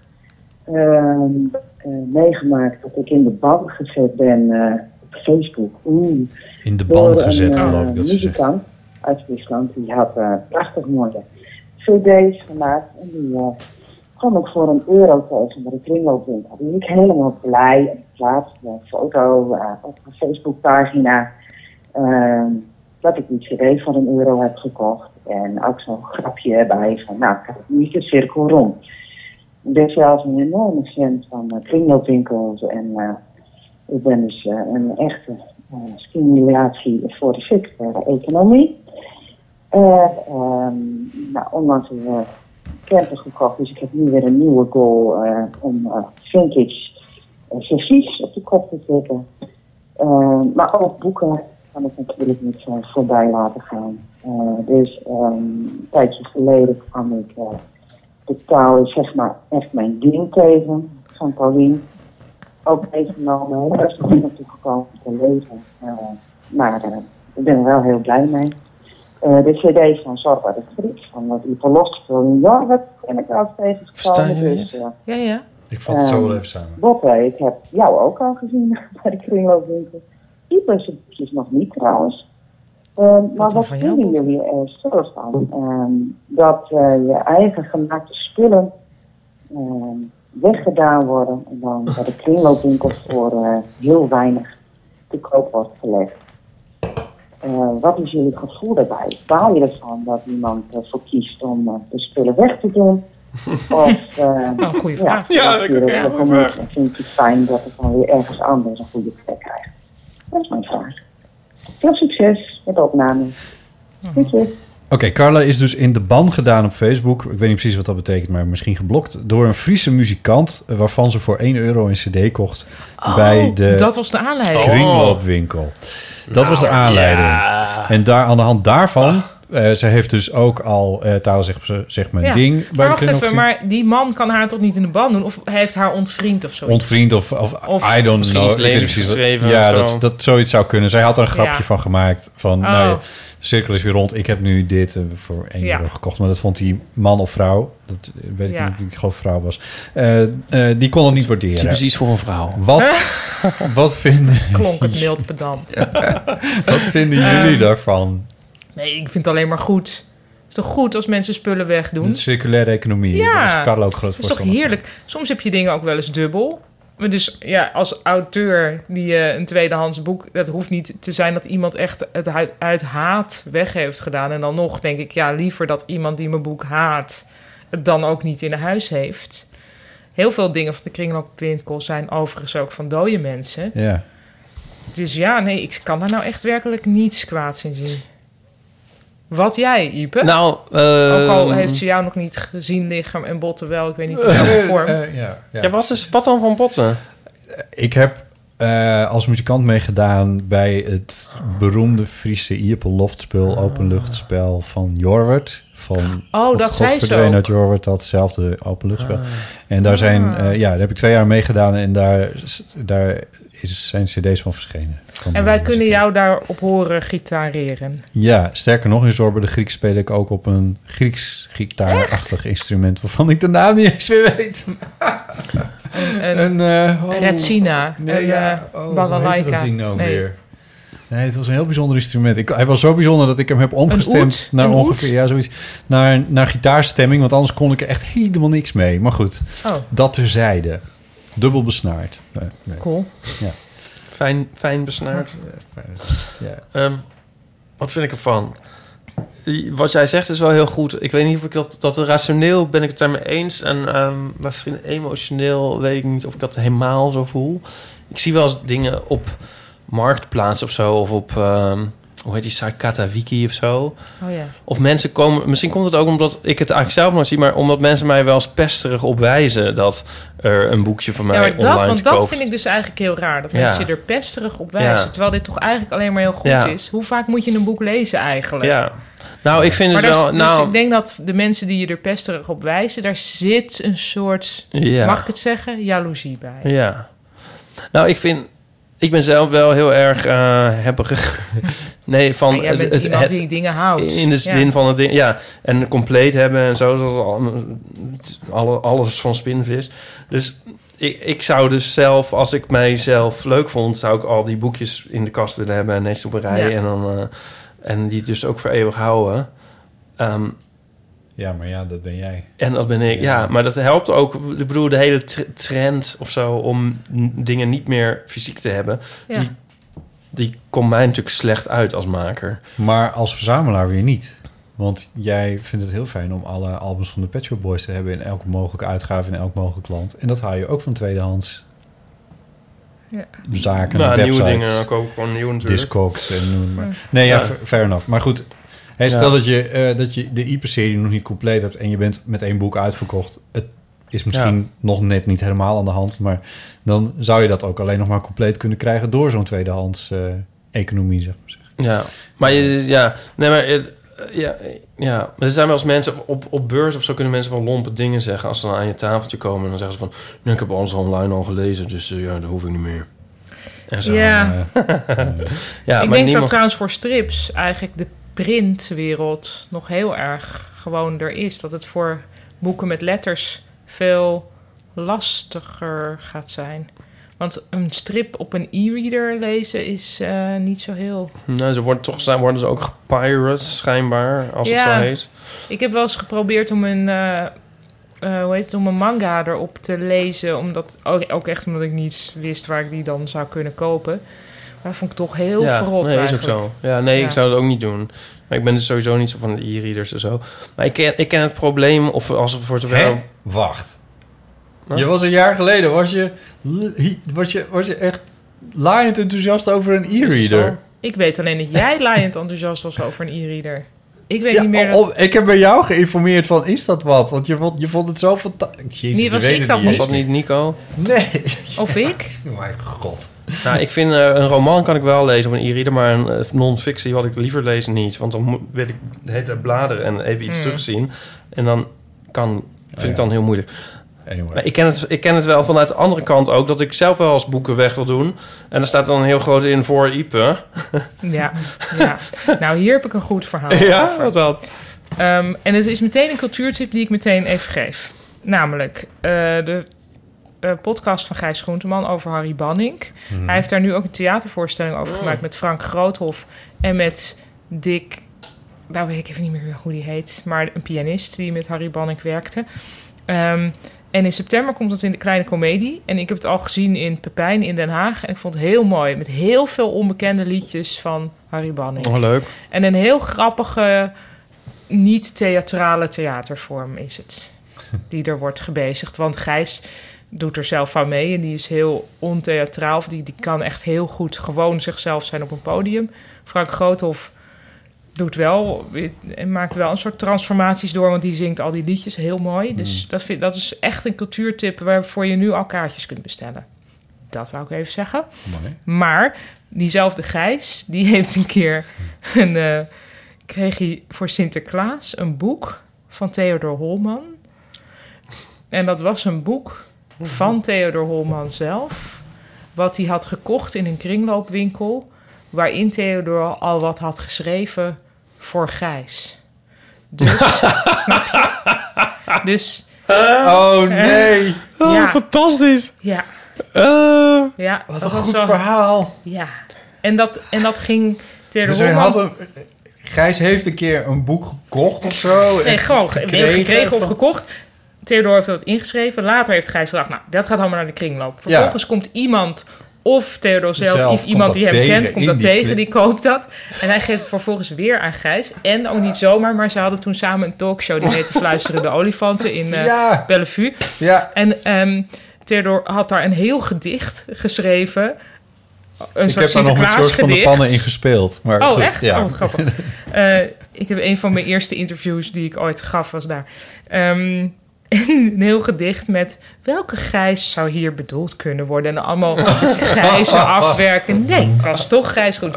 ehm, eh, meegemaakt dat ik in de ban gezet ben eh, op Facebook. Oeh in de door ban gezet, een, geloof eh, ik dat ze zeggen. muzikant uit Friesland. Die had eh, prachtig mooie cd's gemaakt. En die eh, kwam ik voor een euro tegen bij de kringloopwinkel. Die ik helemaal blij en plaatste een foto eh, op mijn Facebookpagina. eh, dat ik die cd van een euro heb gekocht. En ook zo'n grapje erbij van, nou, ik heb nu de cirkel rond. Ik ben zelf een enorme fan van eh, kringloopwinkels. En eh, ik ben dus eh, een echte eh, stimulatie voor de circulaire economie. Eh, ehm, nou, onlangs een eh, camper gekocht, dus ik heb nu weer een nieuwe goal eh, om eh, vintage eh, servies op de kop te tikken. Eh, maar ook boeken kan ik natuurlijk niet eh, voorbij laten gaan. Eh, dus ehm, een tijdje geleden kwam ik eh, de taal is zeg maar echt mijn ding tegen van Pauline. Ook meegenomen, heel best nog naartoe gekomen te lezen. Eh, maar eh, ik ben er wel heel blij mee. Eh, de cd van Zorba de Griet, van wat Ipo Lost van Jorwert, ben ik al steeds Verstaan gekomen. jullie Dus, eh, Ja, ja. Ik vat het zo wel Ehm, even samen. Bob, eh, ik heb jou ook al gezien [laughs] bij de kringloopwinkel. Ipe is boekjes nog niet trouwens. Ehm, maar dan wat van jou, vinden Bob? jullie er zelf van? Ehm, dat eh, je eigen gemaakte spullen ehm, weggedaan worden en dan bij de kringloopwinkel voor eh, heel weinig te koop wordt gelegd. Eh, wat is jullie gevoel daarbij? Baal je ervan dat iemand ervoor kiest om eh, de spullen weg te doen? [laughs] Of eh, Nou, goede vraag. ja, dat dat kan ik vind ook ik heel ook goed niet. vragen. Dan vind ik het fijn dat het dan weer ergens anders een goede plek krijgt. Dat is mijn vraag. Veel succes met de opname. Mhm. Groetjes. Oké, Carla is dus in de ban gedaan op Facebook. Ik weet niet precies wat dat betekent, maar misschien geblokt. Door een Friese muzikant, eh, waarvan ze voor 1 euro een cd kocht Oh, bij de Oh, Dat was de aanleiding. Oh. kringloopwinkel. Dat was de Nou, aanleiding. En daar, aan de hand daarvan, Ah. eh, ze heeft dus ook al, eh taal zegt ze- zeg mijn Ja. ding, bij Maar de wacht even, kringloopwinkel. maar die man kan haar toch niet in de ban doen? Of hij heeft haar ontvriend of zo? Ontvriend of, of, Of I misschien don't know. is het Ik weet niet lelijk precies wat- geschreven Ja, of zo. dat, dat zoiets zou kunnen. Zij had er een grapje Ja. van gemaakt. Van, Oh. nou ja, de cirkel is weer rond. Ik heb nu dit eh, voor 1 Ja. euro gekocht. Maar dat vond die man of vrouw. Dat weet ik Ja. niet. Ik geloof vrouw was. eh, eh, die kon het niet waarderen. Typisch iets voor een vrouw. Wat, wat, vinden, Klonk [laughs] het mild pedant. Ehm. wat vinden jullie daarvan? Nee, ik vind het alleen maar goed. Het is toch goed als mensen spullen wegdoen? De circulaire economie. Ja. Daar is Carlo ook groot Dat is toch voorstander van. heerlijk? Soms heb je dingen ook wel eens dubbel. Maar dus ja, als auteur die eh, een tweedehands boek... dat hoeft niet te zijn dat iemand echt het uit, uit haat weg heeft gedaan. En dan nog denk ik, ja, liever dat iemand die mijn boek haat... het dan ook niet in huis heeft. Heel veel dingen van de kringloopwinkel zijn overigens ook van dode mensen. Ja. Dus ja, nee, ik kan daar nou echt werkelijk niets kwaads in zien. Wat jij, Ipe? Nou, ook al eh, heeft ze jou nog niet gezien, lichaam en botten wel. Ik weet niet in welke vorm. Eh, ja, ja. ja, wat, is, wat dan van botten? Ik heb eh, als muzikant meegedaan bij het beroemde Friese Ierpeloftspul openluchtspel van Jorwert. Van Ah. Oh, God- dat God zei ze verdween ook. Ah. uit Jorwert, datzelfde openluchtspel. En daar zijn, eh, ja, daar heb ik twee jaar meegedaan en daar, s- daar is, zijn cd's van verschenen. Van En de wij kunnen muzikanten. jou daarop horen [laughs] gitareren. Ja, sterker nog, in Zorber de Griek speel ik ook op een Grieks gitaarachtig instrument... waarvan ik de naam niet eens meer weet. Een Een, eh, oh. Retsina. een eh, oh, hoe heette balalaika. dat ding nou Nee. weer? Nee, het was een heel bijzonder instrument. Ik, hij was zo bijzonder dat ik hem heb omgestemd oud? naar Een ongeveer oud? ja, zoiets, naar, naar gitaarstemming, want anders kon ik er echt helemaal niks mee. Maar goed, Oh, dat terzijde. Dubbel besnaard. Nee, nee. cool. Fijn, fijn besnaard. Ja. Ehm, wat vind ik ervan? I- Wat jij zegt is wel heel goed. Ik weet niet of ik dat, dat rationeel ben ik het daarmee eens. En ehm, misschien emotioneel weet ik niet of ik dat helemaal zo voel. Ik zie wel eens dingen op marktplaats of zo. Of op, ehm, hoe heet die site, Katawiki of zo. Oh ja. Of mensen komen... Misschien komt het ook omdat ik het eigenlijk zelf nog zie... maar omdat mensen mij wel eens pesterig op wijzen... dat er een boekje van mij ja maar online dat, want te koop dat is. vind ik dus eigenlijk heel raar. Dat Ja. mensen je er pesterig op wijzen. Ja. Terwijl dit toch eigenlijk alleen maar heel goed Ja. is. Hoe vaak moet je een boek lezen eigenlijk? Ja. Nou, ik vind Maar het daar, wel... dus nou, ik denk dat de mensen die je er pesterig op wijzen... daar zit een soort, Ja. mag ik het zeggen, jaloezie bij. [laughs] Ja. Nou, ik vind... Ik ben zelf wel heel erg eh hebberig. [laughs] nee, van... Maar jij bent het- iemand het- die dingen houdt. in de Ja. zin van het ding, ja. En compleet hebben en zo, zoals al- alle, alles van spinvis. Dus ik, ik zou dus zelf, als ik mijzelf leuk vond... zou ik al die boekjes in de kast willen hebben en netjes op een rij. Ja. En, dan, eh, en die dus ook voor eeuwig houden. Ehm, Ja, maar ja, dat ben jij. En dat ben ik, ja. Maar dat helpt ook, ik bedoel, de hele tr- trend of zo... om n- dingen niet meer fysiek te hebben... Ja. die, die komt mij natuurlijk slecht uit als maker. Maar als verzamelaar weer niet. Want jij vindt het heel fijn om alle albums van de Pet Shop Boys te hebben... in elke mogelijke uitgave, in elk mogelijk land. En dat haal je ook van tweedehands Ja. zaken, Nou, websites. nieuwe dingen ook, ook gewoon nieuw natuurlijk. Discogs en noem het maar. Nee, ja, Ja. fa- fair enough. Maar goed, hey, Ja. stel dat je, eh, dat je de IP-serie nog niet compleet hebt... en je bent met één boek uitverkocht. Het is misschien Ja. nog net niet helemaal aan de hand... maar dan zou je dat ook alleen nog maar compleet kunnen krijgen... door zo'n tweedehands eh, economie, zeg maar. Ja, maar je, ja, nee, maar het, ja, ja, maar er zijn wel eens mensen op, op beurs of zo kunnen mensen wel lompe dingen zeggen als ze dan aan je tafeltje komen en dan zeggen ze van, nee, ik heb alles online al gelezen, dus eh, ja, dat hoef ik niet meer. En zo. Ja. [laughs] ja, ik maar denk dat niemand. trouwens voor strips eigenlijk de printwereld nog heel erg gewoon er is. Dat het voor boeken met letters veel lastiger gaat zijn. Want een strip op een e-reader lezen is eh, niet zo heel. Nou, ze worden toch zijn worden ze ook gepirate schijnbaar als het Ja. zo heet. Ik heb wel eens geprobeerd om een, eh, eh, hoe heet het, om een manga erop te lezen. Omdat, ook, ook echt omdat ik niets wist waar ik die dan zou kunnen kopen. Maar dat vond ik toch heel ja, verrot nee, is ook eigenlijk. zo. Ja, nee, Ja. ik zou dat ook niet doen. Maar ik ben dus sowieso niet zo van de e-readers en zo. Maar ik ken, ik ken het probleem of als het voor zover Hè? Wacht. Je was een jaar geleden, was je, was je, was je echt laaiend enthousiast over een e-reader. Ik weet alleen dat jij [laughs] laaiend enthousiast was over een e-reader. Ik weet Ja, niet meer... dat- oh, oh, ik heb bij jou geïnformeerd van, is dat wat? Want je vond, je vond het zo fantastisch. Jezus, Nee, je was weet ik het dan was niet. dat eens. niet Nico? Nee. Of ik? [laughs] Mijn god. Nou, ik vind eh, een roman kan ik wel lezen op een e-reader, maar een eh, non-fictie had ik liever lezen niet. Want dan moet, weet ik de hele tijd bladeren en even iets Mm. terugzien. En dan kan, vind ik dan heel moeilijk. Anyway. Maar ik ken, het, ik ken het wel vanuit de andere kant ook, dat ik zelf wel als boeken weg wil doen. En daar staat dan heel groot in voor Ipe. Ja, ja. Nou, hier heb ik een goed verhaal Ja, over. wat dat? Ehm, en het is meteen een cultuurtip die ik meteen even geef. Namelijk eh, de eh, podcast van Gijs Groenteman over Harry Banning. Hij heeft daar nu ook een theatervoorstelling Oh. over gemaakt met Frank Groothof en met Dick. Nou weet ik even niet meer hoe die heet, maar een pianist die met Harry Banning werkte. Ehm, en in september komt het in de Kleine Comedie. En ik heb het al gezien in Pepijn in Den Haag. En ik vond het heel mooi. Met heel veel onbekende liedjes van Harry Banning. Oh, leuk. En een heel grappige, niet-theatrale theatervorm is [laughs] het. Die er wordt gebezigd. Want Gijs doet er zelf aan mee. En die is heel ontheatraal. Of Die, die kan echt heel goed gewoon zichzelf zijn op een podium. Frank Groothoff doet wel, en maakt wel een soort transformaties door. Want die zingt al die liedjes heel mooi. Dus dat, vind, dat is echt een cultuurtip waarvoor je nu al kaartjes kunt bestellen. Dat wou ik even zeggen. Maar diezelfde Gijs, die [laughs] heeft een keer een, eh, kreeg hij voor Sinterklaas een boek van Theodor Holman. En dat was een boek van Theodor Holman zelf, wat hij had gekocht in een kringloopwinkel, waarin Theodor al wat had geschreven voor Gijs. [laughs] Dus, snap je? Dus, eh, Oh nee. ja, Fantastisch. ja, Eh, ja. Wat een dat was goed wel- verhaal. Ja, en dat, en dat ging Theodor Dus hij Holman... had een, Gijs heeft een keer een boek gekocht of zo. Nee, en gewoon ge- gekregen, of van- gekocht. Theodor heeft dat ingeschreven. Later heeft Gijs gedacht, nou, dat gaat allemaal naar de kringloop. Vervolgens komt iemand, of Theodor zelf, Zelf of komt iemand dat die hem tegen kent, komt in dat die tegen, kring- die koopt dat. En hij geeft het vervolgens weer aan Gijs. En ook niet zomaar, maar ze hadden toen samen een talkshow die [laughs] heette Fluisterende Olifanten in eh Ja. Bellevue. Ja. En ehm Theodor had daar een heel gedicht geschreven. Een Ik soort heb daar nog een Sinterklaas soort van de gedicht. pannen in gespeeld. Maar Oh, goed, echt? Ja. Oh, wat [laughs] grappig. Eh, ik heb een van mijn eerste interviews die ik ooit gaf, was daar. Ehm, [laughs] een heel gedicht met welke grijs zou hier bedoeld kunnen worden? En allemaal grijzen afwerken. Nee, het was toch grijs goed.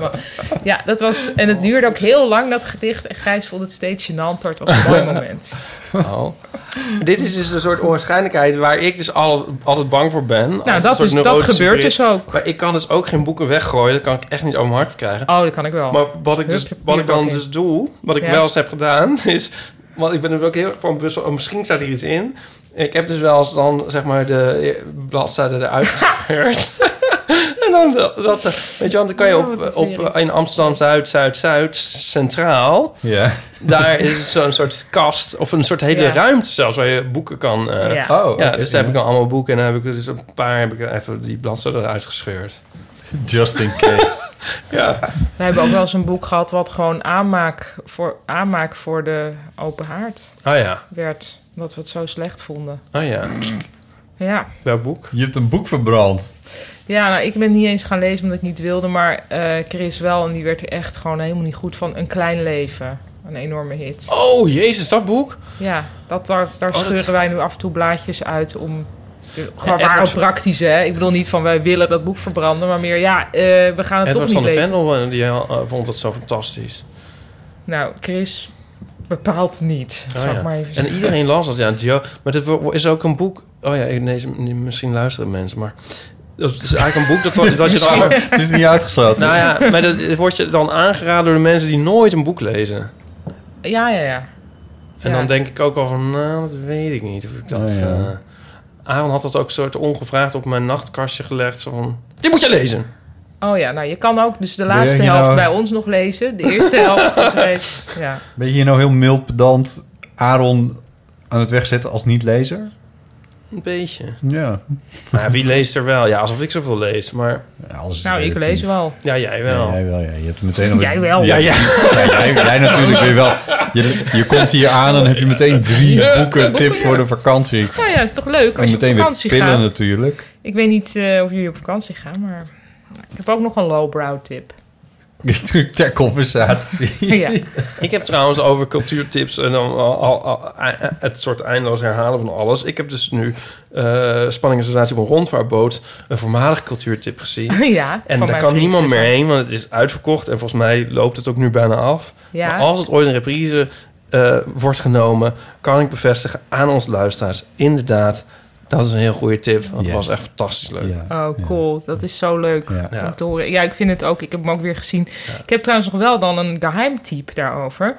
ja, dat was, en het duurde ook heel lang, dat gedicht. En grijs vond het steeds gênanter. Het was een mooi moment. Oh. Dit is dus een soort onwaarschijnlijkheid waar ik dus al- altijd bang voor ben. Als Nou, een dat, soort is, dat neurotische gebeurt brit. dus ook. Maar ik kan dus ook geen boeken weggooien. Dat kan ik echt niet over mijn hart krijgen. Oh, dat kan ik wel. Maar wat ik, Hup, dus, wat ik dan papierbak in. dus doe, wat ik Ja. wel eens heb gedaan, [laughs] is... Want ik ben er ook heel erg van bewust van, oh, misschien staat hier iets in. [laughs] Ik heb dus wel eens dan, zeg maar, de bladzijde eruit gescheurd. [laughs] en dan dat ze... Weet je, want dan kan je op, op, in Amsterdam Zuid, Zuid, Zuid, Centraal... Ja. Daar is zo'n soort kast of een soort hele Ja. ruimte zelfs waar je boeken kan... eh, Ja. ja, Oh, oké, dus daar heb ja. ik dan allemaal boeken en daar heb ik dus een paar heb ik er even die bladzijden eruit gescheurd. Just in case. [laughs] ja. We hebben ook wel eens een boek gehad wat gewoon aanmaak voor, aanmaak voor de open haard Oh ja. werd. Omdat we het zo slecht vonden. Oh ja. Ja. Welk boek? Je hebt een boek verbrand. Ja, nou, ik ben niet eens gaan lezen omdat ik niet wilde. Maar eh, Chris wel. En die werd er echt gewoon helemaal niet goed van. Een klein leven. Een enorme hit. Oh, jezus, dat Ah, boek? Ja, dat, daar, daar Oh, dat- scheuren wij nu af en toe blaadjes uit om... eh, Gewoon Edward- waar ook praktisch, hè? Ik bedoel niet van wij willen dat boek verbranden, maar meer ja, eh, we gaan het Edward toch van niet de lezen. Vendel eh, die, eh, vond het zo fantastisch. Nou, Chris bepaalt niet, Oh, zou ik ja. maar even en zeggen. iedereen las dat, ja. Jo, maar het wo- is ook een boek... Oh ja, nee, ze- misschien luisteren mensen, maar... Dat is eigenlijk een boek [laughs] dat, dat je dan... Misschien. Het is niet uitgesloten. Nou ja, maar dat wordt je dan aangeraden door de mensen die nooit een boek lezen. Ja, ja, ja. En Ja. dan denk ik ook al van, nou, dat weet ik niet of ik dat... Oh, eh ja. Aaron had dat ook soort ongevraagd op mijn nachtkastje gelegd. Zo van, dit moet je lezen! Oh ja, nou je kan ook dus de Wil je laatste hier helft nou- bij ons nog lezen. De eerste helft is reeds. [laughs] Ja. Ben je hier nou heel mild pedant Aaron aan het wegzetten als niet-lezer? Een beetje. Ja. Maar wie leest er wel? Ja, alsof ik zoveel lees, maar... Nou, ik lees wel. Ja, jij wel. Ja, jij wel, ja. Je hebt meteen al... Jij wel. Ja, ja. Ja, jij, jij natuurlijk weer wel. Je, je komt hier aan en heb je meteen drie boeken tips voor de vakantie. Nou ja, het is toch leuk als En je op meteen weer vakantie pillen gaat. natuurlijk. Ik weet niet eh, of jullie op vakantie gaan, maar ik heb ook nog een lowbrow [laughs] tip. Ter compensatie. Ja. Ik heb trouwens over cultuurtips en dan al, al- al- e- e- het soort eindeloos herhalen van alles. Ik heb dus nu eh, spanning en sensatie op een rondvaartboot een voormalig cultuurtip gezien. Ja, van mijn en daar vriend kan niemand dus meer wel. heen, want het is uitverkocht en volgens mij loopt het ook nu bijna af. Ja. Maar als het ooit een reprise eh, wordt genomen, kan ik bevestigen aan onze luisteraars. Inderdaad, dat is een heel goede tip, want Yes. het was echt fantastisch leuk. Oh, cool. Dat is zo leuk Ja. om te horen. Ja, ik vind het ook. Ik heb hem ook weer gezien. Ik heb trouwens nog wel dan een geheimtype daarover.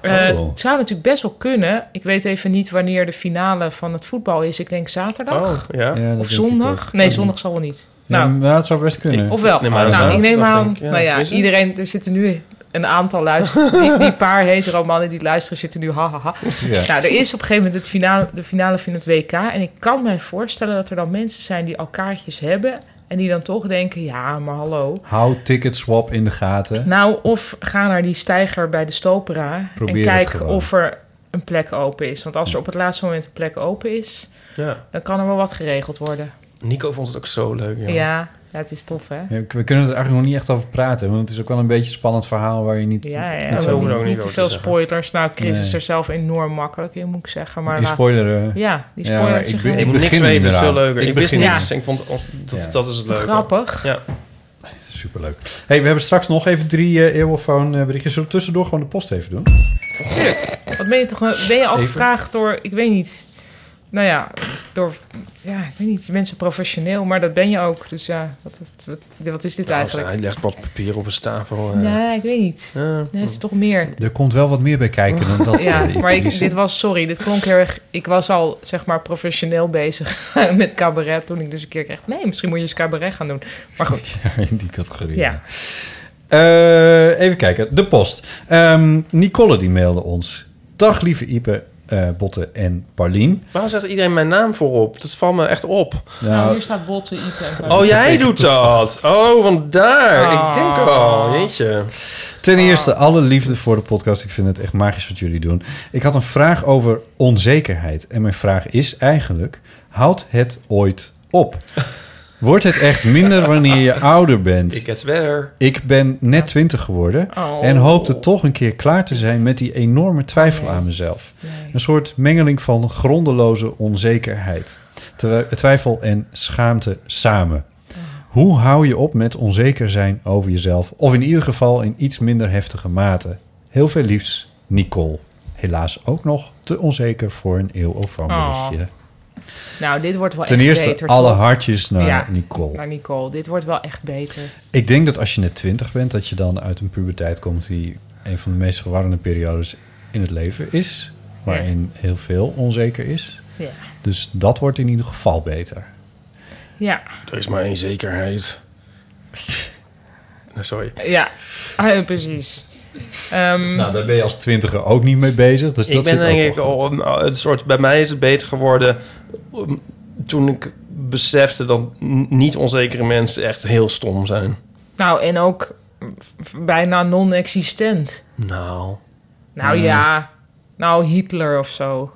Eh, Oh. het zou natuurlijk best wel kunnen. Ik weet even niet wanneer de finale van het voetbal is. Ik denk zaterdag. Oh, ja. Ja, dat denk of ik zondag. ook. Oh. Nee, zondag zal wel niet. Ja, Nou, maar het zou best kunnen. Of wel? Neem Eh, maar aan nou, ik zaterdag, neem aan. denk ik. Ja, Nou ja, Chris? iedereen, er zitten nu een aantal luisteren. die, [laughs] die paar hetero mannen die luisteren zitten nu ha ha ha. Ja. Nou, er is op een gegeven moment het finale, de finale van het WK. En ik kan mij voorstellen dat er dan mensen zijn die al kaartjes hebben. En die dan toch denken, ja, maar hallo. Hou ticketswap in de gaten. Nou, of ga naar die steiger bij de Stopera. Probeer en het kijk gewoon. of er een plek open is. Want als er op het laatste moment een plek open is, Ja. dan kan er wel wat geregeld worden. Nico vond het ook zo leuk. Ja, Ja. ja, het is tof, hè? Ja, we kunnen er eigenlijk nog niet echt over praten, want het is ook wel een beetje een spannend verhaal waar je niet. Ja, ja, niet we zo- hoeven ook niet te veel spoilers. Nou, Chris is Nee. er zelf enorm makkelijk in, moet ik zeggen. Maar Die laat- spoileren. Ja, die Ja, spoiler maar ik, ik zich be- wel. ik Ik moet niks begin er weten, niet is veel meer aan. leuker. Ik, Ik wist begin er niks niet. en ik vond oh, dat, Ja. dat is het leuke. Grappig. Ja. Superleuk. Hey, we hebben straks nog even drie eh, eeuwenfoon eh, berichtjes. Zullen we tussendoor gewoon de post even doen? Tuurlijk. Wat ben je toch... een- Ben je al Even. gevraagd door... Ik weet niet. Nou ja, door... Ja, ik weet niet. Mensen professioneel, maar dat ben je ook. Dus ja, wat, wat, wat is dit Nou, eigenlijk? Hij legt wat papier op een stapel. eh. Nee, ik weet niet. Nee, het is toch meer. Er komt wel wat meer bij kijken dan dat. ja, eh, maar ik, Patricia. [laughs] dit was, sorry, dit klonk heel erg. Ik was al zeg maar professioneel bezig [laughs] met cabaret. Toen ik dus een keer kreeg, nee, misschien moet je eens cabaret gaan doen. Maar goed. Ja, in die categorie. Ja. Eh, even kijken, de post. Ehm, Nicole die mailde ons. Dag lieve Ipe, eh, Botte en Paulien. Waarom zegt iedereen mijn naam voorop? Dat valt me echt op. Nou, Oh, hier staat botten Ipe. Oh, jij doet dat. Oh, vandaar. Ah. Ik denk al. Jeetje. Ten Ah. eerste, alle liefde voor de podcast. Ik vind het echt magisch wat jullie doen. Ik had een vraag over onzekerheid. En mijn vraag is eigenlijk: houdt het ooit op? Wordt het echt minder wanneer [laughs] je ouder bent? Ik het verder. Ik ben net twintig geworden Oh. en hoopte toch een keer klaar te zijn met die enorme twijfel aan mezelf. Een soort mengeling van grondeloze onzekerheid, Terwijl- twijfel en schaamte samen. Hoe hou je op met onzeker zijn over jezelf? Of in ieder geval in iets minder heftige mate. Heel veel liefs, Nicole. Helaas ook nog te onzeker voor een eeuw of Oh. berichtje. Nou, dit wordt wel Oh. Ten echt eerste beter. alle toch? hartjes naar Nicole. Naar Nicole. Dit wordt wel echt beter. Ik denk dat als je net twintig bent, dat je dan uit een puberteit komt die een van de meest verwarrende periodes in het leven is. Waarin heel veel onzeker is. Ja. Dus dat wordt in ieder geval beter. Ja. Er is maar één zekerheid. Nou, sorry. Ja, [laughs] ah, precies. Ehm, Nou, daar ben je als twintiger ook niet mee bezig. Dus ik dat ben zit ook denk ik wel goed. al een, eh, een soort. Bij mij is het beter geworden um, toen ik besefte dat n- niet onzekere mensen echt heel stom zijn. nou, en ook v- bijna non-existent. Nou. Nou Hmm. ja, nou Hitler of zo.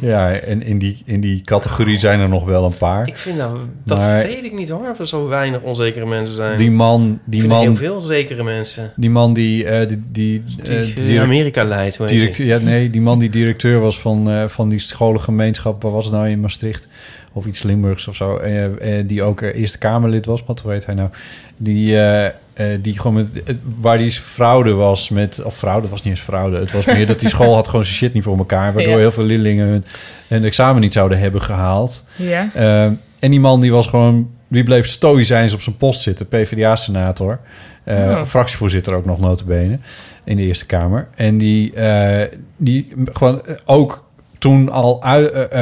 Ja, en in die, in die categorie zijn er nog wel een paar. Ik vind nou, dat Maar- weet ik niet hoor, of er zo weinig onzekere mensen zijn. Die man- die Ik vind man- heel veel zekere mensen. Die man die... eh, die, die, eh, Die, eh, direct- Amerika leidt, hoe heet directeur- ja, nee, die man die directeur was van, eh, van die scholengemeenschap... waar was het nou in Maastricht? Of iets Limburgs of zo. eh, eh, die ook eh, Eerste Kamerlid was, wat hoe heet hij nou? Die, eh, eh, die gewoon met, eh, waar die fraude was met... Of fraude was niet eens fraude. Het was meer dat die school had gewoon zijn shit niet voor elkaar... waardoor Ja. heel veel leerlingen hun, hun examen niet zouden hebben gehaald. Ja. Eh, en die man die was gewoon, die bleef stoïcijns op zijn post zitten, PvdA-senator. Eh, Oh. Fractievoorzitter ook nog notabene in de Eerste Kamer. En die, eh, die gewoon eh, ook toen al ui- eh,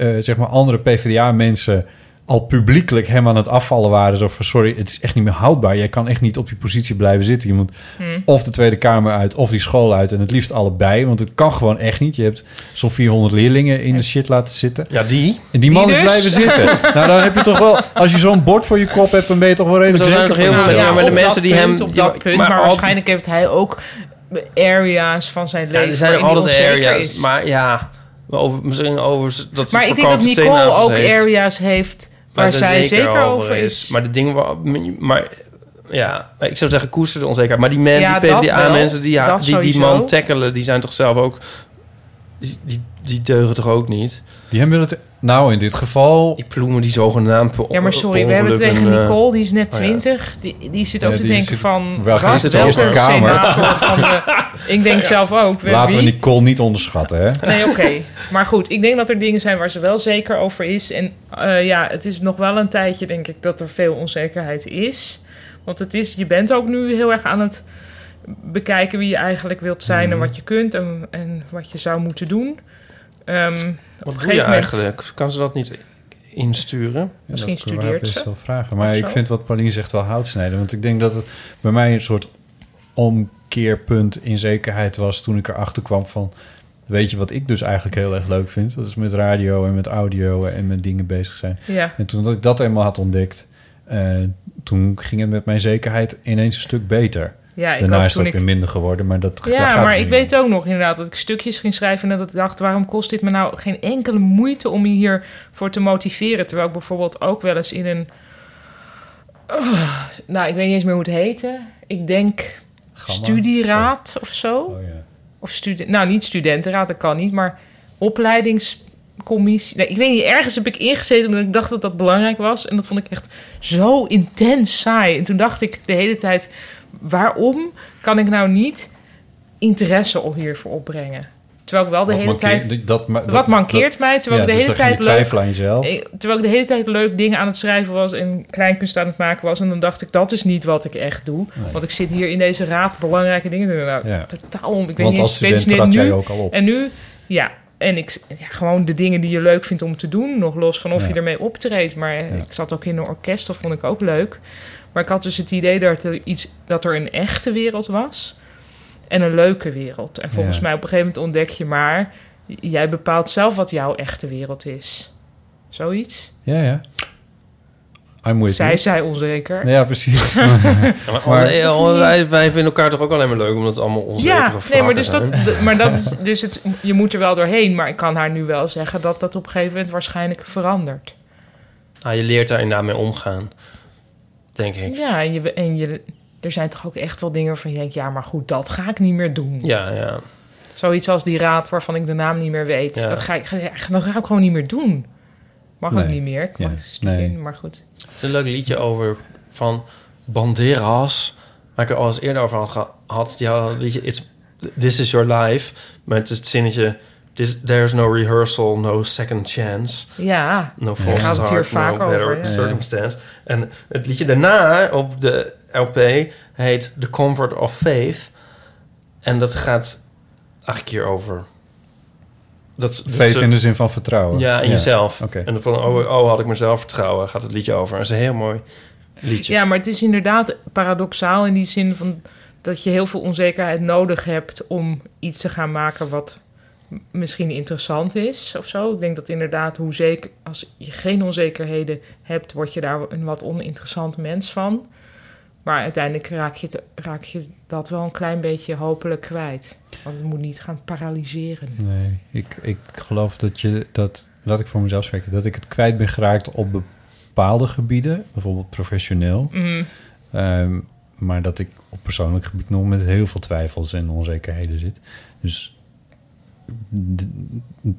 eh, eh, zeg maar andere PvdA-mensen al publiekelijk hem aan het afvallen waren. Zo van, sorry, het is echt niet meer houdbaar. Jij kan echt niet op je positie blijven zitten. Je moet Hmm. of de Tweede Kamer uit of die school uit. En het liefst allebei, want het kan gewoon echt niet. Je hebt zo'n 400 leerlingen in de shit laten zitten. Ja, die? En die man Die is dus? blijven zitten. nou, dan heb je toch wel... Als je zo'n bord voor je kop hebt, dan ben je toch wel Zo redelijk zijn er toch zeker heel van veel jezelf. mensen, maar de Op mensen dat die punt, hem- Op die- dat punt, maar maar, al- waarschijnlijk heeft hij ook areas van zijn Ja, leven. er zijn waarin hij altijd onzeker areas, is. maar ja, maar over, misschien over dat ze Maar ik denk dat verkoopte Nicole teenagels ook heeft. areas heeft waar ze zij zeker, over is. Maar de dingen waar, maar ja, ik zou zeggen koester de onzekerheid. Maar die, men, Ja, die dat PvdA-mensen wel. die, ja, Dat die die sowieso. man tackelen, die zijn toch zelf ook, die, die, die deugen toch ook niet? Die hebben het, nou in dit geval... Die ploemen die zogenaamd Ja, maar sorry, we hebben het tegen eh, Nicole, die is oh eh, net 20. Die, die zit ook Ja, te oh die denken zit- van... waar wat, is het de Eerste welke Kamer? senator van [laughs] de- ik denk zelf ook. we- Laten we wie? Nicole niet onderschatten, hè? Nee, oké. Maar goed, ik denk dat er dingen zijn waar ze wel zeker over is. En eh, ja, het is nog wel een tijdje, denk ik, dat er veel onzekerheid is. Want het is, je bent ook nu heel erg aan het bekijken wie je eigenlijk wilt zijn Mhm. en wat je kunt en, en wat je zou moeten doen. Ehm, Wat doe je eigenlijk? Kan ze dat niet insturen? Misschien dat kunnen studeert we haar best ze. wel vragen. Maar Of ik zo. vind wat Paulien zegt wel hout snijden. Want ik denk dat het bij mij een soort omkeerpunt in zekerheid was... toen ik erachter kwam van... Weet je wat ik dus eigenlijk heel erg leuk vind? Dat is met radio en met audio en met dingen bezig zijn. Ja. En toen dat ik dat eenmaal had ontdekt... eh, toen ging het met mijn zekerheid ineens een stuk beter. Ja, ik Daarna ook, is toen dat weer ik- minder geworden, maar dat daar gaat Ja, het maar niet ik weet ook nog inderdaad dat ik stukjes ging schrijven en dat ik dacht, waarom kost dit me nou geen enkele moeite om me hiervoor te motiveren? Terwijl ik bijvoorbeeld ook wel eens in een. Ugh, nou, ik weet niet eens meer hoe het heette. Ik denk Gamma? studieraad of zo. Oh, Of student, nou, niet studentenraad, dat kan niet, maar opleidingscommissie. Nee, ik weet niet, ergens heb ik ingezeten omdat ik dacht dat dat belangrijk was. En dat vond ik echt zo intens saai. En toen dacht ik de hele tijd, waarom kan ik nou niet interesse op hiervoor opbrengen? Terwijl ik wel de Wat hele mankeert- tijd... dat ma- dat- wat mankeert dat- mij? Terwijl ja, ik de dus hele dan ga je tijd leuk... twijfelen aan jezelf. Eh, Terwijl ik de hele tijd leuk dingen aan het schrijven was... en kleinkunst aan het maken was. En dan dacht ik, dat is niet wat ik echt doe. Nee. Want ik zit hier in deze raad belangrijke dingen te doen. Nou, Ja. Totaal om. Ik weet Want niet als eens... weet student niet- trad nu, jij ook al op. En nu, ja... En ik, ja, gewoon de dingen die je leuk vindt om te doen. Nog los van of Ja. je ermee optreedt. Maar eh, ik zat ook in een orkest, dat vond ik ook leuk. Maar ik had dus het idee dat er, iets, dat er een echte wereld was en een leuke wereld. En volgens Ja. mij op een gegeven moment ontdek je maar... j- jij bepaalt zelf wat jouw echte wereld is. Zoiets. Ja, ja. I'm with Zij you. zij onzeker. Ja, [laughs] precies. Ja, Ja, maar Maar- alle- alle- wij, wij vinden elkaar toch ook alleen maar leuk omdat het allemaal onzekere ja, nee, vragen maar, dus dat, zijn? d- maar dat is, dus het, je moet er wel doorheen. Maar ik kan haar nu wel zeggen dat dat op een gegeven moment waarschijnlijk verandert. [laughs] Ah, je leert daar inderdaad mee omgaan, denk ik. Ja, en, je, en je, er zijn toch ook echt wel dingen waarvan je denkt... ja, maar goed, dat ga ik niet meer doen. Ja, ja. Zoiets als die raad waarvan ik de naam niet meer weet. Ja. Dat, ga ik, ga- dat ga ik gewoon niet meer doen. Mag ook Nee. niet meer. Ik Ja, mag nee. in, maar goed. Het is een leuk liedje over van Banderas, waar ik er al eens eerder over had gehad. Die had het liedje It's, This Is Your Life, met het zinnetje... This, there's no rehearsal, no second chance. Ja, no daar false gaat het hier start, vaak no better over, ja. circumstance. En het liedje daarna op de LP heet The Comfort of Faith. En dat gaat eigenlijk hier over. Dat, is- dat Faith is- in de zin van vertrouwen. Dus, eh, Ja, in Ja, jezelf. oké. En van, oh, oh, had ik mezelf vertrouwen, gaat het liedje over. En dat is een heel mooi liedje. Ja, maar het is inderdaad paradoxaal in die zin van dat je heel veel onzekerheid nodig hebt om iets te gaan maken wat m- misschien interessant is of zo. Ik denk dat inderdaad, hoe zeker, als je geen onzekerheden hebt, word je daar een wat oninteressant mens van. Maar uiteindelijk raak je, het- raak je dat wel een klein beetje hopelijk kwijt. Want het moet niet gaan paralyseren. Nee, ik, ik geloof dat je dat, laat ik voor mezelf spreken, dat ik het kwijt ben geraakt op bepaalde gebieden, bijvoorbeeld professioneel. Mhm. Ehm, maar dat ik op persoonlijk gebied nog met heel veel twijfels en onzekerheden zit. Dus d-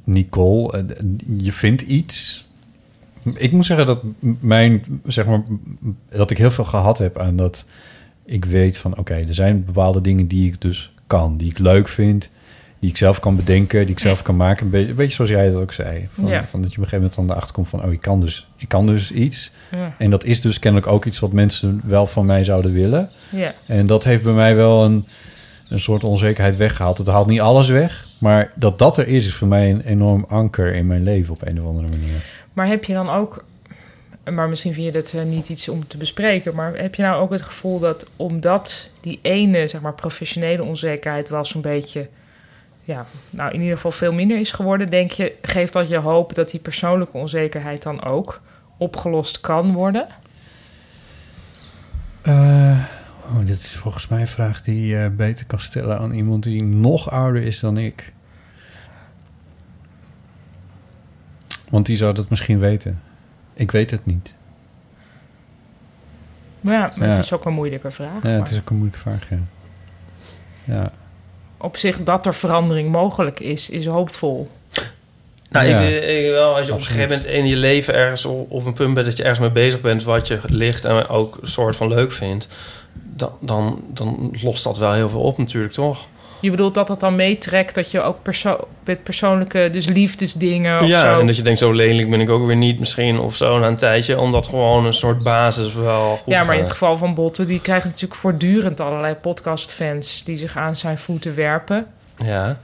Nicole, eh, d- je vindt iets. Ik moet zeggen dat m- mijn, zeg maar, m- dat ik heel veel gehad heb aan dat ik weet van oké, er zijn bepaalde dingen die ik dus kan, die ik leuk vind, die ik zelf kan bedenken, die ik zelf kan maken. Een beetje, een beetje zoals jij het ook zei. Van, Ja. van dat je op een gegeven moment dan erachter komt van oh, ik kan dus, ik kan dus iets. Ja. En dat is dus kennelijk ook iets wat mensen wel van mij zouden willen. Ja. En dat heeft bij mij wel een, een soort onzekerheid weggehaald. Het haalt niet alles weg, maar dat dat er is, is voor mij een enorm anker in mijn leven op een of andere manier. Maar heb je dan ook, maar misschien vind je dat eh, niet iets om te bespreken, maar heb je nou ook het gevoel dat omdat die ene, zeg maar, professionele onzekerheid wel zo'n beetje, ja, nou in ieder geval veel minder is geworden, denk je, geeft dat je hoop dat die persoonlijke onzekerheid dan ook opgelost kan worden? Eh, oh, dit is volgens mij een vraag die je beter kan stellen aan iemand die nog ouder is dan ik. Want die zou dat misschien weten. Ik weet het niet. Maar ja, maar Ja. het is ook een moeilijke vraag. Ja, maar het is ook een moeilijke vraag, ja. Ja. Op zich dat er verandering mogelijk is, is hoopvol. Nou, Ja. ik, ik wel. Als je op een gegeven moment in je leven ergens op, op een punt bent dat je ergens mee bezig bent, wat je ligt en ook een soort van leuk vindt, dan, dan, dan lost dat wel heel veel op, natuurlijk, toch? Je bedoelt dat dat dan meetrekt dat je ook perso- met persoonlijke, dus liefdesdingen of ja, zo. en dat je denkt, zo lelijk ben ik ook weer niet, misschien of zo na een tijdje, omdat gewoon een soort basis wel goed ja, maar in het eh, gaat. geval van Botten, die krijgt natuurlijk voortdurend allerlei podcastfans die zich aan zijn voeten werpen. Ja.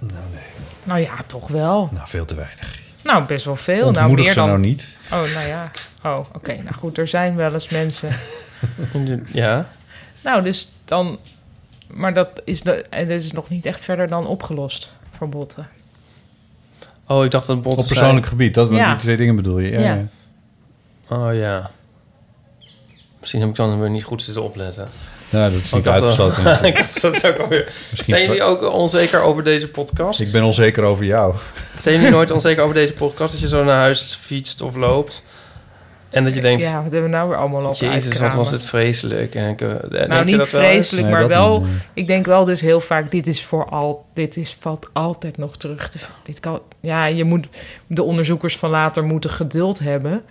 Nou ja, toch wel. Nou, veel te weinig. Nou, best wel veel. nou, Ontmoedig meer ze dan... nou niet. Oh, nou ja. Oh, oké. Nou goed, er zijn wel eens [laughs] mensen. Ja. nou, dus dan... Maar dat is, de... en dit is nog niet echt verder dan opgelost voor Botten. Oh, ik dacht dat bot Op persoonlijk gebied, dat, want Ja. die twee dingen bedoel je. Ja, Ja. ja. Oh ja. Misschien heb ik dan weer niet goed zitten opletten. Ja, dat is Want [laughs] niet uitgesloten natuurlijk. ik dacht dat ook alweer. Misschien Zijn jullie ook onzeker over deze podcast? Ik ben onzeker over jou. Zijn jullie nooit onzeker over deze podcast? Dat je zo naar huis fietst of loopt. En dat je denkt, Ja, wat hebben we nou weer allemaal op jezus, wat uitkramen? was dit vreselijk. En ik, eh, denk je Nou, niet dat wel eens? vreselijk, maar wel. Ik denk wel dus heel vaak: dit is voor al, dit is valt altijd nog terug te. Dit kan, ja, je moet de onderzoekers van later moeten geduld [laughs] hebben.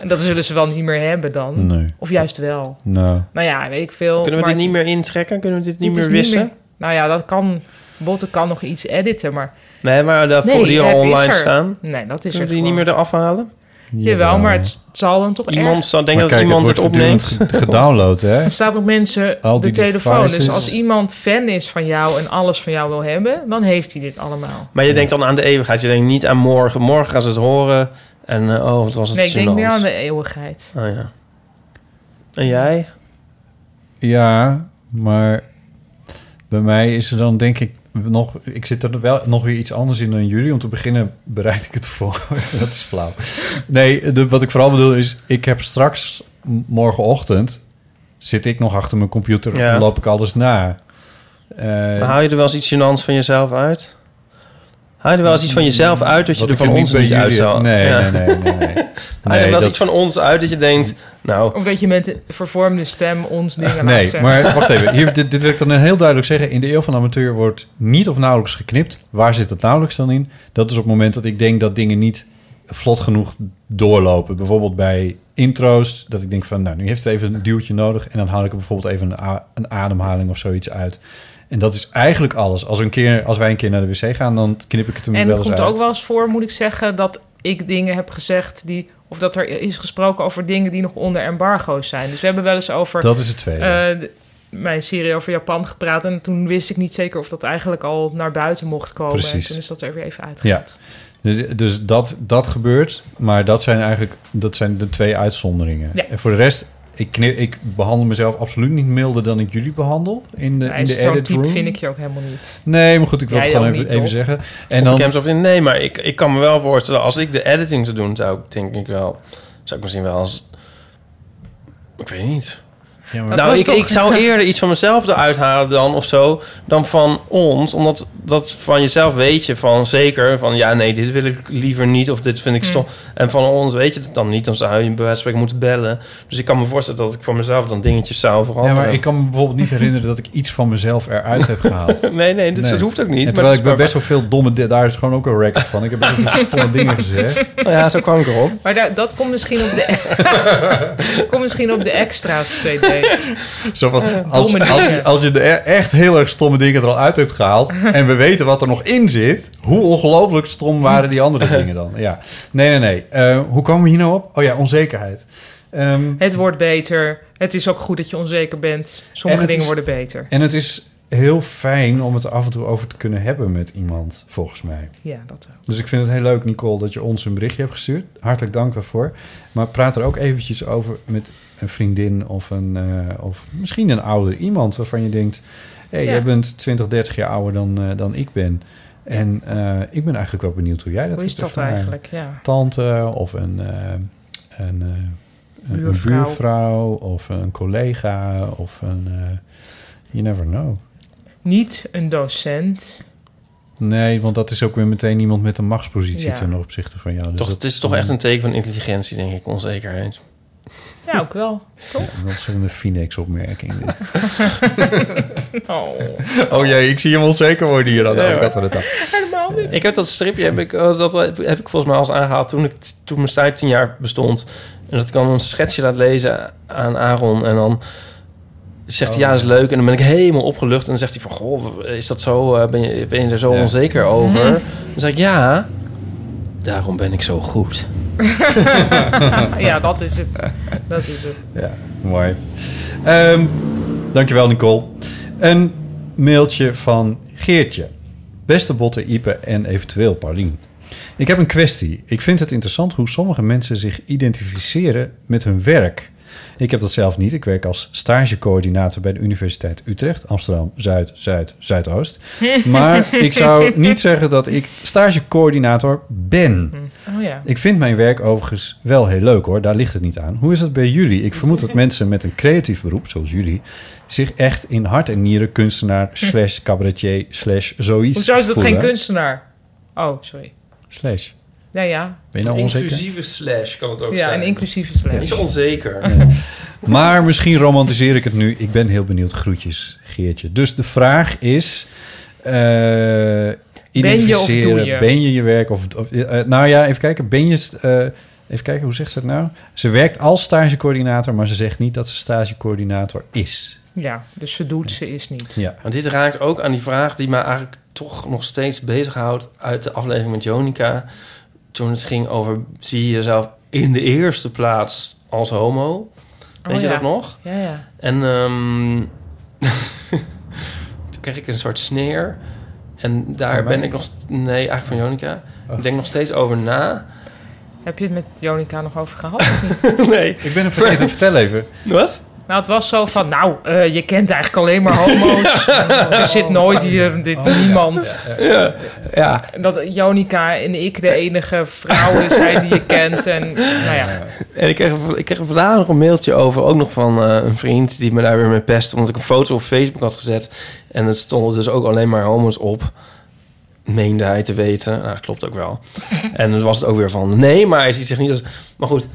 en dat zullen ze wel niet meer hebben dan. Nee. Of juist wel. Nou. Nou ja, weet ik veel. Kunnen we maar dit niet meer intrekken? Kunnen we dit niet is meer wissen? nou ja, dat kan. Botten kan nog iets editen, maar. Nee, maar eh, de, Nee, die al het is online er. staan. Nee, dat is er Kunnen we die gewoon. niet meer eraf halen? Jawel, maar het zal dan toch Iemand erg- zou denken Maar dat kijk, iemand het het wordt opneemt. voortdurend ge- gedownload, [laughs] hè? Het staat op mensen Al de die telefoon. Dus devices. als iemand fan is van jou en alles van jou wil hebben, dan heeft hij dit allemaal. Maar je denkt dan aan de eeuwigheid. Je denkt niet aan morgen. Morgen gaan ze het horen. En eh, oh, wat was het Nee, ik denk gênant. meer aan de e- eeuwigheid. Oh ja. En jij? Ja, maar bij mij is er dan denk ik nog... Ik zit er wel nog weer iets anders in dan jullie. Om te beginnen bereid ik het voor. [laughs] dat is flauw. Nee, de- wat ik vooral bedoel is... Ik heb straks m- morgenochtend... Zit ik nog achter mijn computer Ja. en loop ik alles na. Eh, Maar hou je er wel eens iets gênants van jezelf uit? Haal je er wel eens iets van jezelf uit dat je Wat er ik van er niet ons bij niet jullie uit zou... heb. Nee, nee, nee, [laughs] nee, Haal nee. je er Nee, wel eens dat- iets van ons uit dat je denkt... Nou, Of dat je met de vervormde stem ons dingen laat Nee, zeggen. maar wacht even. [laughs] Hier, dit, dit wil ik dan heel duidelijk zeggen. In de eeuw van de amateur wordt niet of nauwelijks geknipt. Waar zit dat nauwelijks dan in? Dat is op het moment dat ik denk dat dingen niet vlot genoeg doorlopen. Bijvoorbeeld bij intro's. Dat ik denk van, nou, nu heeft het even een duwtje nodig. En dan haal ik er bijvoorbeeld even een, a- een ademhaling of zoiets uit. En dat is eigenlijk alles. Als, we een keer, als wij een keer naar de wc gaan, dan knip ik het er En het wel eens komt uit. ook wel eens voor, moet ik zeggen, dat ik dingen heb gezegd die... Of dat er is gesproken over dingen die nog onder embargo's zijn. Dus we hebben wel eens over... Dat is het tweede. eh, de- mijn serie over Japan gepraat. En toen wist ik niet zeker of dat eigenlijk al naar buiten mocht komen. En Precies. toen is dus dat er weer even uitgegaan. Ja. Dus, dus dat, dat gebeurt, maar dat zijn eigenlijk dat zijn de twee uitzonderingen. Ja. En voor de rest ik, kni- ik behandel mezelf absoluut niet milder dan ik jullie behandel in de, in Nee, de zo'n edit type room. vind ik je ook helemaal niet. Nee, maar goed, ik wil Jij het gewoon ook even, niet, even toch? zeggen. En dan... of in, nee, maar ik, ik kan me wel voorstellen... als ik de editing zou doen, zou ik denk ik wel... zou ik misschien wel als... Ik weet niet. Ja, maar- nou, Dat ik, was ik toch- zou eerder iets van mezelf eruit halen dan of zo... dan van ons. Omdat dat van jezelf weet je van zeker... van ja, nee, dit wil ik liever niet of dit vind Hmm. ik stom. En van ons weet je het dan niet. Dan zou je bij wijze van spreken moeten bellen. Dus ik kan me voorstellen dat ik voor mezelf dan dingetjes zou veranderen. Ja, maar ik kan me bijvoorbeeld niet herinneren dat ik iets van mezelf eruit heb [laughs] gehaald. Nee, nee, dus dat hoeft ook niet, En maar terwijl het ik is ben maar- best wel veel domme... di- Daar is gewoon ook een record van. Ik heb best wel veel stomme dingen gezegd. [laughs] Nou ja, zo kwam ik erop. Maar daar- dat komt misschien op de, komt misschien op de extra's CD. Zo van, Eh, als, domme als, je, dingen. als je de e- echt heel erg stomme dingen er al uit hebt [laughs] gehaald... en we weten wat er nog in zit... hoe ongelooflijk stom waren die [laughs] [laughs] andere dingen dan? Ja. Nee, nee, nee. Eh, hoe komen we hier nou op? Oh ja, onzekerheid. Ehm, Het wordt beter. Het is ook goed dat je onzeker bent. Sommige en het dingen is- worden beter. En het is heel fijn om het er af en toe over te kunnen hebben met iemand, volgens mij. Ja, dat ook. Dus ik vind het heel leuk, Nicole, dat je ons een berichtje hebt gestuurd. Hartelijk dank daarvoor. Maar praat er ook eventjes over met een vriendin of, een, eh, of misschien een ouder iemand waarvan je denkt... hé, hey, Ja. jij bent 20, 30 jaar ouder dan, eh, dan ik ben. En eh, ik ben eigenlijk wel benieuwd hoe jij dat Hoe is hebt dat ervaren. eigenlijk? Ja. Tante of een, eh, een, eh, een Buurvrouw. buurvrouw. of een collega of een... eh, you never know. Niet een docent. Nee, want dat is ook weer meteen iemand met een machtspositie Ja. ten opzichte van jou. Dus toch, dat het is toch dan echt een teken van intelligentie, denk ik, onzekerheid. Ja, ook [laughs] wel. Toch? Een ontzettende Phoenix-opmerking. [laughs] Oh. oh jee, ik zie hem onzeker worden hier. aan de Ja, overkant hoor. van de tafel. Helemaal niet. Ik heb dat stripje, heb ik, eh, dat heb ik volgens mij al eens aangehaald toen, ik, toen mijn site tien jaar bestond. En dat ik dan een schetsje laat lezen aan Aaron. En dan zegt Oh. hij, ja, is leuk. En dan ben ik helemaal opgelucht. En dan zegt hij van, goh, is dat zo? eh, Ben je, ben je er zo Ja. onzeker over? Mhm. Dan zeg ik, ja, daarom ben ik zo [laughs] [laughs] goed. ja, dat is het. Dat is het. Ja, mooi. Ehm, dankjewel, Nicole. Een mailtje van Geertje. Beste Botte, Ipe en eventueel Paulien. Ik heb een kwestie. Ik vind het interessant hoe sommige mensen zich identificeren met hun werk. Ik heb dat zelf niet. Ik werk als stagecoördinator bij de Universiteit Utrecht, Amsterdam, Zuid, Zuid, [laughs] Zuidoost. Maar ik zou niet zeggen dat ik stagecoördinator ben. Oh ja. Ik vind mijn werk overigens wel heel leuk hoor, daar ligt het niet aan. Hoe is het bij jullie? Ik vermoed dat mensen met een creatief beroep, zoals jullie, zich echt in hart en nieren kunstenaar, slash cabaretier, slash zoiets. Hoezo is dat voelen. geen kunstenaar? Oh, sorry. Slash. Nou ja. Ben je nou onzeker? slash kan het ook Ja, een inclusieve slash. Niet zo onzeker. Maar misschien romantiseer ik het nu. Ik ben heel benieuwd. Groetjes, Geertje. Dus de vraag is... eh, identificeren. doe je? Ben je je werk? Of, of- eh, nou ja, even kijken. Ben je... eh, even kijken, hoe zegt ze het nou? Ze werkt als stagecoördinator, maar ze zegt niet dat ze stagecoördinator is. Ja, dus ze doet, ze is niet. Ja. Maar dit raakt ook aan die vraag die mij eigenlijk toch nog steeds bezighoudt uit de aflevering met Jonica. Toen het ging over zie je jezelf in de eerste plaats als homo. Weet Oh je ja. dat nog? Ja, ja. En ehm, [laughs] toen kreeg ik een soort sneer. En daar Van mij? ben ik nog... st- Nee, eigenlijk van Jonica. Oh. Ik denk nog steeds over na. Heb je het met Jonica nog over gehad? of [laughs] niet? nee. Ik ben hem vergeten. [laughs] Vertel even. Wat? Nou, het was zo van, nou, eh, je kent eigenlijk alleen maar [laughs] homo's. Oh, Oh. Er zit nooit hier dit, niemand. Ja. ja. Dat Jonica en ik de enige vrouwen zijn die je kent. En, nou [laughs] ja. En ik kreeg, ik kreeg vandaag nog een mailtje over, ook nog van eh, een vriend die me daar weer mee pestte, omdat ik een foto op Facebook had gezet. En het stonden dus ook alleen maar homo's op, meende hij te weten. Nou, dat klopt ook wel. [laughs] En dan was het ook weer van, nee, maar hij ziet zich niet als... Maar goed,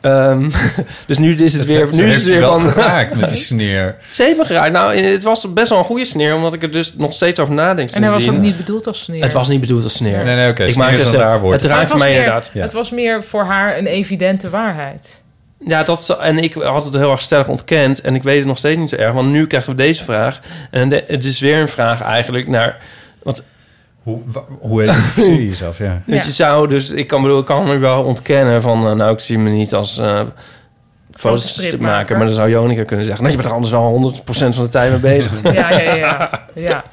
ehm, [laughs] dus nu is het weer, Ze nu is heeft het je weer wel van... geraakt [laughs] met die sneer. Ze heeft me geraakt. Nou, en het was best wel een goede sneer, omdat ik er dus nog steeds over nadenk. en hij was ook sindsdien. niet bedoeld als sneer. Het was niet bedoeld als sneer. Nee, nee, oké, Ik sneer maakte is een ze- raar woord. Maar Het het raakte was mij meer- inderdaad. Het was meer voor haar een evidente waarheid. Ja, dat zo- en ik had het heel erg stellig ontkend. En ik weet het nog steeds niet zo erg. Want nu krijgen we deze vraag. En de- het is weer een vraag eigenlijk naar... Want, hoe, [laughs] hoe identificeer je jezelf? Ja. Want je zou dus... Ik kan, bedoel, ik kan me wel ontkennen van... eh, nou, ik zie me niet als... eh, foto's te stripmaker. maken. Maar dan zou Jonica kunnen zeggen... Nou, je bent er anders wel 100% van de tijd mee bezig. [laughs] Ja, ja, ja. ja.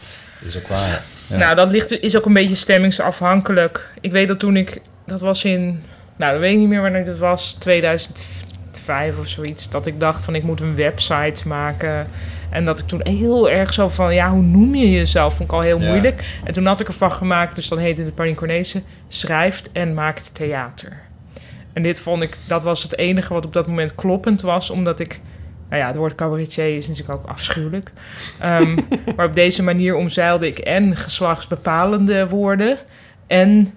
Is ook waar. Ja. Nou, dat ligt, is ook een beetje stemmingsafhankelijk. Ik weet dat toen ik, dat was in, nou, dat weet ik niet meer wanneer dat was, 2014 vijf of zoiets, dat ik dacht van ik moet een website maken. En dat ik toen heel erg zo van, ja, hoe noem je jezelf? Vond ik al heel Ja. moeilijk. En toen had ik ervan gemaakt, dus dan heette het Parin Cornese, schrijft en maakt theater. En dit vond ik, dat was het enige wat op dat moment kloppend was, omdat ik, nou ja, het woord cabaretier is natuurlijk ook afschuwelijk. Ehm, maar op deze manier omzeilde ik en geslachtsbepalende woorden en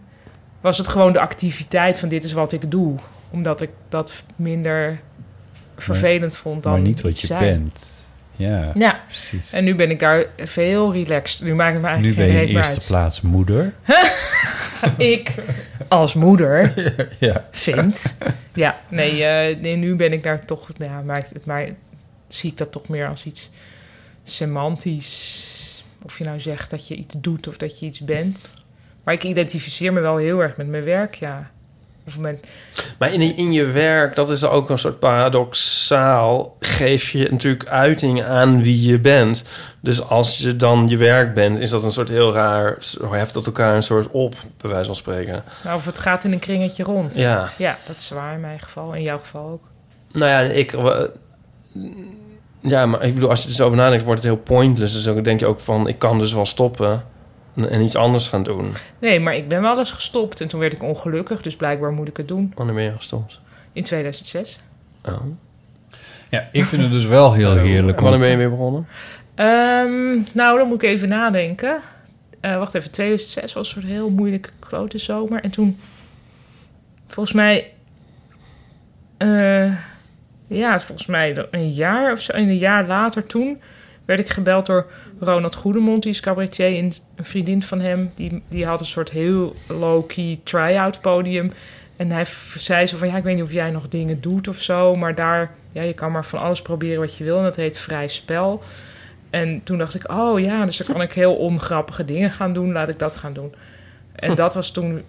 was het gewoon de activiteit van dit is wat ik doe, omdat ik dat minder vervelend vond dan maar niet wat iets je zijn. bent. Ja, Ja, precies. en nu ben ik daar veel relaxed. Nu maakt het me nu eigenlijk ben geen je in reet meer eerste uit. plaats moeder. [laughs] ik als moeder [laughs] Ja. vind. Ja, nee, eh, nee, nu ben ik daar toch. nou Ja, maakt het maar zie ik dat toch meer als iets semantisch. Of je nou zegt dat je iets doet of dat je iets bent. Maar ik identificeer me wel heel erg met mijn werk, ja. Of met, Maar in, in je werk, dat is ook een soort paradoxaal, geef je natuurlijk uiting aan wie je bent. Dus als je dan je werk bent, is dat een soort heel raar, zo heft dat elkaar een soort op, bij wijze van spreken. nou, of het gaat in een kringetje rond. Ja. ja, dat is waar in mijn geval. In jouw geval ook. Nou ja, ik. eh, Ja, maar ik bedoel, als je er zo over nadenkt, wordt het heel pointless. Dus dan denk je ook van, ik kan dus wel stoppen en, en iets anders gaan doen. Nee, maar ik ben wel eens gestopt en toen werd ik ongelukkig. Dus blijkbaar moet ik het doen. Wanneer ben je gestopt? In 2006. Oh. Ja, ik vind het dus wel heel heerlijk. En wanneer ben je weer begonnen? Ehm, nou, dan moet ik even nadenken. Eh, wacht even, 2006 was een soort heel moeilijke klote zomer. En toen, volgens mij, eh, ja, volgens mij een jaar of zo, een jaar later toen, werd ik gebeld door Ronald Goedemond, die is cabaretier, en een vriendin van hem. Die, die had een soort heel low-key try-out podium. En hij v- zei zo van, ja, ik weet niet of jij nog dingen doet of zo, maar daar, ja, je kan maar van alles proberen wat je wil. En dat heet vrij spel. En toen dacht ik, oh ja, dus dan kan ik heel ongrappige dingen gaan doen, laat ik dat gaan doen. En dat was toen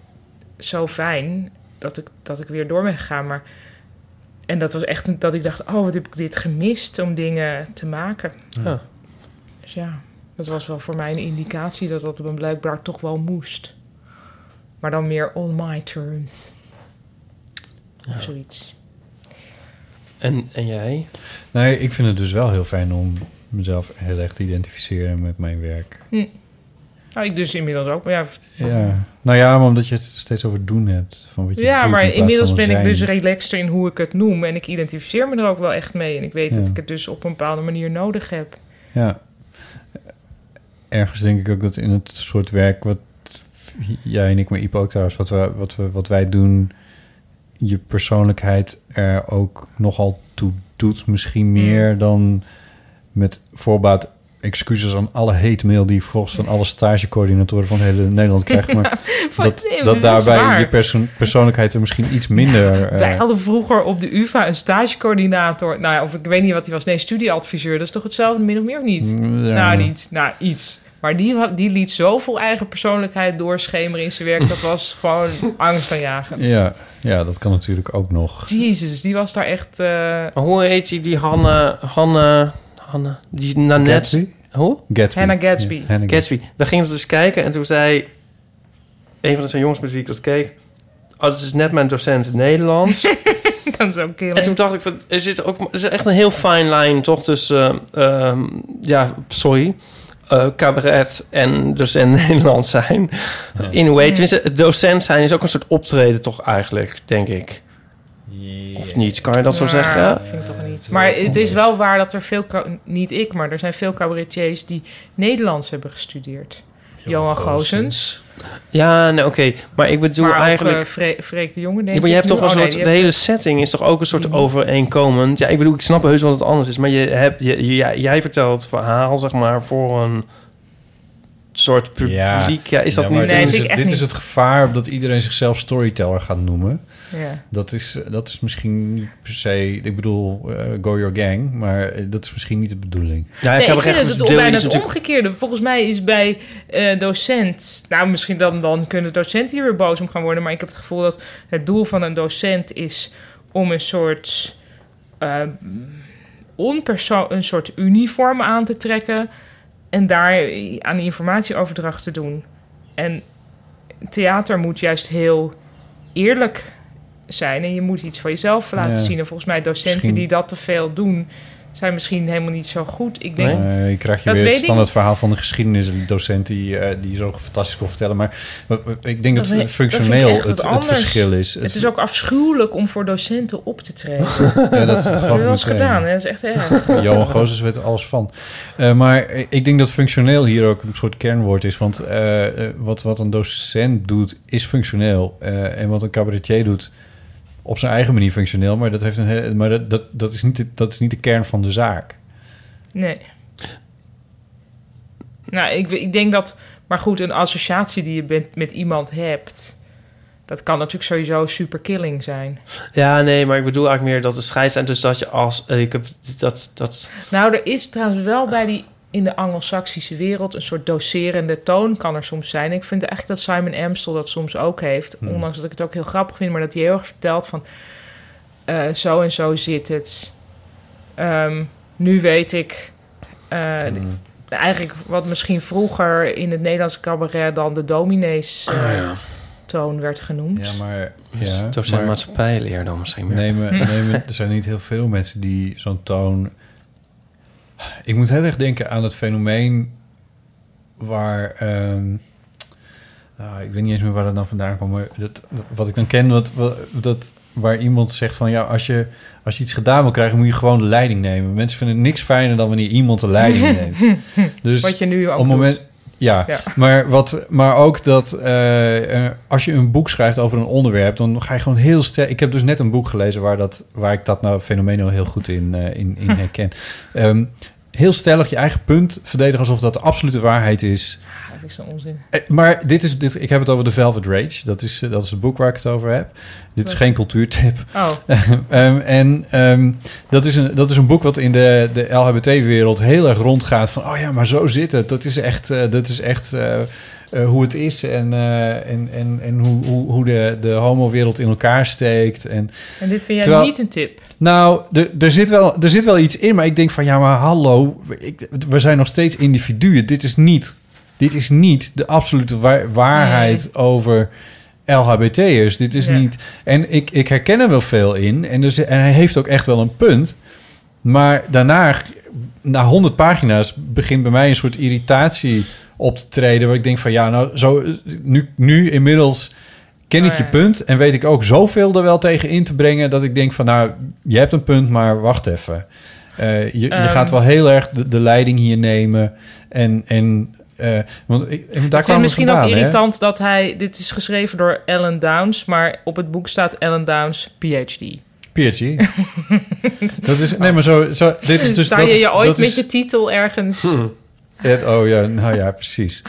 zo fijn dat ik, dat ik weer door ben gegaan. Maar, en dat was echt een- dat ik dacht, oh wat heb ik dit gemist om dingen te maken. Ja. Dus ja, dat was wel voor mij een indicatie dat dat dan blijkbaar toch wel moest. Maar dan meer on my terms. Of zoiets. En, en jij? Nee, ik vind het dus wel heel fijn om mezelf heel erg te identificeren met mijn werk. Hm. Nou, ik dus inmiddels ook. Maar ja, Ja. Nou ja, maar omdat je het steeds over doen hebt. Van wat je ja, doet maar in plaats inmiddels van ben ik zijn. dus relaxter in hoe ik het noem. En ik identificeer me er ook wel echt mee. En ik weet dat Ja. ik het dus op een bepaalde manier nodig heb. Ja. Ergens denk ik ook dat in het soort werk wat jij en ik, maar Ipo ook trouwens, wat, we, wat, we, wat wij doen, je persoonlijkheid er ook nogal toe doet. Misschien Hmm. meer dan met voorbaat excuses aan alle hate mail die je volgens van alle stagecoördinatoren van heel Nederland [laughs] krijgt. Maar Van, dat, nee, dat dat is daarbij waar. je perso- persoonlijkheid er misschien iets minder... eh, Wij hadden vroeger op de UvA een stagecoördinator. Nou ja, of ik weet niet wat hij was. Nee, studieadviseur. Dat is toch hetzelfde min of meer of niet? Mm, ja. Nou, niet. Nou, iets. Maar die, had- die liet zoveel eigen persoonlijkheid doorschemeren in zijn werk. Dat [laughs] was gewoon angstaanjagend. ja, ja, dat kan natuurlijk ook nog. Jezus, die was daar echt... eh, [laughs] Maar hoe heet die, die Hanna, Hanna, Hanna, die Nanette? Gatsby? Hoe? Gatsby. Hannah Gatsby. Ja, Hannah Gatsby. Daar gingen we dus kijken en toen zei een van de twee jongens met wie ik dat keek... Oh, dat is net mijn docent [laughs] Nederlands. dat is ook killing. En toen dacht ik, van, er zit ook er zit echt een heel fine line toch tussen, eh, ehm, ja, sorry, eh, cabaret en docent [laughs] Nederlands zijn. In a way, tenminste, het docent zijn is ook een soort optreden toch eigenlijk, denk ik. Of niet, kan je dat zo Maar zeggen? Dat vind ik toch niet. Maar het is wel waar dat er veel, ca- niet ik, maar er zijn veel cabaretiers die Nederlands hebben gestudeerd. Johan Goosens. Ja, nee, oké. Maar ik bedoel maar ook, eigenlijk... eh, Fre- Freek de Jonge, denk Ja, maar je ik hebt toch nu. een Oh, nee, soort... die de heeft- hele setting is toch ook een Mhm. soort overeenkomend... Ja, ik bedoel, ik snap heus wel dat het anders is. Maar je hebt, je, je- jij- jij vertelt het verhaal, zeg maar, voor een soort publiek. Ja, is dat Ja, maar niet... dit is, het- dit is het gevaar dat iedereen zichzelf storyteller gaat noemen. Ja. Dat, is, dat is misschien niet per se... Ik bedoel, eh, go your gang. Maar eh, dat is misschien niet de bedoeling. Nee, ik vind het, het bijna het omgekeerde. Volgens mij is bij eh, docent... Nou, misschien dan, dan kunnen docenten hier weer boos om gaan worden... maar ik heb het gevoel dat het doel van een docent is... om een soort... eh, onperso- een soort uniform aan te trekken... en daar aan informatieoverdracht te doen. En theater moet juist heel eerlijk zijn en je moet iets van jezelf laten Ja. zien. En volgens mij docenten Misschien- die dat te veel doen, zijn misschien helemaal niet zo goed. Ik denk, Nee, je krijgt je dat weet weer het ik standaard verhaal van de geschiedenisdocent die, eh, die zo fantastisch kon vertellen. Maar eh, ik denk dat, weet- dat het vind ik functioneel echt het, wat het anders. verschil is. Het is ook afschuwelijk om voor docenten op te [laughs] treden. ja, [laughs] dat- dat geloof ik wel eens meteen. gedaan, hè? dat is echt erg. [laughs] Johan Gozes weet er alles van. Eh, maar ik denk dat functioneel hier ook een soort kernwoord is. Want eh, eh, wat, wat een docent doet, is functioneel. Eh, en wat een cabaretier doet, op zijn eigen manier functioneel. Maar dat, heeft een, he- maar dat, dat, dat, is, niet de, dat is niet de kern van de zaak. Nee. Nou, ik, ik denk dat... Maar goed, een associatie die je met, met iemand hebt... dat kan natuurlijk sowieso super killing zijn. Ja, nee, maar ik bedoel eigenlijk meer dat de scheids zijn. Dus dat je als... eh, ik heb dat... dat Nou, er is trouwens wel bij die... in de anglo-saxische wereld een soort doserende toon kan er soms zijn. Ik vind eigenlijk dat Simon Amstel dat soms ook heeft. Hmm. Ondanks dat ik het ook heel grappig vind... maar dat hij heel erg vertelt van... eh, zo en zo zit het. Ehm, nu weet ik... eh, eigenlijk wat misschien vroeger in het Nederlandse cabaret dan de dominees eh, Ah, ja. toon werd genoemd. Ja, maar... Dus Ja, docent maar- maatschappijleer dan misschien meer. Nemen, Hm. nemen, er zijn niet heel veel mensen die zo'n toon... Ik moet heel erg denken aan het fenomeen waar... ehm, nou, ik weet niet eens meer waar dat dan vandaan komt. Maar dat, wat ik dan ken, wat, wat- dat, waar iemand zegt van... Ja, als je, als je iets gedaan wil krijgen, moet je gewoon de leiding nemen. Mensen vinden het niks fijner dan wanneer iemand de leiding [laughs] neemt. Dus Wat je nu ook op het moment, doet. ja, Ja. Maar, wat, maar ook dat eh, eh, als je een boek schrijft over een onderwerp, dan ga je gewoon heel sterk. Ik heb dus net een boek gelezen waar, dat, waar ik dat nou fenomeen al heel goed in, eh, in, [laughs] in herken. Ehm, heel stellig je eigen punt verdedigen alsof dat de absolute waarheid is. Dat is een onzin. Eh, Maar dit is, dit, ik heb het over The Velvet Rage. Dat is, eh, dat is het boek waar ik het over heb. Dit is Wat? geen cultuurtip. Oh. [laughs] Ehm, en ehm, dat, is een, dat is een boek wat in de, de LHBT-wereld heel erg rondgaat. Van, oh ja, maar zo zit het. Dat is echt, eh, dat is echt eh, eh, hoe het is. En, eh, en, en, en hoe, hoe, hoe de, de homo-wereld in elkaar steekt. En, En dit vind jij Terwijl- niet een tip? nou, de- er zit, wel, er zit wel iets in, maar ik denk van ja, maar hallo, ik, we zijn nog steeds individuen. Dit is niet, dit is niet de absolute waar- waarheid over LHBT'ers. Dit is niet. En ik, ik herken er wel veel in. En, dus, en hij heeft ook echt wel een punt. Maar daarna, na honderd pagina's, begint bij mij een soort irritatie op te treden. Waar ik denk van ja, nou, zo, nu, nu inmiddels ken Oh ik je punt en weet ik ook zoveel er wel tegen in te brengen dat ik denk van nou, je hebt een punt, maar wacht even. Eh, je, je Ehm. gaat wel heel erg de, de leiding hier nemen en, en eh, want ik, en daar het is kwam het misschien vandaan. ook hè? irritant dat hij... Dit is geschreven door Ellen Downs, maar op het boek staat Ellen Downs, PhD. PhD. [laughs] dat is nee, maar zo, zo dit is dus Sta dat je is- je ooit dat met is- je titel Hm. ergens... [laughs] Het- oh ja, nou ja, precies.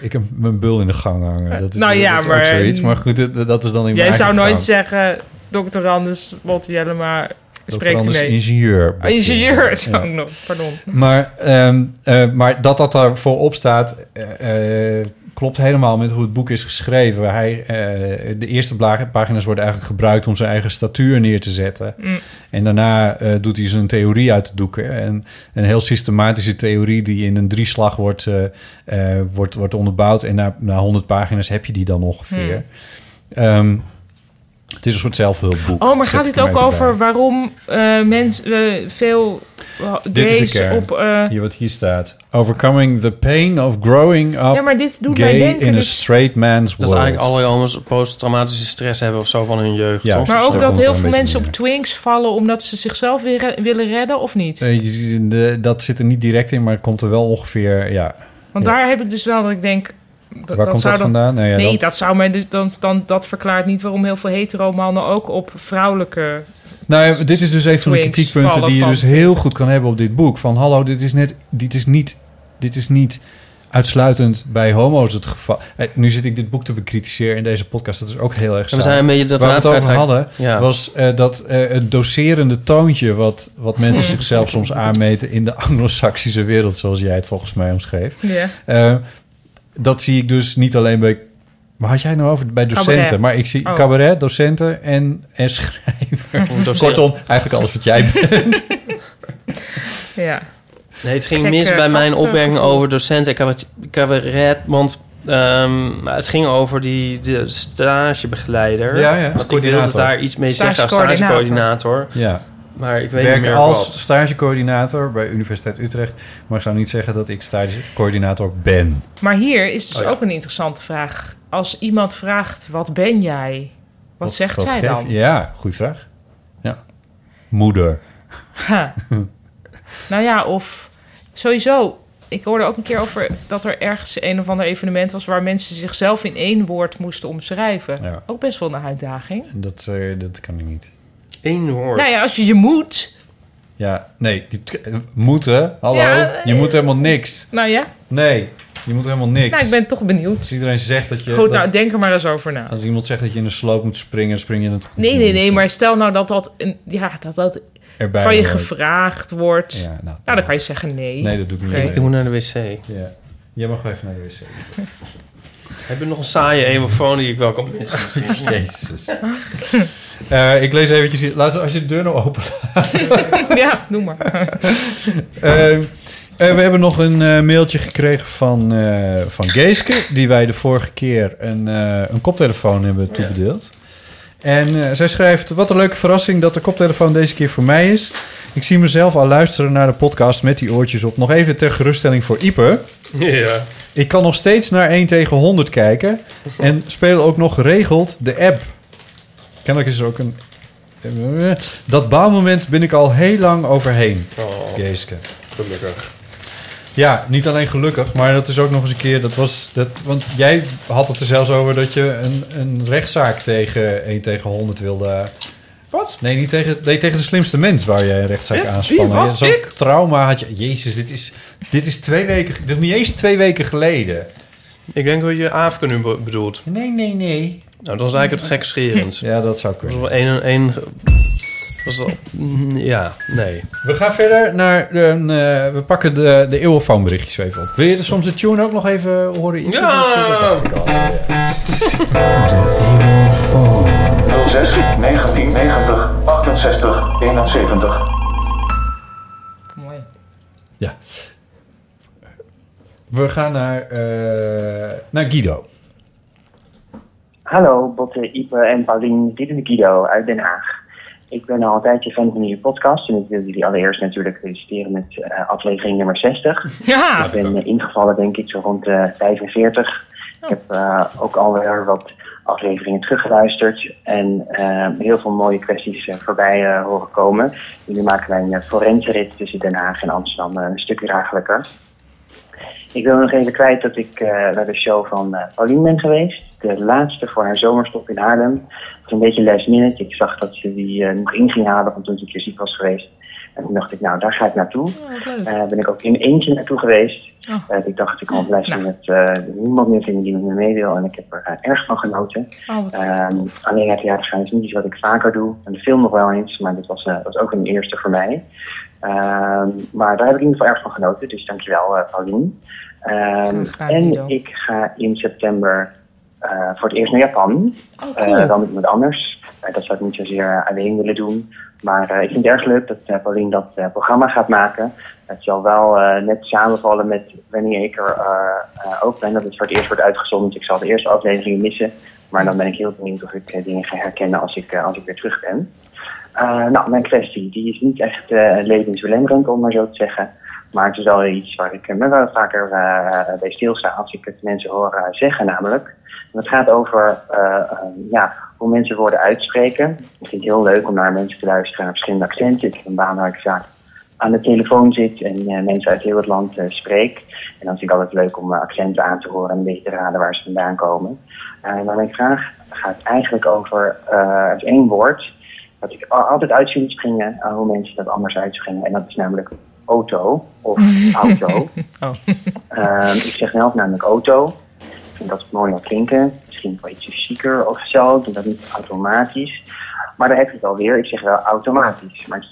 Ik heb mijn bul in de gang hangen. Dat is, Nou ja, dat is ook maar- zoiets. Maar goed, dat, dat is dan in mijn Jij eigen zou gang. nooit zeggen, dokter Anders, Botte Jellema, spreekt u Anders mee. dus ingenieur, Ah, Botte ingenieur [laughs] is Jellema, ook ja. nog, pardon. Maar, ehm, eh, maar dat dat daar voorop staat, eh, eh, klopt helemaal met hoe het boek is geschreven. Hij, eh, de eerste bla- pagina's worden eigenlijk gebruikt om zijn eigen statuur neer te zetten. Mm. En daarna eh, doet hij zijn theorie uit de doeken. En een heel systematische theorie die in een drieslag wordt, eh, eh, wordt, wordt onderbouwd. En na, na 100 pagina's heb je die dan ongeveer. Ehm, het is een soort zelfhulpboek. Mm. Oh, maar zet gaat ik dit er ook even bij. over waarom mensen veel Dit is de deze kern. op... eh, hier wat hier staat. Overcoming the pain of growing up Ja, maar dit doet mij gay denken in a dus- straight man's Dat world. eigenlijk alle jongens posttraumatische stress hebben of zo van hun jeugd. Ja, toch? maar ook dat komt wel heel een veel beetje mensen op twinks vallen omdat ze zichzelf weer re- willen redden of niet? Eh, je ziet, de- dat zit er niet direct in, maar het komt er wel ongeveer, ja. Want Ja. daar heb ik dus wel dat ik denk... dat- Waar komt zou dat dan- vandaan? Nou ja, nee, dat- dat... zou mij dus- dan, dan, dat verklaart niet waarom heel veel hetero-mannen ook op [laughs] vrouwelijke... Nou, ja, dit is dus een van de Twinks kritiekpunten vallen die je van dus heel goed kan hebben op dit boek. Van hallo, dit is, net, dit is, niet, dit is niet uitsluitend bij homo's het geval. Eh, nu zit ik dit boek te bekritiseren in deze podcast. Dat is ook heel erg En we saai. zijn een beetje dat Waar we het raad over kwijt- hadden, Ja. was eh, dat eh, het doserende toontje... wat, wat [laughs] mensen zichzelf soms aanmeten in de anglo-saxische wereld... zoals jij het volgens mij omschreef. Ja. Eh, dat zie ik dus niet alleen bij... Waar had jij het nou over? Bij docenten. Cabaret. Maar ik zie Oh. cabaret, docenten en, en schrijvers. Oh, [laughs] docent. Kortom, eigenlijk alles wat jij bent. Ja. Nee, het ging Gekke mis bij mijn achtergevoel. opmerking over docenten en cabaret- cabaret. Want Ehm, maar het ging over die de stagebegeleider. Ja, ja. Want ik wilde Coördinator. daar iets mee zeggen als Stagecoördinator. stagecoördinator. Ja. Maar ik weet Werk niet meer als wat. stagecoördinator bij Universiteit Utrecht. Maar ik zou niet zeggen dat ik stagecoördinator ben. Maar hier is dus Oh ja. ook een interessante vraag. Als iemand vraagt, wat ben jij? Wat, zegt zij geef- dan? Ja, goede vraag. Ja. Moeder. [laughs] Ha. nou ja, of sowieso. Ik hoorde ook een keer over dat er ergens een of ander evenement was... waar mensen zichzelf in één woord moesten omschrijven. Ja. Ook best wel een uitdaging. Dat, eh, dat kan ik niet. Eén woord. Nou ja, als je je moet... Ja, nee. Die, moeten. Hallo. Ja, je moet helemaal niks. Nou ja, Nee, je moet helemaal niks. nou, ik ben toch benieuwd. Als iedereen zegt dat je... Goed, dat- nou, denk er maar eens over na. Als iemand zegt dat je in de sloop moet springen, dan spring je in het Nee, nee, nee, maar stel nou dat dat, een, ja, dat, dat Erbij van je hoort. gevraagd wordt. Ja, nou, nou, dan kan je zeggen nee. Nee, dat doe ik niet. Oké. Nee. Ik moet naar de wc. Ja. Jij mag wel even naar de wc. Heb je nog een saaie emofoon die ik wel kan missen? misschien? [laughs] Jezus. Eh, ik lees eventjes... hier- Laat, als je de deur nou open laat. [laughs] ja, noem maar. [laughs] Eh, eh, we hebben nog een eh, mailtje gekregen van, eh, van Geeske... die wij de vorige keer een, eh, een koptelefoon hebben toebedeeld. En eh, zij schrijft... Wat een leuke verrassing dat de koptelefoon deze keer voor mij is. Ik zie mezelf al luisteren naar de podcast met die oortjes op. Nog even ter geruststelling voor Ieper. [laughs] Ja. Ik kan nog steeds naar 1 tegen 100 kijken. En speel ook nog geregeld de app. Kennelijk is er ook een... eh, Dat baalmoment ben ik al heel lang overheen. Geeske. Oh, Gelukkig. Ja, niet alleen gelukkig, maar dat is ook nog eens een keer... Dat was, dat, want jij had het er zelfs over dat je een, een rechtszaak tegen 1 tegen 100 wilde... Wat? Nee, niet tegen, nee, tegen de slimste mens waar jij een rechtszaak Wie? aanspannen. Wie? Wat? Zo'n Ik? trauma had je... Jezus, dit is, dit is twee weken... Dit is niet eens twee weken geleden. Ik denk dat je Aafke nu be- bedoelt. Nee, nee, nee. Nou, dat is eigenlijk het gekscherend. Ja, dat zou kunnen. Dat was wel één... één was wel, Mm, ja, nee. We gaan verder naar... een, eh, we pakken de, de eeuwenfoonberichtjes even op. Wil je er soms de tune ook nog even horen? Ipe? Dat dacht ik al, ja. 06 1990 68 71. We gaan naar, eh, naar Guido. Hallo, Botte, Ipe en Paulien, dit is Guido uit Den Haag. Ik ben al een tijdje fan van jullie podcast en ik wil jullie allereerst natuurlijk feliciteren met eh, aflevering nummer 60. Ja. ik ben eh, ingevallen denk ik zo rond eh 45. Ik heb eh, ook alweer wat afleveringen teruggeluisterd en eh, heel veel mooie kwesties eh, voorbij eh, horen komen. Jullie maken bij een eh, forense rit tussen Den Haag en Amsterdam eh, een stukje draaglijker. Ik wil nog even kwijt dat ik eh, naar de show van eh Pauline ben geweest. De laatste voor haar zomerstop in Haarlem. Het was een beetje last minute. Ik zag dat ze die eh, nog in ging halen, want toen ze een keer ziek was geweest. En toen dacht ik, nou, daar ga ik naartoe. Eh ben ik ook in eentje naartoe geweest. Oh. Eh, ik dacht, ik kan last minute eh, niemand meer vinden die met me mee wil. En ik heb er eh, erg van genoten. Oh, wat Ehm, alleen het theatergaan is niet iets wat ik vaker doe. En de film nog wel eens, maar dit was, eh, was ook een eerste voor mij. Ehm, maar daar heb ik in ieder geval erg van genoten, dus dankjewel eh Paulien. Ehm, en ik ga in september eh, voor het eerst naar Japan. Oh, Eh, dan met iemand anders. Eh, dat zou ik niet zozeer alleen willen doen. Maar eh, ik vind het erg leuk dat eh Paulien dat eh, programma gaat maken. Het zal wel eh, net samenvallen met wanneer ik er eh, eh, ook ben. Dat het voor het eerst wordt uitgezonden. Dus ik zal de eerste afleveringen missen. Maar dan ben ik heel benieuwd of ik eh, dingen ga herkennen als ik, eh, als ik weer terug ben. Eh, nou, mijn kwestie die is niet echt eh levensbelemmerend, om maar zo te zeggen. Maar het is wel iets waar ik eh, me wel vaker eh, bij stilsta als ik het mensen hoor eh, zeggen, namelijk. En het gaat over eh, eh, ja, hoe mensen woorden uitspreken. Ik vind het heel leuk om naar mensen te luisteren naar verschillende accenten. Ik heb een baan waar ik vaak aan de telefoon zit en eh, mensen uit heel het land eh, spreek. En dan vind ik altijd leuk om eh, accenten aan te horen en een beetje te raden waar ze vandaan komen. Eh, maar mijn vraag gaat eigenlijk over eh, het één woord dat ik al- altijd uit zie springen aan hoe mensen dat anders uitspringen. En dat is namelijk auto [laughs] of auto. Oh. Ehm, ik zeg zelf namelijk auto. Ik vind dat het mooier klinken. Misschien wel ietsje chiquer of zo. Ik doe dat niet automatisch. Maar daar heb je het alweer. Ik zeg wel automatisch. Maar ik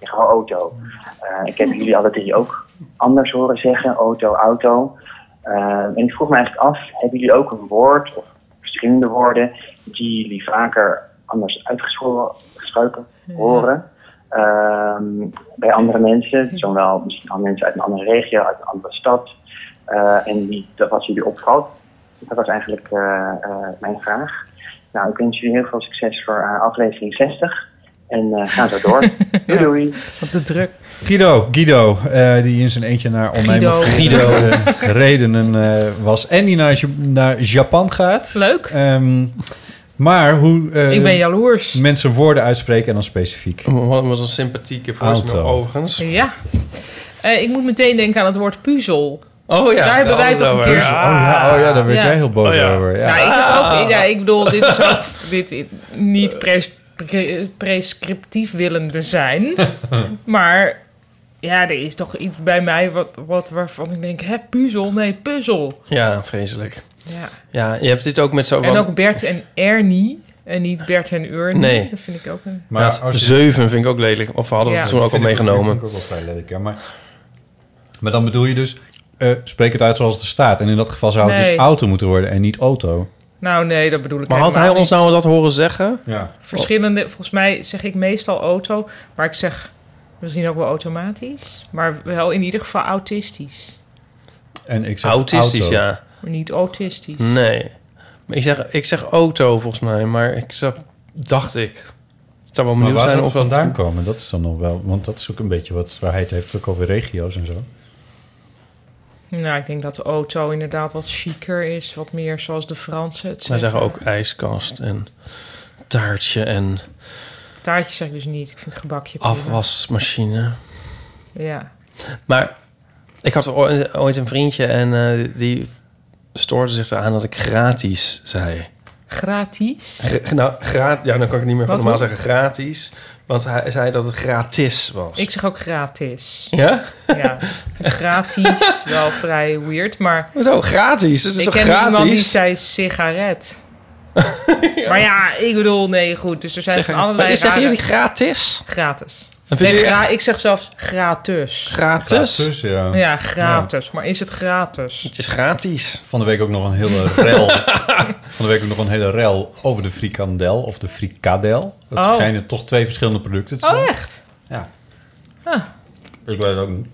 zeg wel auto. Eh, ik heb jullie alle drie ook anders horen zeggen. Auto, auto. Eh, en ik vroeg me eigenlijk af. Hebben jullie ook een woord of verschillende woorden... die jullie vaker anders uitgesproken horen? ehm, bij andere mensen, zowel misschien al mensen uit een andere regio, uit een andere stad. eh, en die, dat wat jullie opvalt. Dat was eigenlijk eh, eh, mijn vraag. Nou, ik wens jullie heel veel succes voor eh, aflevering 60. En eh, ga zo door. doei doei. Wat de druk. Guido, Guido eh, die in zijn eentje naar Guido. oneindig Guido. redenen eh, was. En die naar, Ja- naar Japan gaat. Ehm, Leuk. maar hoe eh, Ik ben jaloers. mensen woorden uitspreken en dan specifiek. Wat was een sympathieke voicemail Auto. overigens. Ja. Eh, ik moet meteen denken aan het woord puzzel. Oh ja, Daar hebben daar wij het hadden toch een we keer. het over. Oh ja, Oh ja, daar werd jij heel boos Oh ja. over. Ja. Ah. Nou, ik heb Ah. ook... Ja, ik bedoel, dit is ook [laughs] dit, i- niet pres- pre- prescriptief willende zijn. [laughs] Maar ja, er is toch iets bij mij wat, wat, waarvan ik denk... Hè, puzzel? Nee, puzzel. Ja, vreselijk. Ja. Ja, je hebt dit ook met zo En ook Bert en Ernie. En niet Bert en Urnie. Nee. Dat vind ik ook een... Maar Maar als je- zeven vind ik ook lelijk. Of we hadden we Ja. het toen ook al Vind ik meegenomen. vind ik ook wel vrij leuk, ja. Maar, maar dan bedoel je dus, eh, spreek het uit zoals het er staat. En in dat geval zou het Nee. dus auto moeten worden en niet auto. Nou nee, dat bedoel ik Maar had hij helemaal ons nou dat horen zeggen? Ja. Verschillende, volgens mij zeg ik meestal auto, maar ik zeg misschien ook wel automatisch, maar wel in ieder geval autistisch, En ik zeg Autistisch, auto. ja. maar niet autistisch. Nee. Maar Ik zeg, ik zeg auto volgens mij, maar ik zag, dacht ik. Het zou wel Maar benieuwd waar Oh, zijn zou of het dat- vandaan komen? Dat is dan nog wel, want dat is ook een beetje wat waar hij het heeft ook over regio's en zo. Nou, ik denk dat de auto inderdaad wat chiquer is, wat meer zoals de Fransen het Wij zeggen. zeggen ook ijskast en taartje en Taartjes zeg ik dus niet, ik vind het gebakje prima. afwasmachine. Ja. Maar ik had ooi- ooit een vriendje en eh, die stoorde zich eraan dat ik gratis zei. Gratis? Gra- [laughs] nou, gra- ja, dan kan ik niet meer Wat normaal hoor? zeggen gratis. Want hij zei dat het gratis was. Ik zeg ook gratis. Ja? Ja. Ik vind [laughs] gratis wel vrij weird, maar... Hoezo, gratis? Het is ik toch ken iemand die gratis? zei [laughs] sigaret. Maar ja, ik bedoel, nee, goed. Dus er zijn Zeggen- allerlei maar zeggen rare- jullie gratis? Gratis. En vind Nee, je gra- echt- ik zeg zelfs gratis. Gratis? Gratis, ja. Ja, gratis. Maar is het gratis? Het is gratis. Van de week ook nog een hele rel. [laughs] van de week ook nog een hele rel over de frikandel of de frikadel. Dat Oh. schijnen toch twee verschillende producten te zijn. Oh, echt? Ja. Huh. Ik weet het ook niet.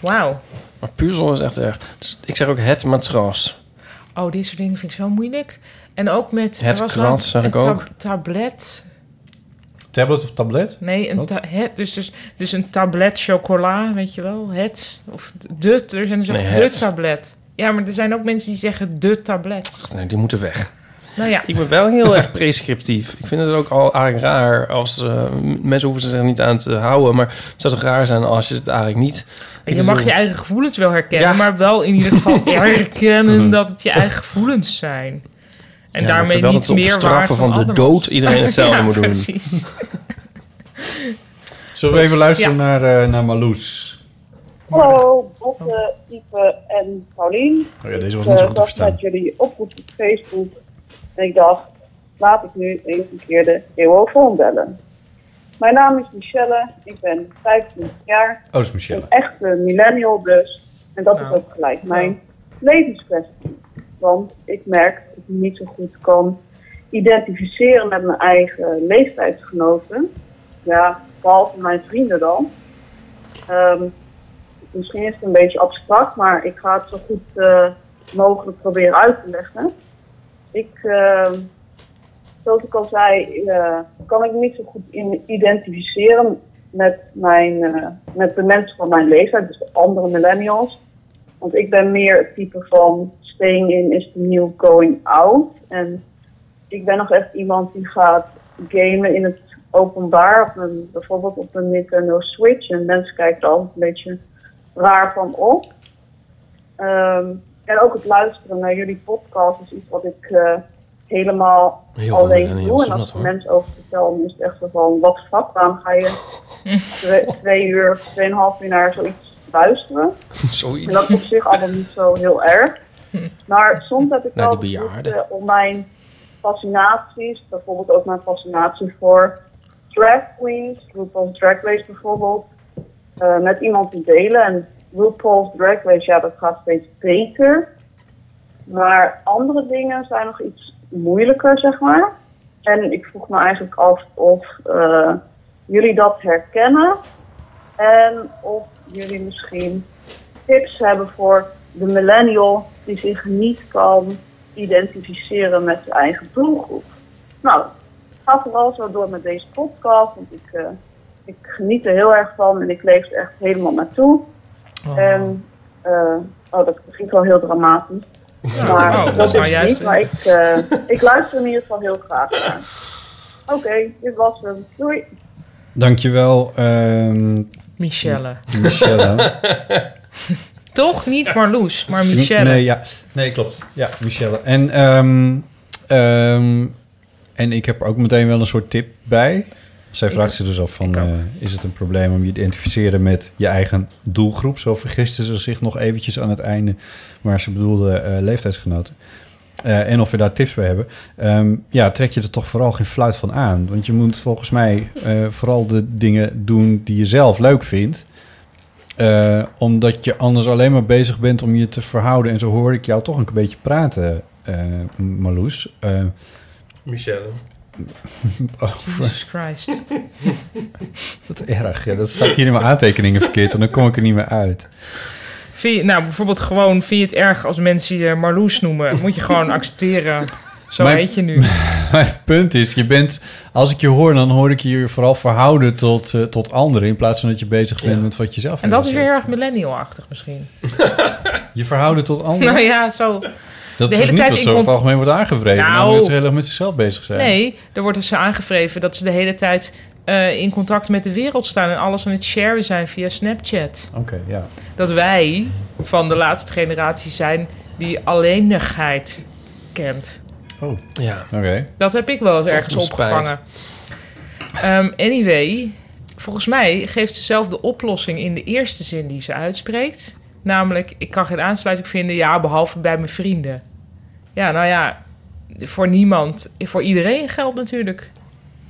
Wauw. [laughs] Maar puzzel is echt erg. Dus ik zeg ook het matras. Oh, dit soort dingen vind ik zo moeilijk. En ook met... Het er was krat laatst zag een ik ook. tablet. Tablet of tablet? Nee, een ta- het, dus, dus, dus een tablet chocola, weet je wel. Het. Of de. Er zijn dus ook Nee, de het. tablet. Ja, maar er zijn ook mensen die zeggen de tablet. Nee, die moeten weg. Nou ja. Ik ben wel heel erg prescriptief. Ik vind het ook al eigenlijk raar als eh, m- mensen hoeven zich er niet aan te houden. Maar het zou toch raar zijn als je het eigenlijk niet. Je mag je eigen gevoelens wel herkennen, maar wel in ieder geval [laughs] [laughs] herkennen dat het je eigen gevoelens zijn. En Mhm. Ja, maar daarmee terwijl niet het op meer straffen waard van de andermans. dood [laughs] iedereen hetzelfde Ja, moet doen. Precies. Zullen we Goed. even Ja. luisteren naar, eh, naar Marloes? Hallo, Botte, Ipe en Paulien. Oh ja, deze was Ik, niet zo eh, goed te zag verstaan. met jullie oproep op Facebook. En ik dacht, laat ik nu eens een keer de eeuwofoon bellen. Mijn naam is Michelle, ik ben 25 jaar. Oh, dat is Michelle. Een echte millennial dus. En dat is ook gelijk mijn levenskwestie. Want ik merk dat ik me niet zo goed kan identificeren met mijn eigen leeftijdsgenoten. Ja, behalve mijn vrienden dan. Ehm, misschien is het een beetje abstract, maar ik ga het zo goed eh, mogelijk proberen uit te leggen. Ik, ehm, zoals ik al zei, eh, kan ik me niet zo goed in identificeren met, mijn, eh, met de mensen van mijn leeftijd, dus de andere millennials. Want ik ben meer het type van staying in is the new going out. En ik ben nog echt iemand die gaat gamen in het openbaar, op een, bijvoorbeeld op een Nintendo Switch. En mensen kijken er altijd een beetje raar van op. Ehm, en ook het luisteren naar jullie podcast is iets wat ik eh, helemaal Heel veel alleen millennials doe. En als doen dat, er hoor. mensen over vertellen, is het echt zo van, wat fuck, waarom ga je twee, twee uur, tweeënhalf uur naar zoiets luisteren? En [laughs] Zoiets. dat Nou, is op zich allemaal niet zo [laughs] heel erg. Maar soms heb ik Naar wel de bejaarden. behoefte om mijn fascinaties, bijvoorbeeld ook mijn fascinatie voor drag queens, RuPaul's Drag Race bijvoorbeeld, eh, met iemand te delen. En RuPaul's Drag Race, ja, dat gaat steeds beter. Maar andere dingen zijn nog iets moeilijker, zeg maar. En ik vroeg me eigenlijk af of eh, jullie dat herkennen. En of jullie misschien tips hebben voor de millennial die zich niet kan identificeren met je eigen doelgroep. Nou, ga vooral zo door met deze podcast, want ik, eh, ik geniet er heel erg van en ik leef er echt helemaal naartoe. En, eh, oh, dat klinkt wel heel dramatisch. Maar Oh, dat is nou het juist. niet, maar ik, eh, ik luister in ieder geval heel graag naar. Oké, dit was hem. Doei. Dankjewel. ehm Michelle. [laughs] [laughs] Michelle. Toch niet Marloes, maar Michelle. Nee, ja. nee, klopt. Ja, Michelle. En, ehm, ehm, en ik heb er ook meteen wel een soort tip bij. Zij Ik vraagt ook. zich dus af van, eh, is het een probleem om je te identificeren met je eigen doelgroep? Zo vergiste ze zich nog eventjes aan het einde, maar ze bedoelde eh, leeftijdsgenoten. Eh, en of we daar tips bij hebben. Ehm, ja, trek je er toch vooral geen fluit van aan. Want je moet volgens mij eh, vooral de dingen doen die je zelf leuk vindt. Eh, omdat je anders alleen maar bezig bent om je te verhouden. En zo hoor ik jou toch een beetje praten, eh, Marloes. Eh, [laughs] Michelle. over- Jesus Christ. Oh, [laughs] Wat erg. Ja, dat staat hier in mijn aantekeningen verkeerd. En dan kom ik er niet meer uit. Vind je, nou, bijvoorbeeld gewoon, vind je het erg als mensen je Marloes noemen? Moet je gewoon accepteren. Zo Mijn- heet je nu. [laughs] Mijn punt is, je bent, als ik je hoor, dan hoor ik je je vooral verhouden tot, eh, tot anderen. In plaats van dat je bezig bent met wat je zelf En dat wil. is weer heel erg millennial-achtig misschien. Je verhouden tot anderen. Nou ja, zo. dat is dus niet wat zo over in het com- algemeen wordt aangevreven. Nou. Nou, mensen heel erg met zichzelf bezig zijn. Nee, er wordt dus aangevreven dat ze de hele tijd eh, in contact met de wereld staan en alles aan het sharen zijn via Snapchat. Oké, ja. Dat wij van de laatste generatie zijn die alleenigheid kent. Oh. Ja. Oké. Dat heb ik wel eens Tot ergens mijn spijt. opgevangen. Ehm, anyway, volgens mij geeft ze zelf de oplossing in de eerste zin die ze uitspreekt. Namelijk, ik kan geen aansluiting vinden, ja, behalve bij mijn vrienden. Ja, nou ja, voor niemand, voor iedereen geldt natuurlijk.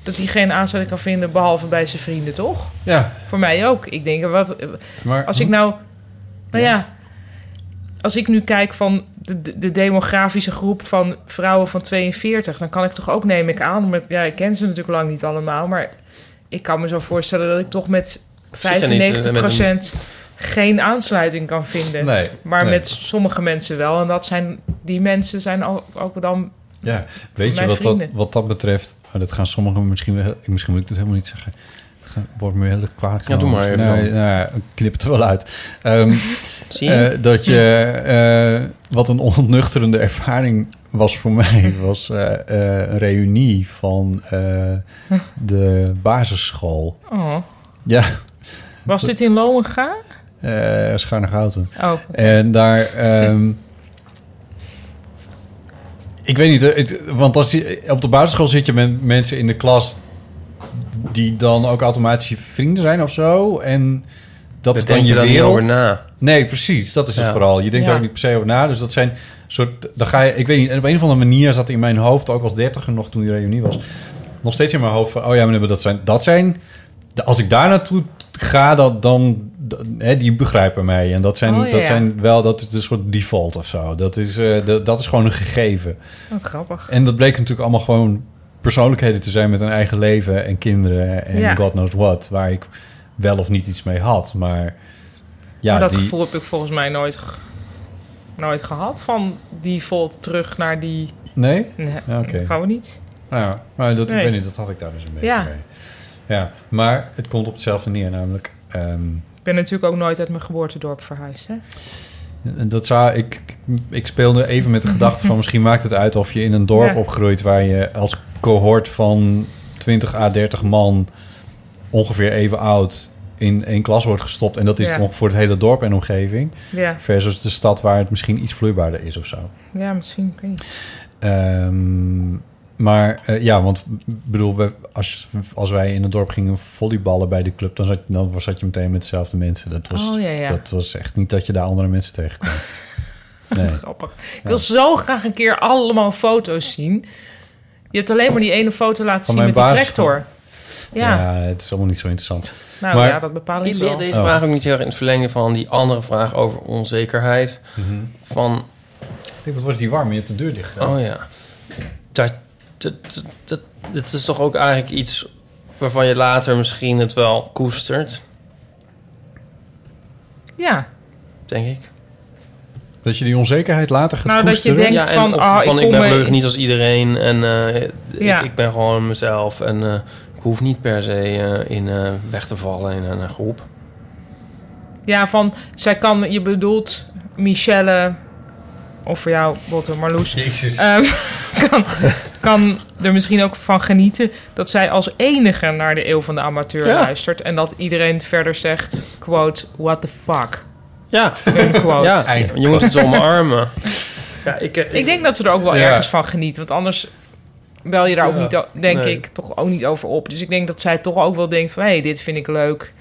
Dat hij geen aansluiting kan vinden, behalve bij zijn vrienden, toch? Ja. Voor mij ook. Ik denk, wat, Maar- als ik nou, nou ja. als ik nu kijk van de, de- de demografische groep van vrouwen van 42, dan kan ik toch ook, neem ik aan, met, ja, ik ken ze natuurlijk lang niet allemaal, maar ik kan me zo voorstellen dat ik toch met Zit jij niet, eh, met 95% geen aansluiting kan vinden. Nee, maar nee. met sommige mensen wel. En dat zijn, die mensen zijn ook, ook dan. Ja, voor weet je mij wat dat, vrienden. wat dat betreft? oh, dat gaan sommigen misschien wel... Misschien moet ik dat helemaal niet zeggen. Dat gaat- Wordt me heel erg kwaad. Ja, doe maar even Nou, dan. nou ja, ik knip het er wel uit. Ehm, [laughs] Zie je? eh, dat je... eh, wat een onnuchterende ervaring was voor [laughs] mij... was eh, eh, een reunie van eh, de basisschool. Oh. Ja. Was dit in Lohenga? eh schuine Gouten. Oh, oké. En daar... ehm, ik weet niet, eh, het- want als je, op de basisschool zit je met mensen in de klas... die dan ook automatisch je vrienden zijn of zo. En dat Daar is dan denk je je dan niet wereld. over na. Nee, precies. Dat is het Ja. vooral. Je denkt Ja. er ook niet per se over na. Dus dat zijn soort... Dan ga je, ik weet niet, en op een of andere manier zat in mijn hoofd... ook als dertiger nog toen die reunie was... nog steeds in mijn hoofd van... oh ja, maar dat zijn... Dat zijn de- als ik daar naartoe ga, dat, dan... dat- hè, die begrijpen mij. En dat zijn, Oh, ja, dat ja. zijn wel... Dat is een soort default of zo. Dat is, eh, dat, dat is gewoon een gegeven. Wat grappig. En dat bleek natuurlijk allemaal gewoon persoonlijkheden te zijn met een eigen leven en kinderen en Ja. god knows what, waar ik wel of niet iets mee had. Maar ja, maar dat die, gevoel heb ik volgens mij nooit, ge- nooit gehad. Van die volt terug naar die. Nee? Nee, Ja, oké. gaan we niet. Nou ja, maar dat, ik Nee. weet niet, dat had ik daar dus een beetje Ja. mee. Ja, maar het komt op hetzelfde neer, namelijk. ehm, Ik ben natuurlijk ook nooit uit mijn geboortedorp verhuisd. Hè? en dat zou, ik, ik speelde even met de [laughs] gedachte van misschien maakt het uit of je in een dorp Ja. opgroeit waar je als cohort van 20 à 30 man ongeveer even oud in één klas wordt gestopt. En dat is Ja. nog voor het hele dorp en omgeving. Ja. Versus de stad waar het misschien iets vloeibaarder is of zo. Ja, misschien. Ik weet niet. Ehm, maar eh, ja, want m, bedoel, we, als, als wij in het dorp gingen volleyballen bij de club, dan zat, dan zat je meteen met dezelfde mensen. Dat was, Oh, ja, ja. dat was echt niet dat je daar andere mensen tegenkwam. [laughs] Nee. Grappig. Ik wil zo graag een keer allemaal foto's zien. Je hebt alleen maar die ene foto laten Van zien mijn met die basisschool. tractor. Ja. Ja, het is allemaal niet zo interessant. Nou ja, dat bepaal ik Die- wel. Deze Oh. vraag ook niet heel erg in het verlengde van die andere vraag over onzekerheid. Mhm. Van, Ik denk, wat wordt die warm? Je hebt de deur dicht. gedaan. oh ja, dat, dat, dat, dat, dit is toch ook eigenlijk iets waarvan je later misschien het wel koestert, Ja. denk ik. Dat je die onzekerheid later gaat Nou, dat je koesteren. denkt Ja, en van, of ah, Van ik, kom ben er- gelukkig niet als iedereen en eh, ik- Ja. ik, ben gewoon mezelf en eh, ik hoef niet per se eh, in eh, weg te vallen in een eh, groep. Ja, van zij kan, je bedoelt Michelle, of voor jou, Botte Marloes. Jezus. Ehm, [laughs] kan, kan er misschien ook van genieten dat zij als enige naar de eeuw van de amateur Ja. luistert. En dat iedereen verder zegt, quote, what the fuck. Ja, quote. ja. je moet [laughs] het omarmen. Ja, ik, eh, Ik denk dat ze er ook wel Ja. ergens van geniet. Want anders bel je daar ook Ja. niet, o- denk Nee. ik, toch ook niet over op. Dus ik denk dat zij toch ook wel denkt van... hé, hey, dit vind ik leuk.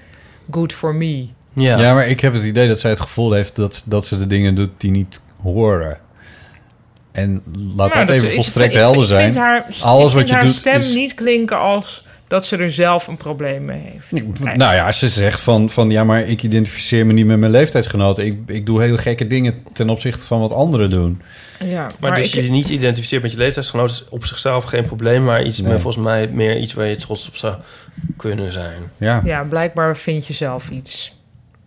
Good for me. Ja. ja, maar ik heb het idee dat zij het gevoel heeft dat, dat ze de dingen doet die niet horen. En laat Nou, dat, even ik- volstrekt ik- helder ik zijn. Vind haar, ik Alles wat vind je haar doet stem is... niet klinken als dat ze er zelf een probleem mee heeft. [laughs] Nou ja, ze zegt van, van ja, maar ik identificeer me niet met mijn leeftijdsgenoten. Ik, ik doe hele gekke dingen ten opzichte van wat anderen doen. Ja, maar, Maar, dus ik, je niet identificeert met je leeftijdsgenoot is op zichzelf geen probleem, maar iets Nee. meer, volgens mij meer iets waar je trots op zou kunnen zijn. Ja, ja, blijkbaar vind je zelf iets.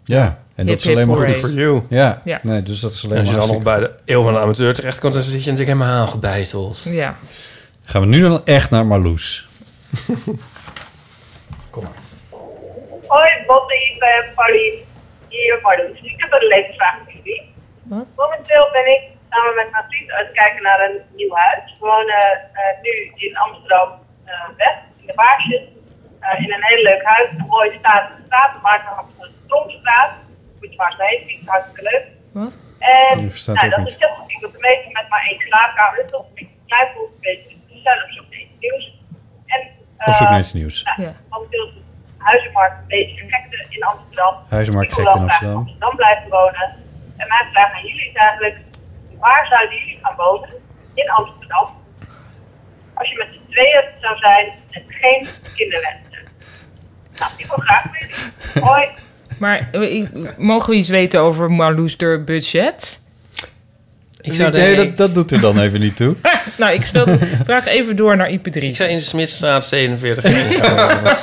ja. Hip, en dat is hip, alleen maar hooray. goed voor jou. Ja. Ja. nee, dus dat is alleen En als maar je dan nog hartstikke- bij de eeuw van de amateur terecht komt, dan zit je natuurlijk helemaal aangebeiteld. Ja. Gaan we nu dan echt naar Marloes. Hoi, Botte, Ipe en Paulien. Hier, Marloes. Ik heb een levensvraag voor jullie. Momenteel ben ik samen met mijn vriend aan het kijken naar een nieuw huis. We wonen eh, nu in Amsterdam eh, West, in de Baarsjes. Eh, in een heel leuk huis. Een mooie staat de straat. We maken af van de Stromstraat. Moet je maar eens heen zien. Hartstikke leuk. Wat? En Die verstaat nou, ook dat niet. is heel goed. Ik heb meestal met maar één slaapkamer. Dus dat is een beetje klein Dus voelt, een beetje gezellig, zo'n beetje nieuws. En, Op zoek eh, naar iets nieuws. nou, Momenteel is de huizenmarkt een beetje gekte in Amsterdam. Huizenmarkt Ik wil gekte in wel graag Amsterdam. Amsterdam blijven wonen. En mijn vraag aan jullie is eigenlijk, waar zouden jullie gaan wonen in Amsterdam? Als je met z'n tweeën zou zijn en geen kinderwensen. Nou, ik wil graag weten. Hoi. Maar eh, ik- mogen we iets weten over Marloes de budget? Ik nee, dat, dat doet er dan even niet [laughs] toe. [laughs] [laughs] nou, ik speel, vraag even door naar IP3. Ik zou in de Smidstraat 47 heen [laughs] gaan.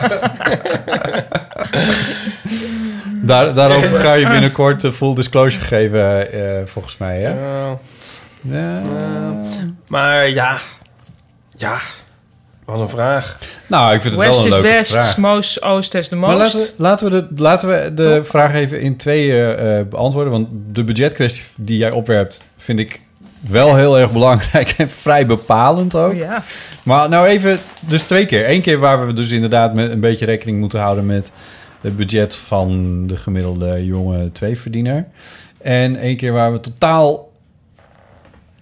[laughs] Daar, daarover ga je binnenkort eh, full disclosure geven, eh, volgens mij. Hè? Nou, Ja. maar ja, ja, wat een vraag. Nou, ik vind het wel West een is leuke best, vraag. most, oost is de Oh. most. Maar laten we, laten we de, laten we de vraag even in tweeën eh, beantwoorden. Want de budgetkwestie die jij opwerpt, vind ik wel heel erg belangrijk en vrij bepalend ook. Oh Ja. Maar nou even, dus twee keer. Eén keer waar we dus inderdaad met een beetje rekening moeten houden met het budget van de gemiddelde jonge tweeverdiener. En één keer waar we totaal,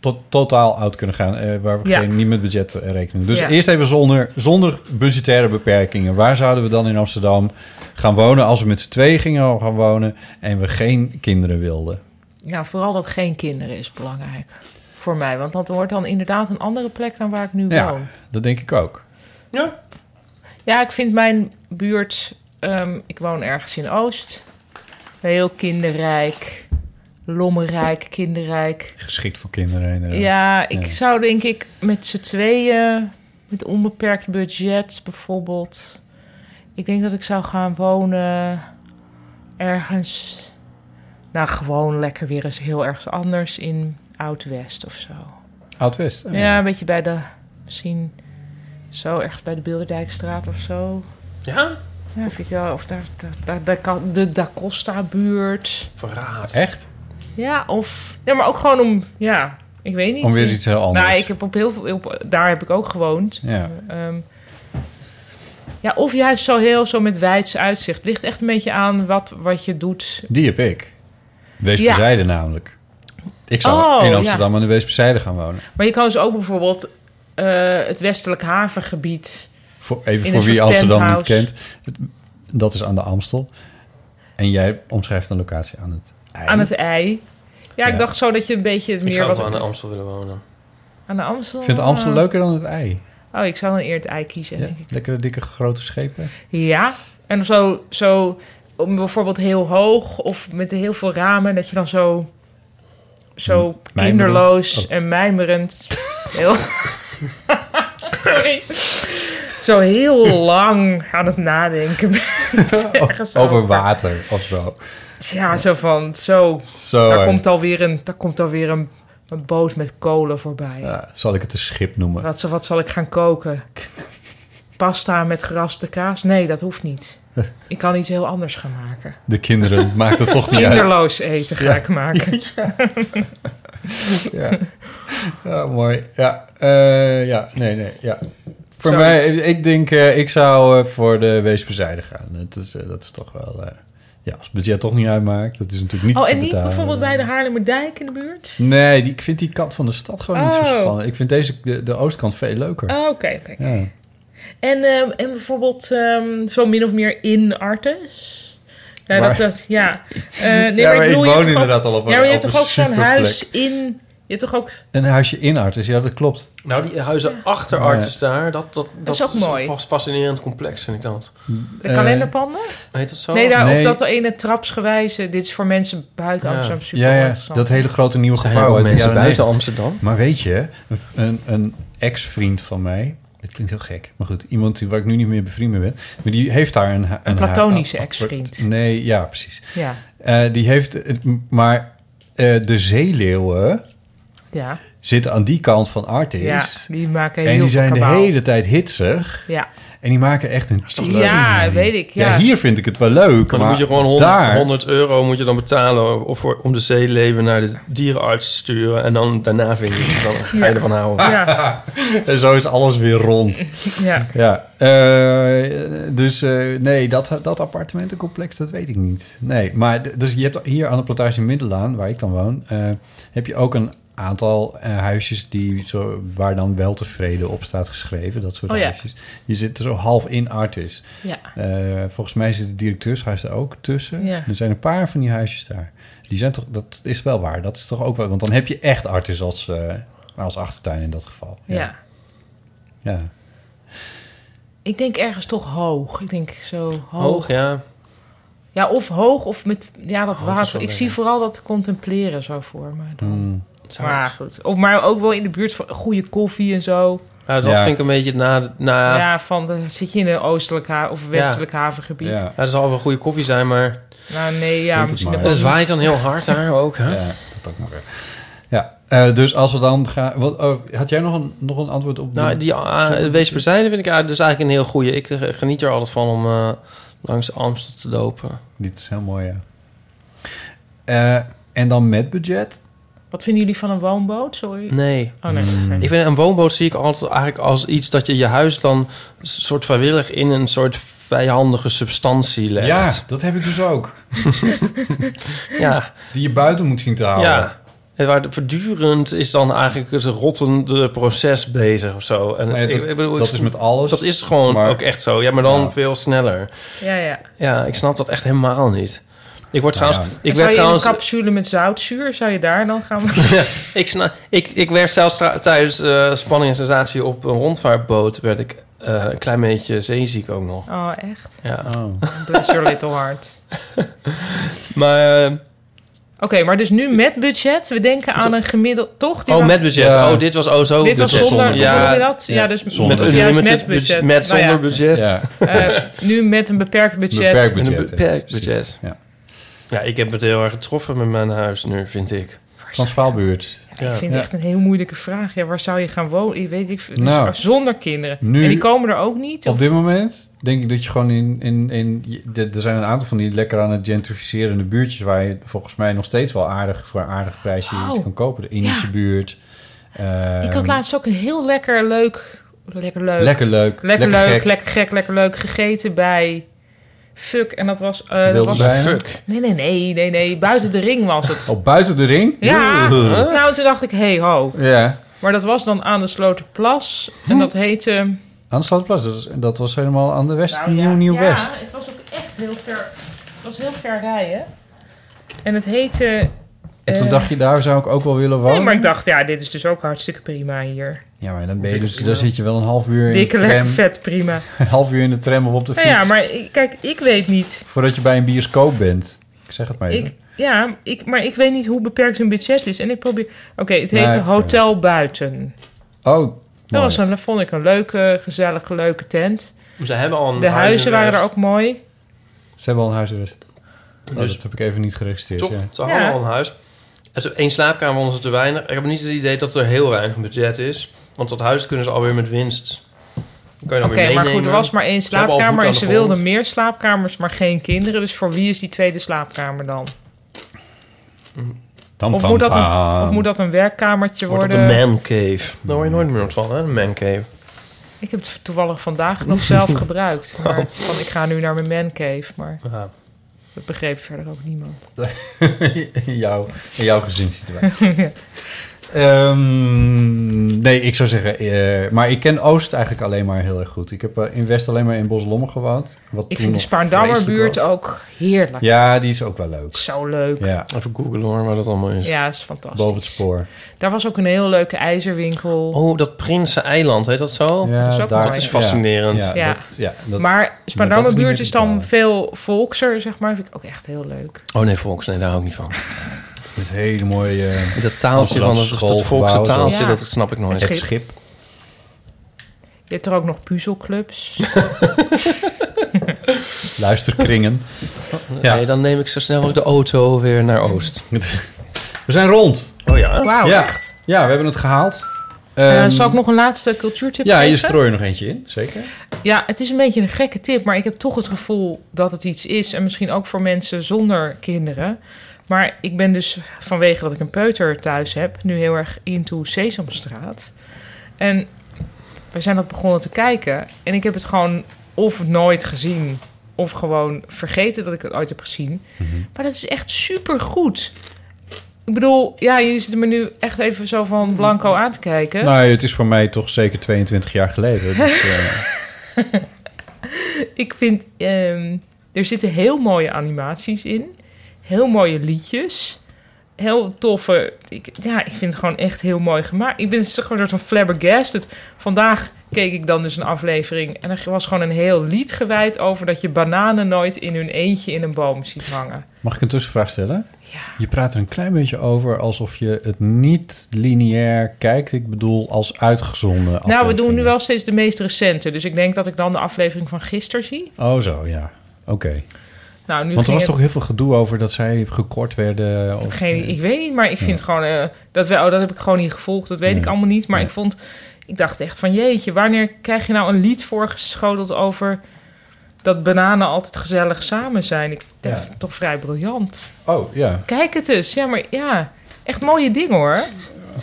tot, totaal out kunnen gaan, eh, waar we Ja. geen, niet met budget eh, rekening. Dus Ja. eerst even zonder, zonder budgettaire beperkingen. Waar zouden we dan in Amsterdam gaan wonen als we met z'n tweeën gingen gaan wonen en we geen kinderen wilden? Nou, vooral dat geen kinderen is belangrijk voor mij. Want dat wordt dan inderdaad een andere plek dan waar ik nu Ja, woon. dat denk ik ook. Ja, ik vind mijn buurt... ehm, ik woon ergens in Oost. Heel kinderrijk. Lommerrijk, kinderrijk. Geschikt voor kinderen. Ja, inderdaad. ik Ja. zou denk ik met z'n tweeën... met onbeperkt budget bijvoorbeeld... Ik denk dat ik zou gaan wonen ergens... Nou, gewoon lekker weer eens heel ergens anders in Oud-West of zo. Oud-West. oh Ja, een beetje bij de... Misschien zo ergens bij de Bilderdijkstraat of zo. Ja? Ja, vind ik wel. Of daar, daar, daar, daar kan- de Da Costa-buurt. Verraad. Echt? Ja, of... Ja, maar ook gewoon om... Ja, ik weet niet. Om weer iets heel anders. Nou, ik heb op heel veel... op- daar heb ik ook gewoond. Ja. Ehm, ja, of juist zo heel zo met wijds uitzicht. Ligt echt een beetje aan wat, wat je doet. Die heb ik. Ja. Weesperzijde namelijk. Ik zou Oh, in ja. Amsterdam aan de Weesperzijde gaan wonen. Maar je kan dus ook bijvoorbeeld eh, het westelijk havengebied. Voor, even in voor een wie soort Amsterdam niet penthouse. kent. Het- Dat is aan de Amstel. En jij omschrijft een locatie aan het ei. Aan het ei. Ja, ik Ja. dacht zo dat je een beetje het Ik meer... zou ook wat- wel aan de Amstel willen wonen. Aan de Amstel? Ik vind de Amstel Ah. leuker dan het ei. Oh, ik zou dan eer het ei kiezen, Ja, denk ik. lekkere, dikke, grote schepen. Ja, en zo, zo om bijvoorbeeld heel hoog of met heel veel ramen... dat je dan zo, zo mijmerend. kinderloos en mijmerend... Heel, sorry. Zo heel lang aan het nadenken bent. Ergens zo. Over water of zo. Ja, zo van, zo. Zo, daar, hè. komt alweer een, daar komt alweer een, een boot met kolen voorbij. Zal ik het een schip noemen? Wat, wat zal ik gaan koken? Pasta met geraspte kaas? Nee, dat hoeft [laughs] niet. Ik kan iets heel anders gaan maken. De [laughs] kinderen, [laughs] maakt het toch niet uit. Kinderloos eten ga [laughs] Ja. ik maken. [laughs] Ja. Ja, mooi. Ja, eh, ja, nee, nee, ja. Voor Zoiets. mij, ik denk, eh, ik zou eh, voor de weesperzijde gaan. Dat is, eh, dat is toch wel, eh, ja, als het budget toch niet uitmaakt, dat is natuurlijk niet oh, en te niet betalen. bijvoorbeeld bij de Haarlemmerdijk in de buurt? Nee, die, ik vind die kant van de stad gewoon niet zo Oh. spannend. Ik vind deze, de, de oostkant veel leuker. Oh, oké, oké. oké. Ja. En, ehm, en bijvoorbeeld ehm, zo min of meer in Artes. Ja, Maar- dat, dat, [laughs] ja. Eh, nee, Ja, maar ik bedoel, je hebt woon toch inderdaad ook, al op een- Ja, maar je op hebt toch een ook zo'n superplek. huis in... Je hebt toch ook... Een huisje in Artis, ja, dat klopt. Nou, die huizen achter Ja. Artis daar, dat, dat, Dat is ook mooi. vast fascinerend complex, vind ik dat. De kalenderpanden? Oh, Heet dat zo? Nee, daar, of Nee. dat ene trapsgewijze... Dit is voor mensen buiten Ja. Amsterdam super Ja, ja, interessant. dat hele grote nieuwe Zijn er gebouw ook uit de mensen jaren buiten 90. Amsterdam? Maar weet je, een, een, een ex-vriend van mij... Dit klinkt heel gek, maar goed. Iemand die, waar ik nu niet meer bevriend mee ben. Maar die heeft daar een... Een, platonische een- ex-vriend. Nee, ja, precies. Ja. Eh, die heeft... het- Maar eh, de zeeleeuwen Ja, zitten aan die kant van Artis. ja, die maken heel en die veel zijn de kabaal. hele tijd hitsig. Ja. En die maken echt een... Ja, teringherrie. weet ik. Ja. hier vind ik het wel leuk, maar, Maar dan moet je gewoon 100, daar... 100 euro moet je dan betalen of voor, om de zeeleven naar de dierenarts te sturen. En dan daarna vind je het. Dan ga je Ja. ervan houden. [laughs] Ja. En zo is alles weer rond. Ja. ja. eh, dus eh, nee, dat, dat appartementencomplex, dat weet ik niet. Nee, maar d- dus je hebt hier aan de plantage Middelaan, waar ik dan woon... eh, heb je ook een aantal eh, huisjes die zo, waar dan wel tevreden op staat geschreven. Dat soort Oh ja. huisjes. Je zit er zo half in artis. Ja. Eh, volgens mij zit het directeurshuis er ook tussen. Ja. Er zijn een paar van die huisjes daar. Die zijn toch, dat is wel waar. Dat is toch ook wel, want dan heb je echt artis als, eh, als achtertuin in dat geval. Ja. ja. Ik denk ergens toch hoog. Ik denk zo hoog. Hoog, ja. Ja, of hoog of met ja, dat Hoog Oh, water. is wel Ik lekker. zie vooral dat contempleren zo voor me. Dan. Zou- Maar goed. Of, maar ook wel in de buurt van goede koffie en zo. Ja, dat Ja. vind ik een beetje na... na Ja, van dan zit je in een oostelijk ha- of westelijk havengebied. Ja. dat zal wel goede koffie zijn, maar... Nou nee, ja, misschien ook Het wel waait niet. dan heel hard daar ook, hè? Ja, dat ook nog weer. Ja, eh, dus als we dan gaan... Wat, oh, had jij nog een, nog een antwoord op... Nou, de- die Sorry. uh, Weesperzijde vind ik eh, dus eigenlijk een heel goeie. Ik eh, geniet er altijd van om eh, langs Amstel te lopen. Dit is heel mooi, ja. Eh, en dan met budget? Wat vinden jullie van een woonboot? Sorry. Nee. Oh nee. oké. Ik vind een woonboot zie ik altijd eigenlijk als iets dat je je huis dan s- soort vrijwillig in een soort vijandige substantie legt. Ja, dat heb ik dus ook. [laughs] Ja. Die je buiten moet zien te houden. Ja. En waar de- voortdurend is dan eigenlijk het rottende proces bezig of zo. En Nou ja, dat- bedoel, dat is met alles, Dat is gewoon maar- ook echt zo. Ja, maar dan Ja. veel sneller. Ja, ja. Ja, ik snap dat echt helemaal niet. Ik word Nou trouwens... Ik Ik zou werd je trouwens... in een capsule met zoutzuur, zou je daar dan gaan? [laughs] Ja, ik, sna- ik, ik werd zelfs tra- tijdens eh, spanning en sensatie op een rondvaartboot... werd ik eh, een klein beetje zeeziek ook nog. Oh, echt? Ja. Bless your little heart. [laughs] Maar... eh, Oké, maar dus nu met budget. We denken aan een gemiddeld... Toch? Die oh, wa- met budget. Ja. Oh, dit was oh zo. Dit was budget. zonder- hoe noem je dat? Ja, dus met met- unlimited juist met budget. budget. Met Nou zonder ja. budget. Ja. Eh, nu met een beperkt budget. Beperkt budget, Een beperkt ja, precies. budget. Ja. Ja, ik heb het heel erg getroffen met mijn huis nu, vind ik. Transvaalbuurt. Ik vind het echt een heel moeilijke vraag. Ja, waar zou je gaan wonen? Ik weet ik, dus Nou, zonder kinderen. nu- en die komen er ook niet. Op dit moment denk ik dat je gewoon in... in, in je- er zijn een aantal van die lekker aan het gentrificerende buurtjes... waar je volgens mij nog steeds wel aardig voor een aardig prijsje Oh. iets kan kopen. De Indische Ja. buurt. eh, ik had laatst ook een heel lekker leuk... Lekker leuk. Lekker leuk, Lekker, lekker leuk, gek. lekker gek, lekker leuk. Gegeten bij... Fuck. En dat was... eh, dat Wilde was bijen? Fuck. Nee, nee, nee, nee, nee. Buiten de ring was het. Oh, buiten de ring? Ja. Huh? Nou, toen dacht ik, hey ho. Ja. Maar dat was dan aan de Slotenplas. En dat heette... Anstadplas, dat, is- dat was helemaal aan de west, nieuw, nieuw west. Nou Ja, het was ook echt heel ver... Het was heel ver rijden. En het heette... En toen eh, dacht je, daar zou ik ook wel willen wonen. Nee, maar ik dacht, ja, dit is dus ook hartstikke prima hier. Ja, maar dan ben je dus, daar zit je wel een half uur Dikke, in de tram. lekker, vet, prima. [laughs] Een half uur in de tram of op de Nou fiets. ja, maar ik- kijk, ik weet niet. Voordat je bij een bioscoop bent. Ik zeg het maar even. Ik, ja, ik, maar ik weet niet hoe beperkt hun budget is. En ik probeer... Oké, het Nee, heette ik- Hotel Buiten. Oh, Dat mooi. was een, vond ik een leuke, gezellige, leuke tent. Ze hebben al een De huis in huizen waren West. er ook mooi. Ze hebben al een huisarrest. Oh, dat heb ik even niet geregistreerd. Dus- Toch? ja. Het is allemaal Ja. een huis. Het is één slaapkamer onder te weinig. Ik heb niet het idee dat er heel weinig budget is. Want dat huis kunnen ze alweer met winst. Dan kan je dan Oké, weer meenemen. maar goed, er was maar één Ze hebben al slaapkamer en voet aan ze de grond. wilden meer slaapkamers, maar geen kinderen. Dus voor wie is die tweede slaapkamer dan? Tam, of, tam, moet dat een, tam. of moet dat een werkkamertje Wordt dat worden? de man cave. Daar hoor je nooit meer wat van, hè? De man cave. Ik heb het toevallig vandaag nog zelf gebruikt. Maar van, ik ga nu naar mijn man cave, maar dat begreep verder ook niemand. in, jouw, in jouw gezinssituatie. Ehm, nee, ik zou zeggen... eh, maar ik ken Oost eigenlijk alleen maar heel erg goed. Ik heb eh, in West alleen maar in Boslommer gewoond. Wat Ik toen vind de nog Spaardammer vreselijk buurt was. ook heerlijk. Ja, die is ook wel leuk. Zo leuk. Ja. Even googlen hoor, waar dat allemaal is. Ja, is fantastisch. Boven het spoor. Daar was ook een heel leuke ijzerwinkel. Oh, dat Prinseneiland, heet dat zo? Ja, Dat is ook daar- dat is fascinerend. Ja, maar Spaardammerbuurt is dan veel volkser, zeg maar. Vind ik ook echt heel leuk. Oh nee, volks, nee, daar hou ik niet van. Het hele mooie... eh, dat taaltje van het, schoolgebouw, dat volkse zo. taaltje, dat snap ik nooit. Het schip. Je hebt er ook nog [laughs] puzzelclubs. Luisterkringen. Ja. Nee, dan neem ik zo snel mogelijk de auto weer naar Oost. [laughs] We zijn rond. Oh ja? Wauw, ja. echt. Ja, we hebben het gehaald. Eh, Ehm, zal ik nog een laatste cultuurtip Ja, geven? je strooit er nog eentje in, zeker. Ja, het is een beetje een gekke tip, maar ik heb toch het gevoel dat het iets is. En misschien ook voor mensen zonder kinderen. Maar ik ben dus vanwege dat ik een peuter thuis heb, nu heel erg into Sesamstraat. En we zijn dat begonnen te kijken. En ik heb het gewoon of nooit gezien, of gewoon vergeten dat ik het ooit heb gezien. Maar dat is echt super goed. Ik bedoel, ja, jullie zitten me nu echt even zo van blanco aan te kijken. Nou, het is voor mij toch zeker 22 jaar [laughs] geleden. Dus, eh, ik vind, ehm, er zitten heel mooie animaties in. Heel mooie liedjes. Heel toffe. Ik, ja, ik vind het gewoon echt heel mooi gemaakt. Ik ben gewoon een soort van flabbergasted. Vandaag keek ik dan dus een aflevering. En er was gewoon een heel lied gewijd over dat je bananen nooit in hun eentje in een boom ziet hangen. mag ik een tussenvraag stellen? Je praat er een klein beetje over alsof je het niet lineair kijkt. Ik bedoel, als uitgezonden. Nou, we aflevering. doen nu wel steeds de meest recente. Dus ik denk dat ik dan de aflevering van gisteren zie. Oh, zo, ja. Oké. Nou, nu Want er ging was het- toch heel veel gedoe over dat zij gekort werden. Of... Geen, ik weet niet, maar ik Ja. vind gewoon eh, dat wel. dat heb ik gewoon niet gevolgd. Dat weet ik allemaal niet. Maar ik vond, ik dacht echt van jeetje, wanneer krijg je nou een lied voorgeschoteld over dat bananen altijd gezellig samen zijn? Ik dat Ja. vind het toch vrij briljant. Oh, ja. Kijk het dus, ja, maar ja, echt mooie dingen hoor.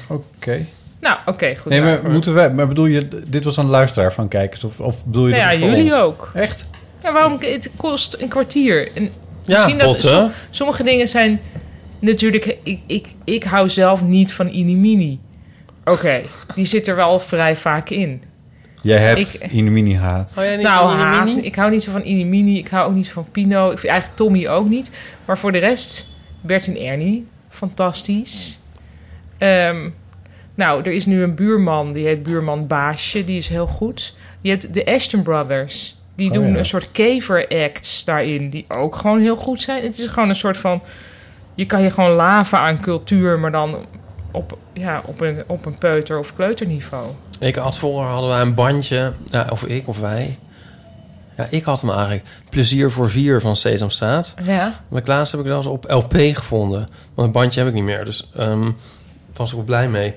Oké. Nou, oké, goed. Nee, maar daarvoor. moeten wij... Maar bedoel je, dit was een luisteraar van kijkers? Of, of bedoel je Nou ja, dat voor jullie ons? ook. Echt? Ja, waarom? Het kost een kwartier. En Ja, misschien dat botten. som- sommige dingen zijn natuurlijk. Ik, ik, ik hou zelf niet van inimini. Oké, die zit er wel vrij vaak in. Jij hebt Ik- Inimini haat. nou, haat. Ik hou niet zo van inimini. Ik hou ook niet van Pino. Ik vind eigenlijk Tommy ook niet. Maar voor de rest, Bert en Ernie, fantastisch. Ehm, nou, er is nu een buurman. Die heet buurman Baasje. Die is heel goed. Je hebt de Ashton Brothers. Die Oh, doen ja. een soort kever acts daarin. Die ook gewoon heel goed zijn. Het is gewoon een soort van... Je kan je gewoon laven aan cultuur, maar dan op, ja, op, een, op een peuter- of kleuterniveau. Ik had vroeger hadden wij een bandje, ja, of ik of wij. Ja, ik had hem eigenlijk. Plezier voor vier van Sesamstraat. Ja. Maar laatst heb ik dat eens op LP gevonden. Want een bandje heb ik niet meer, dus ehm was ik wel blij mee.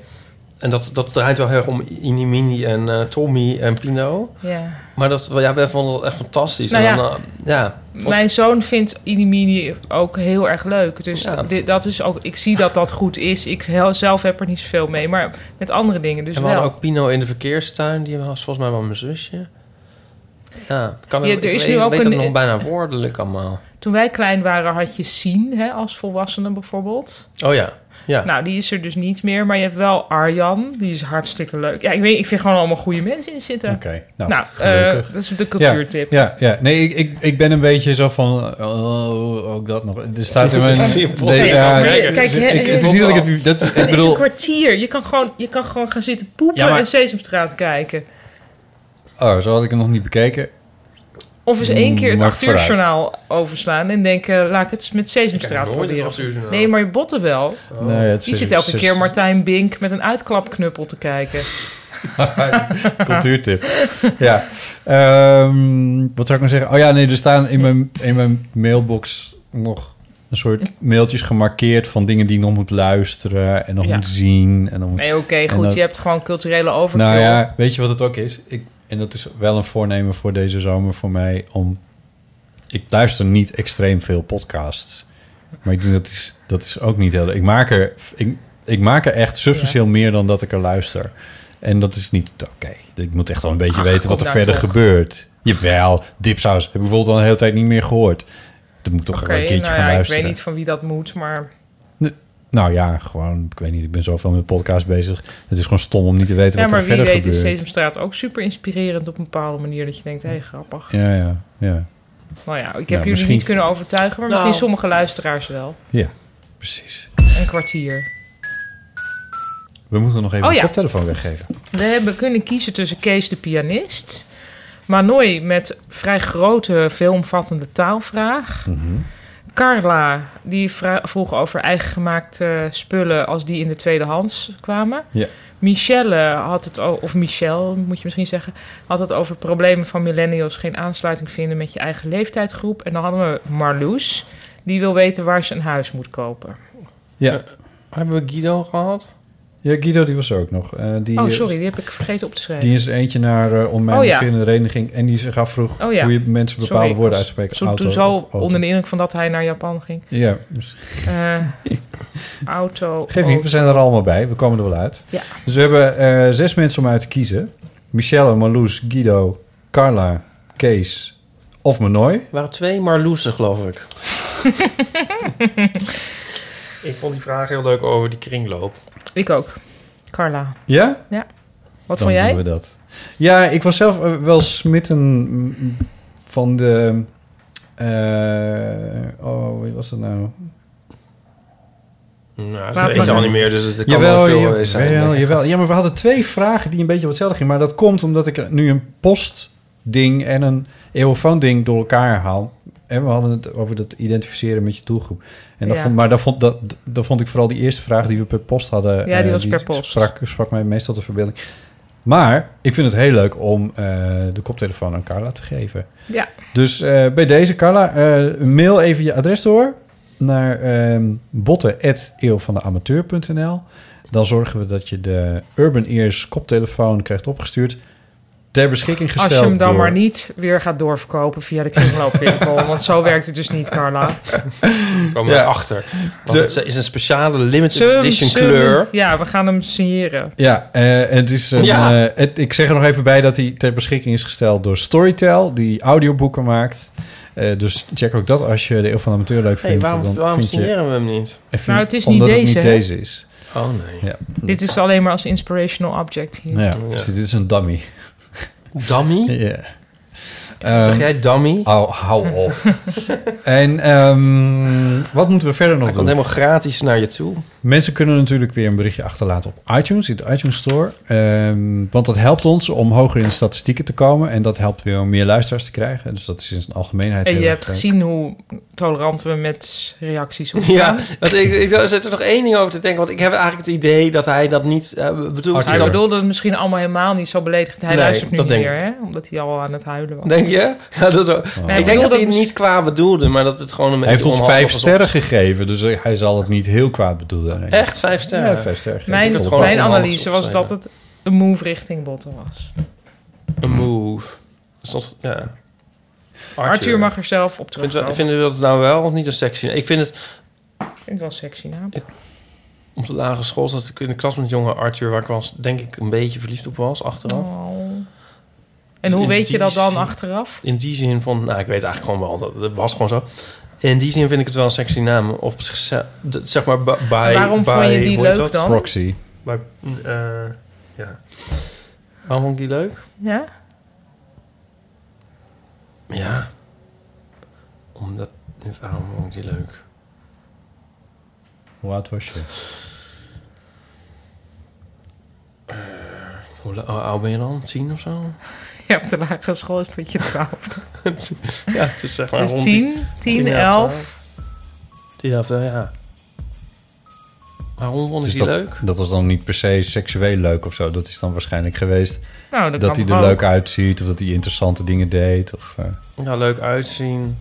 En dat, dat draait wel heel erg om Inimini en eh, Tommy en Pino. Ja. Maar dat, ja, wij vonden dat echt fantastisch. Nou en ja. dan, eh, ja, Mijn zoon vindt Inimini ook heel erg leuk. Dus dit, dat is ook, ik zie dat dat goed is. Ik heel- zelf heb er niet zoveel mee, maar met andere dingen dus en we wel. hadden ook Pino in de verkeerstuin. Die was volgens mij wel mijn zusje. Ja, kan Ja, ik, er is nu ook weet het nog bijna woordelijk allemaal. Toen wij klein waren had je Sien hè, als volwassene bijvoorbeeld. Oh ja, ja. Nou, die is er dus niet meer. Maar je hebt wel Arjan. Die is hartstikke leuk. Ja, ik, weet, ik vind gewoon allemaal goede mensen in zitten. Oké, nou, eh, gelukkig. dat is de cultuurtip. Ja, ja, ja. nee, ik, ik, ik ben een beetje zo van, oh, ook dat nog. [laughs] Er staat in mijn... Ik zie je vol- Nee, ja, Kijk, ik- Kijk, hè, eh, ik- het is niet dat ik het... Dat, ik het is een bedoel, kwartier. Je kan gewoon, je kan gewoon gaan zitten poepen Ja, maar- en Sesamstraat kijken. oh, zo had ik het nog niet bekeken. Of eens één keer het Maar 8 uur journaal overslaan en denken, eh, laat ik het met Sesamstraat nooit het acht uur proberen. journaal. Nee, maar je botten wel. Oh. Nee, het Die is- zit elke het is- keer Martijn Bink met een uitklapknuppel te kijken. [laughs] [laughs] Cultuurtip. ja. Ehm, wat zou ik nou zeggen? Oh ja, nee, er staan in mijn, in mijn mailbox nog een soort mailtjes gemarkeerd van dingen die je nog moet luisteren en nog Ja. moet zien. En dan moet, Nee, oké, en goed. dan- Je hebt gewoon culturele overkill. nou ja, weet je wat het ook is? Ik, en dat is wel een voornemen voor deze zomer voor mij om. Ik luister niet extreem veel podcasts. Maar ik denk dat is, dat is ook niet heel. Ik maak er, ik, ik maak er echt substantieel meer dan dat ik er luister. En dat is niet oké. Ik moet echt wel een beetje Ach, weten kom wat er nou verder toch. gebeurt. Jawel, dipsaus heb ik bijvoorbeeld al een hele tijd niet meer gehoord. Dat moet toch Oké, wel een keertje nou gaan ja, ik luisteren. weet niet van wie dat moet, maar... Nou ja, gewoon, ik weet niet. Ik ben zoveel met podcasts bezig. Het is gewoon stom om niet te weten Ja, wat maar er wie verder weet gebeurt. is Sesamstraat ook super inspirerend op een bepaalde manier. Dat je denkt, hé, hey, grappig. Ja, ja, ja. Nou ja, ik heb Ja, jullie misschien- niet kunnen overtuigen, maar Nou. misschien sommige luisteraars wel. Ja, precies. Een kwartier. We moeten nog even Oh de ja. koptelefoon weggeven. We hebben kunnen kiezen tussen Kees de pianist, Manoy met vrij grote, veelomvattende taalvraag, Hm. Carla die vra- vroeg over eigengemaakte spullen als die in de tweedehands kwamen. Ja. Michelle had het o- of Michelle moet je misschien zeggen, had het over problemen van millennials geen aansluiting vinden met je eigen leeftijdsgroep. En dan hadden we Marloes, die wil weten waar ze een huis moet kopen. Ja. hebben we Guido gehad? Ja, Guido die was er ook nog. Eh, die, oh, sorry, die heb ik vergeten op te schrijven. Die is er eentje naar eh om mijn Oh ja. vereniging en die zich afvroeg Oh ja. hoe je mensen Sorry, bepaalde ik woorden was uitspreekt. Zo, Auto toen zo of auto. onder de indruk van dat hij naar Japan ging. Ja. [laughs] Eh, auto. Geef niet, we auto. zijn er allemaal bij. We komen er wel uit. Ja. Dus we hebben eh, zes mensen om uit te kiezen. Michelle, Marloes, Guido, Carla, Kees of Manoy. Er waren twee Marloesen, geloof ik. ik vond die vraag heel leuk over die kringloop. Ik ook. Carla. Ja? Ja. Wat Dan vond jij? doen we dat. Ja, ik was zelf eh, wel smitten mm, van de... eh, oh, wie was dat nou? Nou, Laat dat weet maar. ze al niet meer, dus het kan wel veel jawel, geweest zijn. jawel, Nee, jawel. Ja, maar we hadden twee vragen die een beetje wat hetzelfde gingen. Maar dat komt omdat ik nu een postding en een eeuwfoon-ding door elkaar haal. En we hadden het over dat identificeren met je doelgroep. En dat Ja. vond, maar daar vond, dat, dat vond ik vooral die eerste vraag die we per post hadden. Ja, die eh, was per post. Sprak, sprak mij meestal de verbeelding. Maar ik vind het heel leuk om eh, de koptelefoon aan Carla te geven. Ja. Dus eh, bij deze, Carla, eh, mail even je adres door naar ehm botten.eeuwvandeamateur.nl. Dan zorgen we dat je de Urban Ears koptelefoon krijgt opgestuurd. Ter beschikking gesteld Als je hem dan door- maar niet weer gaat doorverkopen via de [laughs] kringloopwinkel. want zo werkt het dus niet, Carla. Ik kwam erachter. Want De- het is een speciale limited Zullen we hem- edition zullen we hem- kleur. Ja, we gaan hem signeren. Ja, eh, het is een, Ja. eh, het, ik zeg er nog even bij dat hij ter beschikking is gesteld door Storytel, die audioboeken maakt. Eh, dus check ook dat als je de Eeuw van de Amateur leuk Hey, vindt. waarom- dan waarom vind je- signeren we hem niet? En Nou, het is niet omdat deze, het hè? niet deze is. Oh nee. Ja. Dit is alleen maar als inspirational object hier. Nou ja, Dus dit is een dummy. Dummy? [laughs] Ja. Ehm, Zeg jij dummy? Hou, hou [laughs] op. en ehm, wat moeten we verder nog Hij doen? komt helemaal gratis naar je toe. Mensen kunnen natuurlijk weer een berichtje achterlaten op iTunes, in de iTunes Store. Ehm, want dat helpt ons om hoger in de statistieken te komen. En dat helpt weer om meer luisteraars te krijgen. Dus dat is in zijn algemeenheid. En heel je erg hebt leuk. gezien hoe tolerant we met reacties omgaan. Ja, want ik, ik zit er nog één ding over te denken. Want ik heb eigenlijk het idee dat hij dat niet eh, bedoelt. Hij Dat- bedoelde het misschien allemaal helemaal niet zo beledigend. Hij Nee, luistert nu dat niet denk meer, hè? Omdat hij al aan het huilen was. Denk je? [laughs] Ja, dat Nee, ook. ik bedoel denk dat dat dus- hij het niet qua bedoelde, maar dat het gewoon een Oh. Hij beetje heeft ons onhandig vijf was sterren gegeven, dus hij zal het niet heel kwaad bedoelen. Nee. Echt vijf sterren? Ja, vijf sterren. Mijn, Ik vond het mijn wel- analyse was opgeschreven. dat het een move richting botten was. Een move. Dat is toch, ja. Arthur. Arthur mag er zelf op Vinden we- terugkomen. vinden we dat nou wel of niet een sexy? Ik vind het Ik vind het wel sexy naam. op de lagere school zat ik in de klas met jonge Arthur, waar ik was, denk ik, een beetje verliefd op was achteraf. En hoe Oh. Dus In weet je die dat dan zin- achteraf? [laughs] In die zin van, nou, ik weet eigenlijk gewoon wel, dat, dat was gewoon zo. In die zin vind ik het wel een sexy naam. Op zichzelf, dat- zeg maar, bij... Waarom vond je die leuk dan? Proxy. Bij, eh, ja. Waarom Oh, vond ik die leuk? Ja? Ja. Omdat... dus Waarom vond ik die leuk? Hoe oud was je? Eh, Hoe la- hoe oud ben je dan? Tien of zo? Ja, op de lagere school is het tot je twaalfde. [laughs] ja, het is zeg maar Dus rond tien, die- tien, en elf. Tien, elf, ja. Waarom vond ik Dus die dat, leuk? dat was dan niet per se seksueel leuk of zo. Dat is dan waarschijnlijk geweest Nou, dat dat kan hij er ook. leuk uitziet of dat hij interessante dingen deed. Of, eh, Ja, leuk uitzien.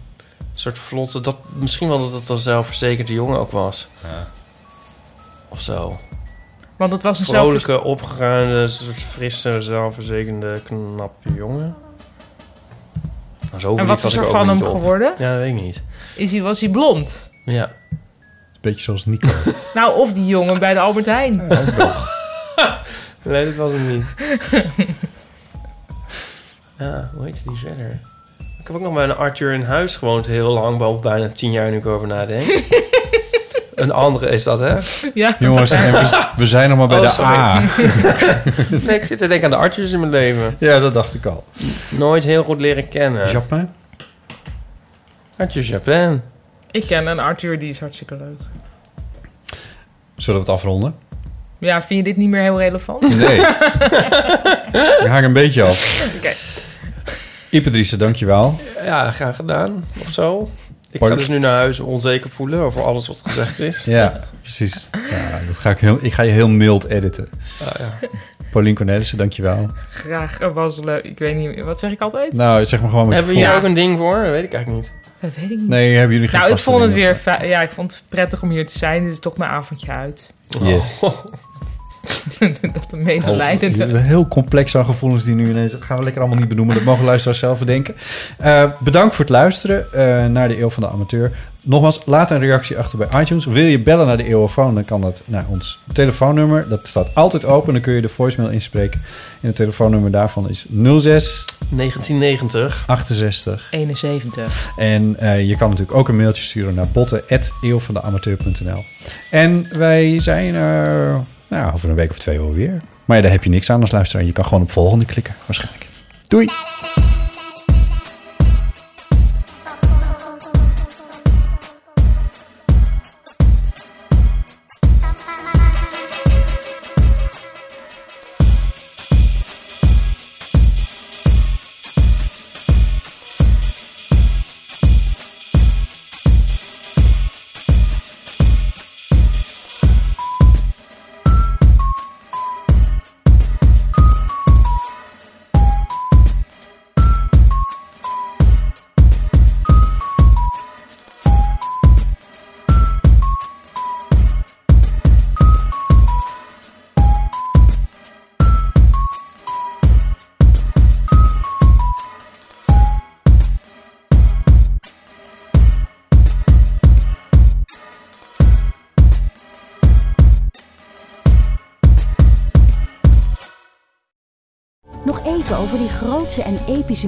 soort vlotte... Dat, misschien wel dat het een zelfverzekerde jongen ook was. Of zo. Want het was een zelf... Vrolijke, opgeruimde, soort frisse, zelfverzekerde, knappe jongen. Nou, zo En verliefd wat was is ik er ook van weer hem niet op. geworden? Ja, dat weet ik niet. Is hij, was hij blond? Ja. Beetje zoals Nico. Nou, of die jongen bij de Albert Heijn. [laughs] nee, dat was hem niet. [laughs] ja, hoe heet die verder? Ik heb ook nog bij een Arthur in huis gewoond heel lang. Wel bijna tien jaar nu ik over [laughs] nadenk. een andere is dat, hè? Ja. Jongens, en we, we [laughs] zijn nog maar bij Oh, de sorry. A. [laughs] nee, ik zit te denken aan de Arthurs in mijn leven. Ja, dat dacht ik al. Nooit heel goed leren kennen. Japan? Arthur Japan. Ik ken een Arthur, die is hartstikke leuk. Zullen we het afronden? Ja, vind je dit niet meer heel relevant? [laughs] Nee. Ik haak een beetje af. Oké. Ipe Driessen, dankjewel. Ja, graag gedaan. Of zo. Ik Pardon? ga dus nu naar huis onzeker voelen over alles wat gezegd [laughs] is. Ja, precies. Ja, dat ga ik, heel, ik ga je heel mild editen. Ah, ja. Paulien Cornelissen, dankjewel. Graag, het was leuk. Ik weet niet, wat zeg ik altijd? Nou, zeg maar gewoon wat je Hebben we hier voelt. ook een ding voor? Dat weet ik eigenlijk niet. Dat weet ik niet. Nee, hebben jullie geen Nou, ik vaste vond het dingen? weer fi- ja, ik vond het prettig om hier te zijn. Dit is toch mijn avondje uit. Yes. [laughs] dat de medelijdende. [laughs] [laughs] Oh, dit is heel complex aan gevoelens die nu ineens... Dat gaan we lekker allemaal niet benoemen. Dat mogen luisteraars zelf bedenken. Eh, bedankt voor het luisteren eh, naar de Eeuw van de Amateur. Nogmaals, laat een reactie achter bij iTunes. Wil je bellen naar de Eeuwofoon, dan kan dat naar ons telefoonnummer. Dat staat altijd open. Dan kun je de voicemail inspreken. En het telefoonnummer daarvan is 06... 1990. 68. 71. En eh, je kan natuurlijk ook een mailtje sturen naar botten.eeuwvandeamateur.nl. En wij zijn er nou, over een week of twee wel weer. Maar ja, daar heb je niks aan als luisteraar. Je kan gewoon op volgende klikken, waarschijnlijk. Doei! Nog even over die grootse en epische